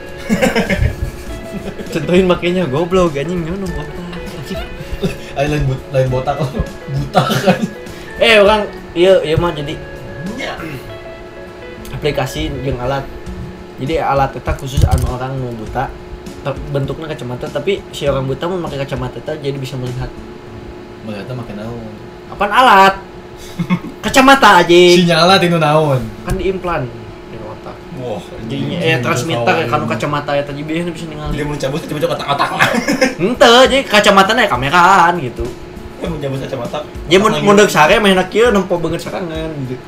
[SPEAKER 2] contohin makainya goblok anjing nyono botak
[SPEAKER 1] Ayo lain but, lain botak lo. Buta kan.
[SPEAKER 2] eh orang iya iya mah jadi
[SPEAKER 4] nya.
[SPEAKER 2] aplikasi jeung alat jadi alat itu khusus anu orang mau buta ter- bentuknya kacamata tapi si orang buta mau pakai kacamata teh jadi bisa melihat
[SPEAKER 1] Melihatnya makin naon.
[SPEAKER 2] apaan alat kacamata aja
[SPEAKER 1] Sinyalnya tinu naon.
[SPEAKER 2] kan diimplan di otak
[SPEAKER 4] Wah.
[SPEAKER 2] jadinya eh transmitter
[SPEAKER 1] Kawan.
[SPEAKER 2] kan kacamata ya tadi biasanya bisa
[SPEAKER 4] Jadi
[SPEAKER 2] ningali
[SPEAKER 4] mun cabut tiba-tiba otak-otak mah.
[SPEAKER 2] ente jadi kacamata ya kameraan gitu
[SPEAKER 4] Mun cabut kacamata.
[SPEAKER 2] jadi Ya, mun mundek sare mah enak kieu nempo banget sarangan gitu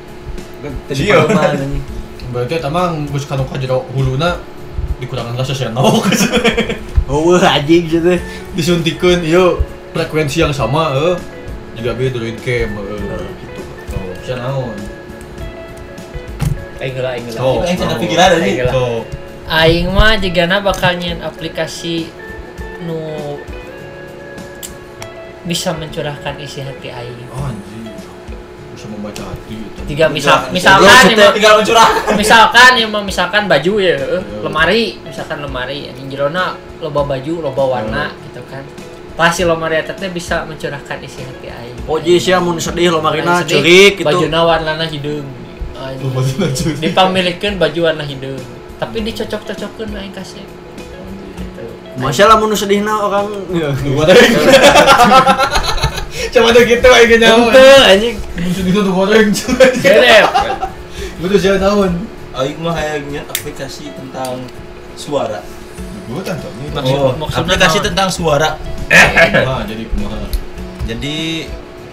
[SPEAKER 4] Kan
[SPEAKER 2] Tadi
[SPEAKER 4] Jieu.
[SPEAKER 2] paruman, anjing.
[SPEAKER 1] Berarti tamang geus kana ka jero huluna dikurangan rasa sia naon.
[SPEAKER 2] Heueuh anjing gitu.
[SPEAKER 1] Disuntikkeun ieu frekuensi yang sama eh juga beda duit cam eh.
[SPEAKER 2] Gitu.
[SPEAKER 1] Oh, sia naon.
[SPEAKER 3] aing heula aing heula
[SPEAKER 1] Oh,
[SPEAKER 4] Aing
[SPEAKER 1] oh.
[SPEAKER 4] cenah pikiran anjing.
[SPEAKER 3] Aing heula.
[SPEAKER 1] So,
[SPEAKER 3] aing mah jigana bakal nyen aplikasi nu bisa mencurahkan isi hati aing
[SPEAKER 1] oh, anjing. Bisa membaca hati. itu.
[SPEAKER 3] tiga misal
[SPEAKER 4] Mencurahkan.
[SPEAKER 3] misalkan
[SPEAKER 2] Goblok,
[SPEAKER 3] ya,
[SPEAKER 4] Tinggal mencurah.
[SPEAKER 3] misalkan ya mah, misalkan baju ya eh, lemari misalkan lemari anjing jerona loba baju loba warna gitu kan pasti lemari eta teh bisa mencurahkan isi hati aing
[SPEAKER 2] Oh jadi sia mun sedih lo
[SPEAKER 3] Aing
[SPEAKER 2] marina
[SPEAKER 3] iya, sedih,
[SPEAKER 2] cerik gitu.
[SPEAKER 3] bajuna warna hideung
[SPEAKER 1] Oh, bajuna cerik.
[SPEAKER 3] dipamilikeun baju warna hideung tapi dicocok-cocokkeun aing kasih
[SPEAKER 2] Masya lah mun sedihna orang
[SPEAKER 4] Iya.
[SPEAKER 1] Gua tadi. Cuma tuh gitu aja nyawa.
[SPEAKER 2] Ente anjing
[SPEAKER 1] Muncul itu tuh goreng cuy.
[SPEAKER 3] Gerep.
[SPEAKER 1] Gua tuh siapa tahun?
[SPEAKER 4] Aing mah hayangnya aplikasi tentang suara.
[SPEAKER 1] Gua tantang nih.
[SPEAKER 3] Maksud-
[SPEAKER 4] Oh,
[SPEAKER 3] maksudnya
[SPEAKER 4] aplikasi
[SPEAKER 3] naon?
[SPEAKER 4] tentang suara.
[SPEAKER 1] Nah, Ah, jadi kumaha?
[SPEAKER 4] Jadi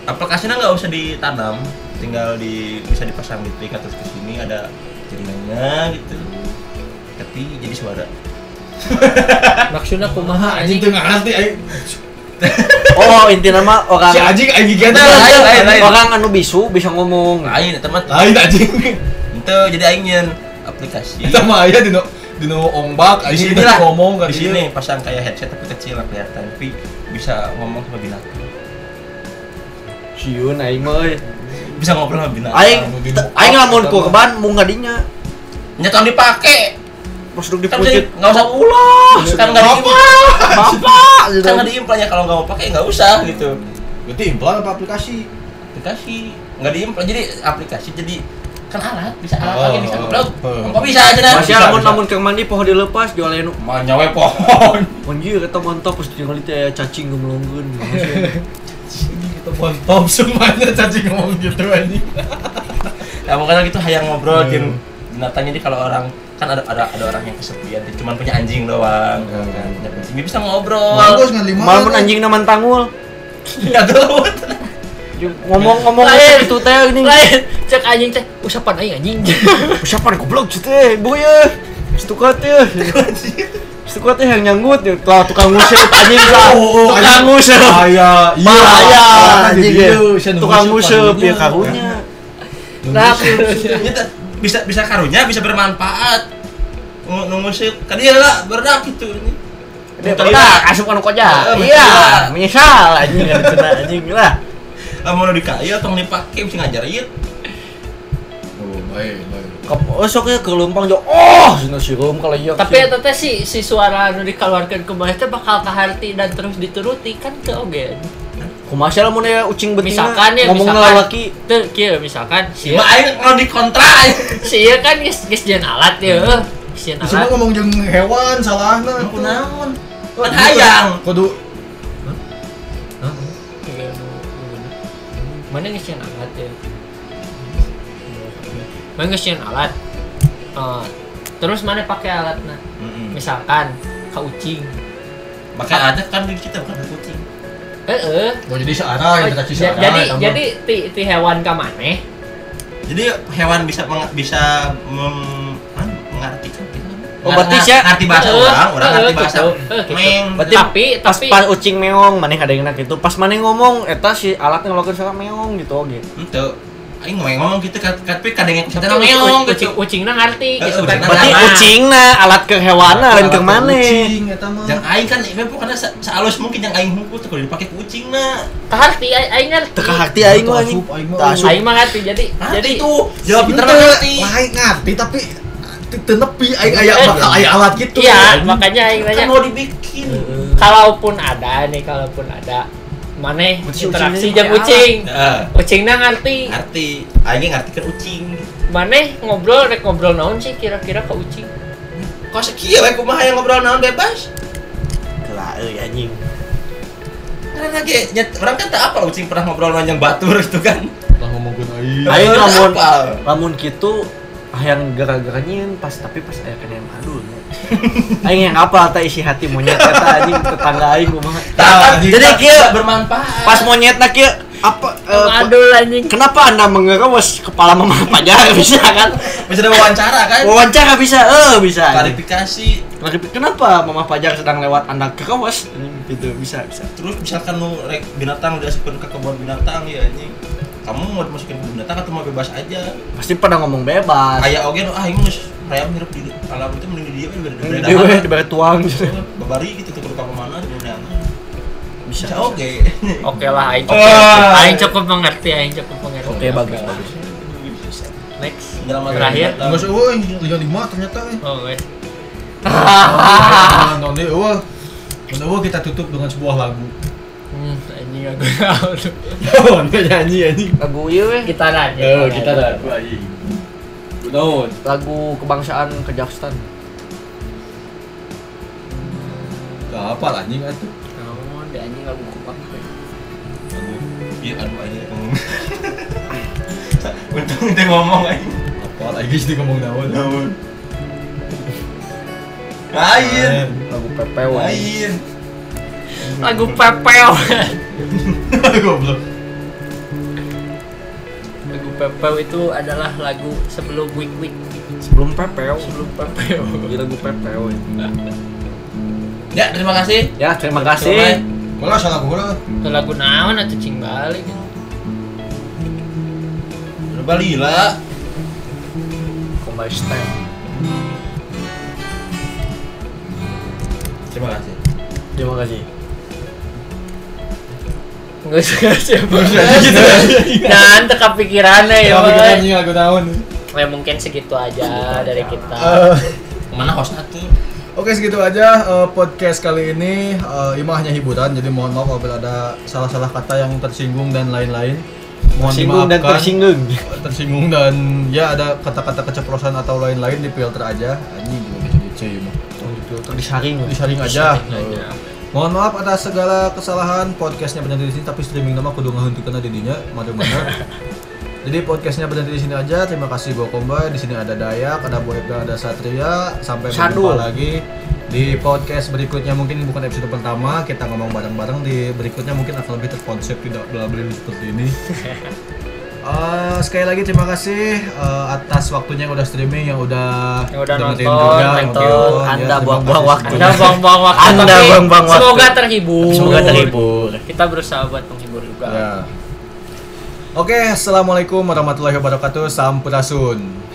[SPEAKER 4] aplikasinya nggak usah ditanam, tinggal di bisa dipasang di telinga terus ke sini ada jaringannya gitu. Tapi jadi suara.
[SPEAKER 3] maksudnya kumaha
[SPEAKER 1] Anjing
[SPEAKER 3] anjing
[SPEAKER 1] tuh nggak ngerti. aing.
[SPEAKER 2] Oh inti nama orang
[SPEAKER 1] Si anjing aing gigian
[SPEAKER 2] Ente,
[SPEAKER 1] tuh.
[SPEAKER 4] Ah. lain, lain, lain.
[SPEAKER 2] orang anu bisu bisa ngomong.
[SPEAKER 4] Lain teman.
[SPEAKER 1] Lain anjing.
[SPEAKER 4] Itu jadi aingin aplikasi.
[SPEAKER 1] Kita mah aya dino dino ombak
[SPEAKER 4] Di
[SPEAKER 1] anjing
[SPEAKER 4] sini lah.
[SPEAKER 1] ngomong kan
[SPEAKER 4] Iya, Di sini pasang kayak headset tapi kecil lah kelihatan, tapi bisa ngomong sama binatang.
[SPEAKER 2] Siun aing mah. euy.
[SPEAKER 4] Bisa ngobrol sama binatang.
[SPEAKER 2] Aing
[SPEAKER 1] Nudin
[SPEAKER 2] te-
[SPEAKER 1] bokap,
[SPEAKER 2] aing lamun
[SPEAKER 1] kita
[SPEAKER 2] korban mung ngadinya.
[SPEAKER 4] Nyetam dipake.
[SPEAKER 2] Pas duduk di
[SPEAKER 4] Kan
[SPEAKER 2] pucet. Oh,
[SPEAKER 4] jadi nggak usah ulos. Kan nggak diimplan.
[SPEAKER 2] Bapak
[SPEAKER 4] Kan nggak
[SPEAKER 2] gitu.
[SPEAKER 4] diimplan ya kalau nggak mau pakai nggak usah gitu.
[SPEAKER 1] Berarti implan apa aplikasi?
[SPEAKER 4] aplikasi nggak diimplan jadi aplikasi jadi kan alat bisa alat
[SPEAKER 1] Oh,
[SPEAKER 4] lagi bisa
[SPEAKER 1] oh,
[SPEAKER 4] ngeblok
[SPEAKER 1] oh.
[SPEAKER 4] kok bisa aja dah
[SPEAKER 2] Masih
[SPEAKER 1] Bisa,
[SPEAKER 2] lamun
[SPEAKER 1] bisa.
[SPEAKER 2] lamun ke mandi poho dilepas jual anu.
[SPEAKER 4] manyawe pohon
[SPEAKER 2] Anjir eta mantap pas tinggal itu ya cacing gemlongkeun.
[SPEAKER 4] itu pohon top semuanya cacing ngomong gitu aja ya makanya gitu hayang ngobrol jin binatangnya jadi kalau orang kan ada ada ada orang yang kesepian jadi cuma punya anjing doang
[SPEAKER 1] Hmm.
[SPEAKER 4] kan punya kucing dia bisa ngobrol Iya,
[SPEAKER 1] Bagus ngan lima.
[SPEAKER 2] Malamun anjing naman tangul.
[SPEAKER 4] nggak tahu
[SPEAKER 2] Ngomong-ngomong
[SPEAKER 3] Lain.
[SPEAKER 2] itu teh ini.
[SPEAKER 3] Lain, cek anjing teh, usapan aing anjing.
[SPEAKER 2] Oh, Siapa nih goblok cuy teh, boy ya. Stukat ya. Stukat teh yang nyanggut ya. Lah tukang ngusir anjing lah.
[SPEAKER 1] Oh, oh,
[SPEAKER 2] Tukang
[SPEAKER 1] anjing.
[SPEAKER 2] ngusir.
[SPEAKER 1] Bahaya. Iya.
[SPEAKER 2] Bahaya anjing.
[SPEAKER 1] Jadi
[SPEAKER 2] ya.
[SPEAKER 1] dia, sian
[SPEAKER 2] Tukang
[SPEAKER 1] ngusir,
[SPEAKER 2] ngusir ya
[SPEAKER 1] tukang
[SPEAKER 2] karunya.
[SPEAKER 3] Nah,
[SPEAKER 2] Iya.
[SPEAKER 4] Ini teh bisa bisa karunya bisa bermanfaat Nung- nungusip kan iya lah berdak gitu ini
[SPEAKER 2] Dia
[SPEAKER 4] Betul,
[SPEAKER 2] pernah
[SPEAKER 4] iya.
[SPEAKER 2] asup anu koja.
[SPEAKER 4] Betul,
[SPEAKER 2] Iya,
[SPEAKER 4] betul.
[SPEAKER 2] menyesal anjing kan kena anjing lah.
[SPEAKER 10] Ah,
[SPEAKER 4] mau di kayu atau dipakai bisa ngajar iya
[SPEAKER 1] Oh, baik, baik.
[SPEAKER 2] oh, Esoknya ke lumpang jo. Oh, sino sirum kalau iya.
[SPEAKER 3] tapi eta teh si si suara anu dikeluarkan kembali teh bakal kaharti dan terus dituruti kan ke oge.
[SPEAKER 2] kumaha sih lamun ya ucing betina
[SPEAKER 3] Misalkan ya,
[SPEAKER 2] ngomong
[SPEAKER 3] misalkan.
[SPEAKER 2] lelaki
[SPEAKER 3] Teu kieu misalkan
[SPEAKER 2] Iya.
[SPEAKER 3] si
[SPEAKER 4] Cuma aing mau dikontra
[SPEAKER 3] si ieu kan geus geus jeung alat ya. heuh. Geus jeung
[SPEAKER 1] Cuma
[SPEAKER 3] alat.
[SPEAKER 1] ngomong jeung hewan salahna atuh.
[SPEAKER 4] naon kan hayang
[SPEAKER 1] gitu? Kudu
[SPEAKER 3] Iya, nu- nu- Mana geus jeung alat ya? Mana geus jeung alat? Eh, terus mana pakai alatna? Misalkan ka ucing.
[SPEAKER 4] Maka ada kan di kita bukan di kucing.
[SPEAKER 3] Heeh.
[SPEAKER 1] mau jadi searah, interaksi
[SPEAKER 3] Ja-
[SPEAKER 1] searah.
[SPEAKER 3] Eh, jadi
[SPEAKER 1] Ah, tambah.
[SPEAKER 3] jadi ti, ti hewan ka maneh
[SPEAKER 10] Jadi hewan bisa meng- bisa mem- ah, mengartikan gitu.
[SPEAKER 2] Oh, berarti
[SPEAKER 10] Ngar-
[SPEAKER 2] sih ya?
[SPEAKER 10] ngerti bahasa
[SPEAKER 3] Heeh,
[SPEAKER 10] orang, orang
[SPEAKER 3] heeh,
[SPEAKER 10] ngerti bahasa.
[SPEAKER 3] Eh, gitu, heeh, gitu.
[SPEAKER 10] Meng.
[SPEAKER 2] Berarti
[SPEAKER 3] tapi tapi
[SPEAKER 2] pas ucing meong maneh ada yang itu pas maneh ngomong eta si alat ngelokeun salah meong gitu oge
[SPEAKER 10] Itu aing ngomong ngomong gitu kat- tapi kadang yang kita
[SPEAKER 3] tapi
[SPEAKER 10] ngomong
[SPEAKER 3] ucing
[SPEAKER 10] gitu.
[SPEAKER 3] ucingna ngarti
[SPEAKER 10] Heeh,
[SPEAKER 3] gitu kan
[SPEAKER 10] ucingna
[SPEAKER 2] berarti
[SPEAKER 10] Nah,
[SPEAKER 3] Nah,
[SPEAKER 2] ucingna alat ke hewana lain ke Ya, maneh
[SPEAKER 1] Kucing eta mah.
[SPEAKER 10] Yang aing kan ini pokoknya se- sehalus mungkin yang aing hukum tuh kalau dipakai kucing nah.
[SPEAKER 3] kaharti ai- aing ngarti
[SPEAKER 2] teu kahakti aing mah anjing
[SPEAKER 1] Asup, aing mah.
[SPEAKER 2] Teu asup.
[SPEAKER 3] aing mah ngerti jadi jadi
[SPEAKER 10] Jadi itu jawab pinter
[SPEAKER 1] Ente,
[SPEAKER 10] ngerti.
[SPEAKER 1] lain ngerti tapi te- te nepi aing aya
[SPEAKER 3] Eh,
[SPEAKER 1] bakal aya alat gitu.
[SPEAKER 3] iya makanya aing
[SPEAKER 10] Kan
[SPEAKER 3] nanya Eh,
[SPEAKER 10] mau dibikin.
[SPEAKER 3] kalaupun ada nih kalaupun ada maneh
[SPEAKER 2] Ucing-
[SPEAKER 3] interaksi
[SPEAKER 2] ucingnya
[SPEAKER 3] jeung
[SPEAKER 2] pakai
[SPEAKER 3] ucing
[SPEAKER 4] Nah,
[SPEAKER 10] Heeh.
[SPEAKER 3] ucingna ngarti
[SPEAKER 10] Ngerti.
[SPEAKER 4] Ah,
[SPEAKER 10] Aing ge
[SPEAKER 4] kan
[SPEAKER 10] ngartikeun ucing.
[SPEAKER 3] maneh ngobrol rek ngobrol naon sih kira-kira ke ucing
[SPEAKER 10] Kok sekieu
[SPEAKER 4] ya,
[SPEAKER 10] we kumaha yang ngobrol naon bebas?
[SPEAKER 2] lah euy anjing
[SPEAKER 10] Karena ge nyet- orang kan tak apa ucing pernah ngobrol naon yang batur gitu kan.
[SPEAKER 1] Lah ngomongkeun aing.
[SPEAKER 2] aing
[SPEAKER 10] Orang
[SPEAKER 2] lamun
[SPEAKER 10] apal.
[SPEAKER 2] lamun kitu hayang gara-gara nyieun pas tapi pas aya kena yang adul aing yang apa eta isi hati monyet eta anjing tetangga aing kumaha Nah, jadi kieu
[SPEAKER 4] bermanfaat.
[SPEAKER 2] pas monyetna kieu apa eh,
[SPEAKER 3] aduh anjing
[SPEAKER 2] Kenapa anda mengerewas kepala mama pajar bisa kan?
[SPEAKER 4] Bisa ada wawancara kan?
[SPEAKER 2] Wawancara bisa, eh bisa.
[SPEAKER 4] Klarifikasi.
[SPEAKER 2] Klarifi- Kenapa mama pajar sedang lewat anda kerewas? Hmm, Gitu bisa bisa.
[SPEAKER 4] Terus misalkan lu rek binatang udah sepin ke kebun binatang ya anjing. Kamu mau dimasukin ke binatang atau mau bebas aja?
[SPEAKER 2] Pasti pada ngomong bebas.
[SPEAKER 4] Kayak oge ah ini geus rayap hirup di alam itu mending di dia daripada
[SPEAKER 2] Ini
[SPEAKER 4] daripada
[SPEAKER 2] Dewe
[SPEAKER 4] alam.
[SPEAKER 2] di bawah tuang gitu.
[SPEAKER 4] Babari gitu tuh kalau mana di mana.
[SPEAKER 2] Bisa. bisa.
[SPEAKER 4] Bisa oge.
[SPEAKER 3] oke lah aing
[SPEAKER 4] Oh.
[SPEAKER 3] cukup aing cukup mengerti aing cukup mengerti
[SPEAKER 2] Oke bagus bagus.
[SPEAKER 3] next
[SPEAKER 4] Dalam
[SPEAKER 3] Terakhir.
[SPEAKER 4] binatang.
[SPEAKER 1] Geus euy, liga lima ternyata eh. euy.
[SPEAKER 3] oh guys
[SPEAKER 1] Nonton deh, eueuh. Mun eueuh kita tutup dengan sebuah lagu.
[SPEAKER 3] hmm anjing aku tahu tuh
[SPEAKER 1] nyanyi anjing.
[SPEAKER 2] Lagu iya weh.
[SPEAKER 3] gitaran
[SPEAKER 1] Eh, kita lagu anjing. Naon?
[SPEAKER 2] Lagu kebangsaan Kazakhstan.
[SPEAKER 1] Gak apa lah, anjing atuh.
[SPEAKER 3] Oh, dia anjing lagu kupang.
[SPEAKER 4] Iya aduh aja ngomong. Untung itu ngomong aja.
[SPEAKER 1] Apa lagi sih ngomong naon?
[SPEAKER 4] Namun. Lain.
[SPEAKER 1] Eh,
[SPEAKER 2] Lagu PPW.
[SPEAKER 4] Lain.
[SPEAKER 3] Lagu pepeo.
[SPEAKER 1] Goblok.
[SPEAKER 3] lagu pepeo itu adalah lagu sebelum week week.
[SPEAKER 2] Sebelum PPW.
[SPEAKER 3] Sebelum pepeo.
[SPEAKER 2] Jadi lagu PPW.
[SPEAKER 4] Ya terima kasih.
[SPEAKER 2] Ya terima kasih.
[SPEAKER 1] Malah salah gua lah.
[SPEAKER 3] Itu lagu naon atau cing balik?
[SPEAKER 4] Bali lah.
[SPEAKER 2] Kembali stand.
[SPEAKER 4] Terima kasih.
[SPEAKER 2] Terima kasih.
[SPEAKER 3] Enggak suka siapa.
[SPEAKER 1] Gitu
[SPEAKER 3] Dan teka pikirannya ya.
[SPEAKER 1] Tapi
[SPEAKER 3] Boy.
[SPEAKER 1] anjing lagu naon.
[SPEAKER 3] Ya mungkin segitu aja dari kita.
[SPEAKER 1] Eh,
[SPEAKER 4] Kemana host satu?
[SPEAKER 1] Oke segitu aja eh, podcast kali ini Eh, Ima hanya hiburan jadi mohon maaf apabila ada salah-salah kata yang tersinggung dan lain-lain mohon
[SPEAKER 2] Singgung dan
[SPEAKER 1] dimaafkan. Eh,
[SPEAKER 2] tersinggung.
[SPEAKER 1] tersinggung dan ya ada kata-kata keceplosan atau lain-lain di filter aja anjing gimana jadi cuy mah.
[SPEAKER 2] Oh, gitu, terus disaring.
[SPEAKER 1] disaring aja Eh, mohon maaf atas segala kesalahan podcastnya benar di sini tapi streaming nama kudu ngahentikeun didinya mana-mana jadi podcastnya benar di sini aja terima kasih gua Komba di sini ada Dayak ada Boyka ada Satria sampai
[SPEAKER 2] Shadow.
[SPEAKER 1] berjumpa lagi di podcast berikutnya mungkin bukan episode pertama kita ngomong bareng-bareng di berikutnya mungkin akan lebih terkonsep tidak belaberin seperti ini Eh, sekali lagi terima kasih eh, atas waktunya yang udah streaming, yang udah
[SPEAKER 7] Yang udah
[SPEAKER 1] dengerin
[SPEAKER 7] nonton,
[SPEAKER 1] yang
[SPEAKER 7] nonton.
[SPEAKER 1] nonton, ya.
[SPEAKER 2] Anda
[SPEAKER 1] Terima
[SPEAKER 2] buang-buang
[SPEAKER 1] kasih
[SPEAKER 2] waktu.
[SPEAKER 7] Anda
[SPEAKER 1] semuanya.
[SPEAKER 7] buang-buang waktu.
[SPEAKER 2] Anda
[SPEAKER 7] tapi
[SPEAKER 2] buang-buang waktu.
[SPEAKER 7] Semoga terhibur.
[SPEAKER 2] Semoga terhibur.
[SPEAKER 7] Kita berusaha buat menghibur juga.
[SPEAKER 1] Ya. Oke, assalamualaikum warahmatullahi wabarakatuh. Sampurasun.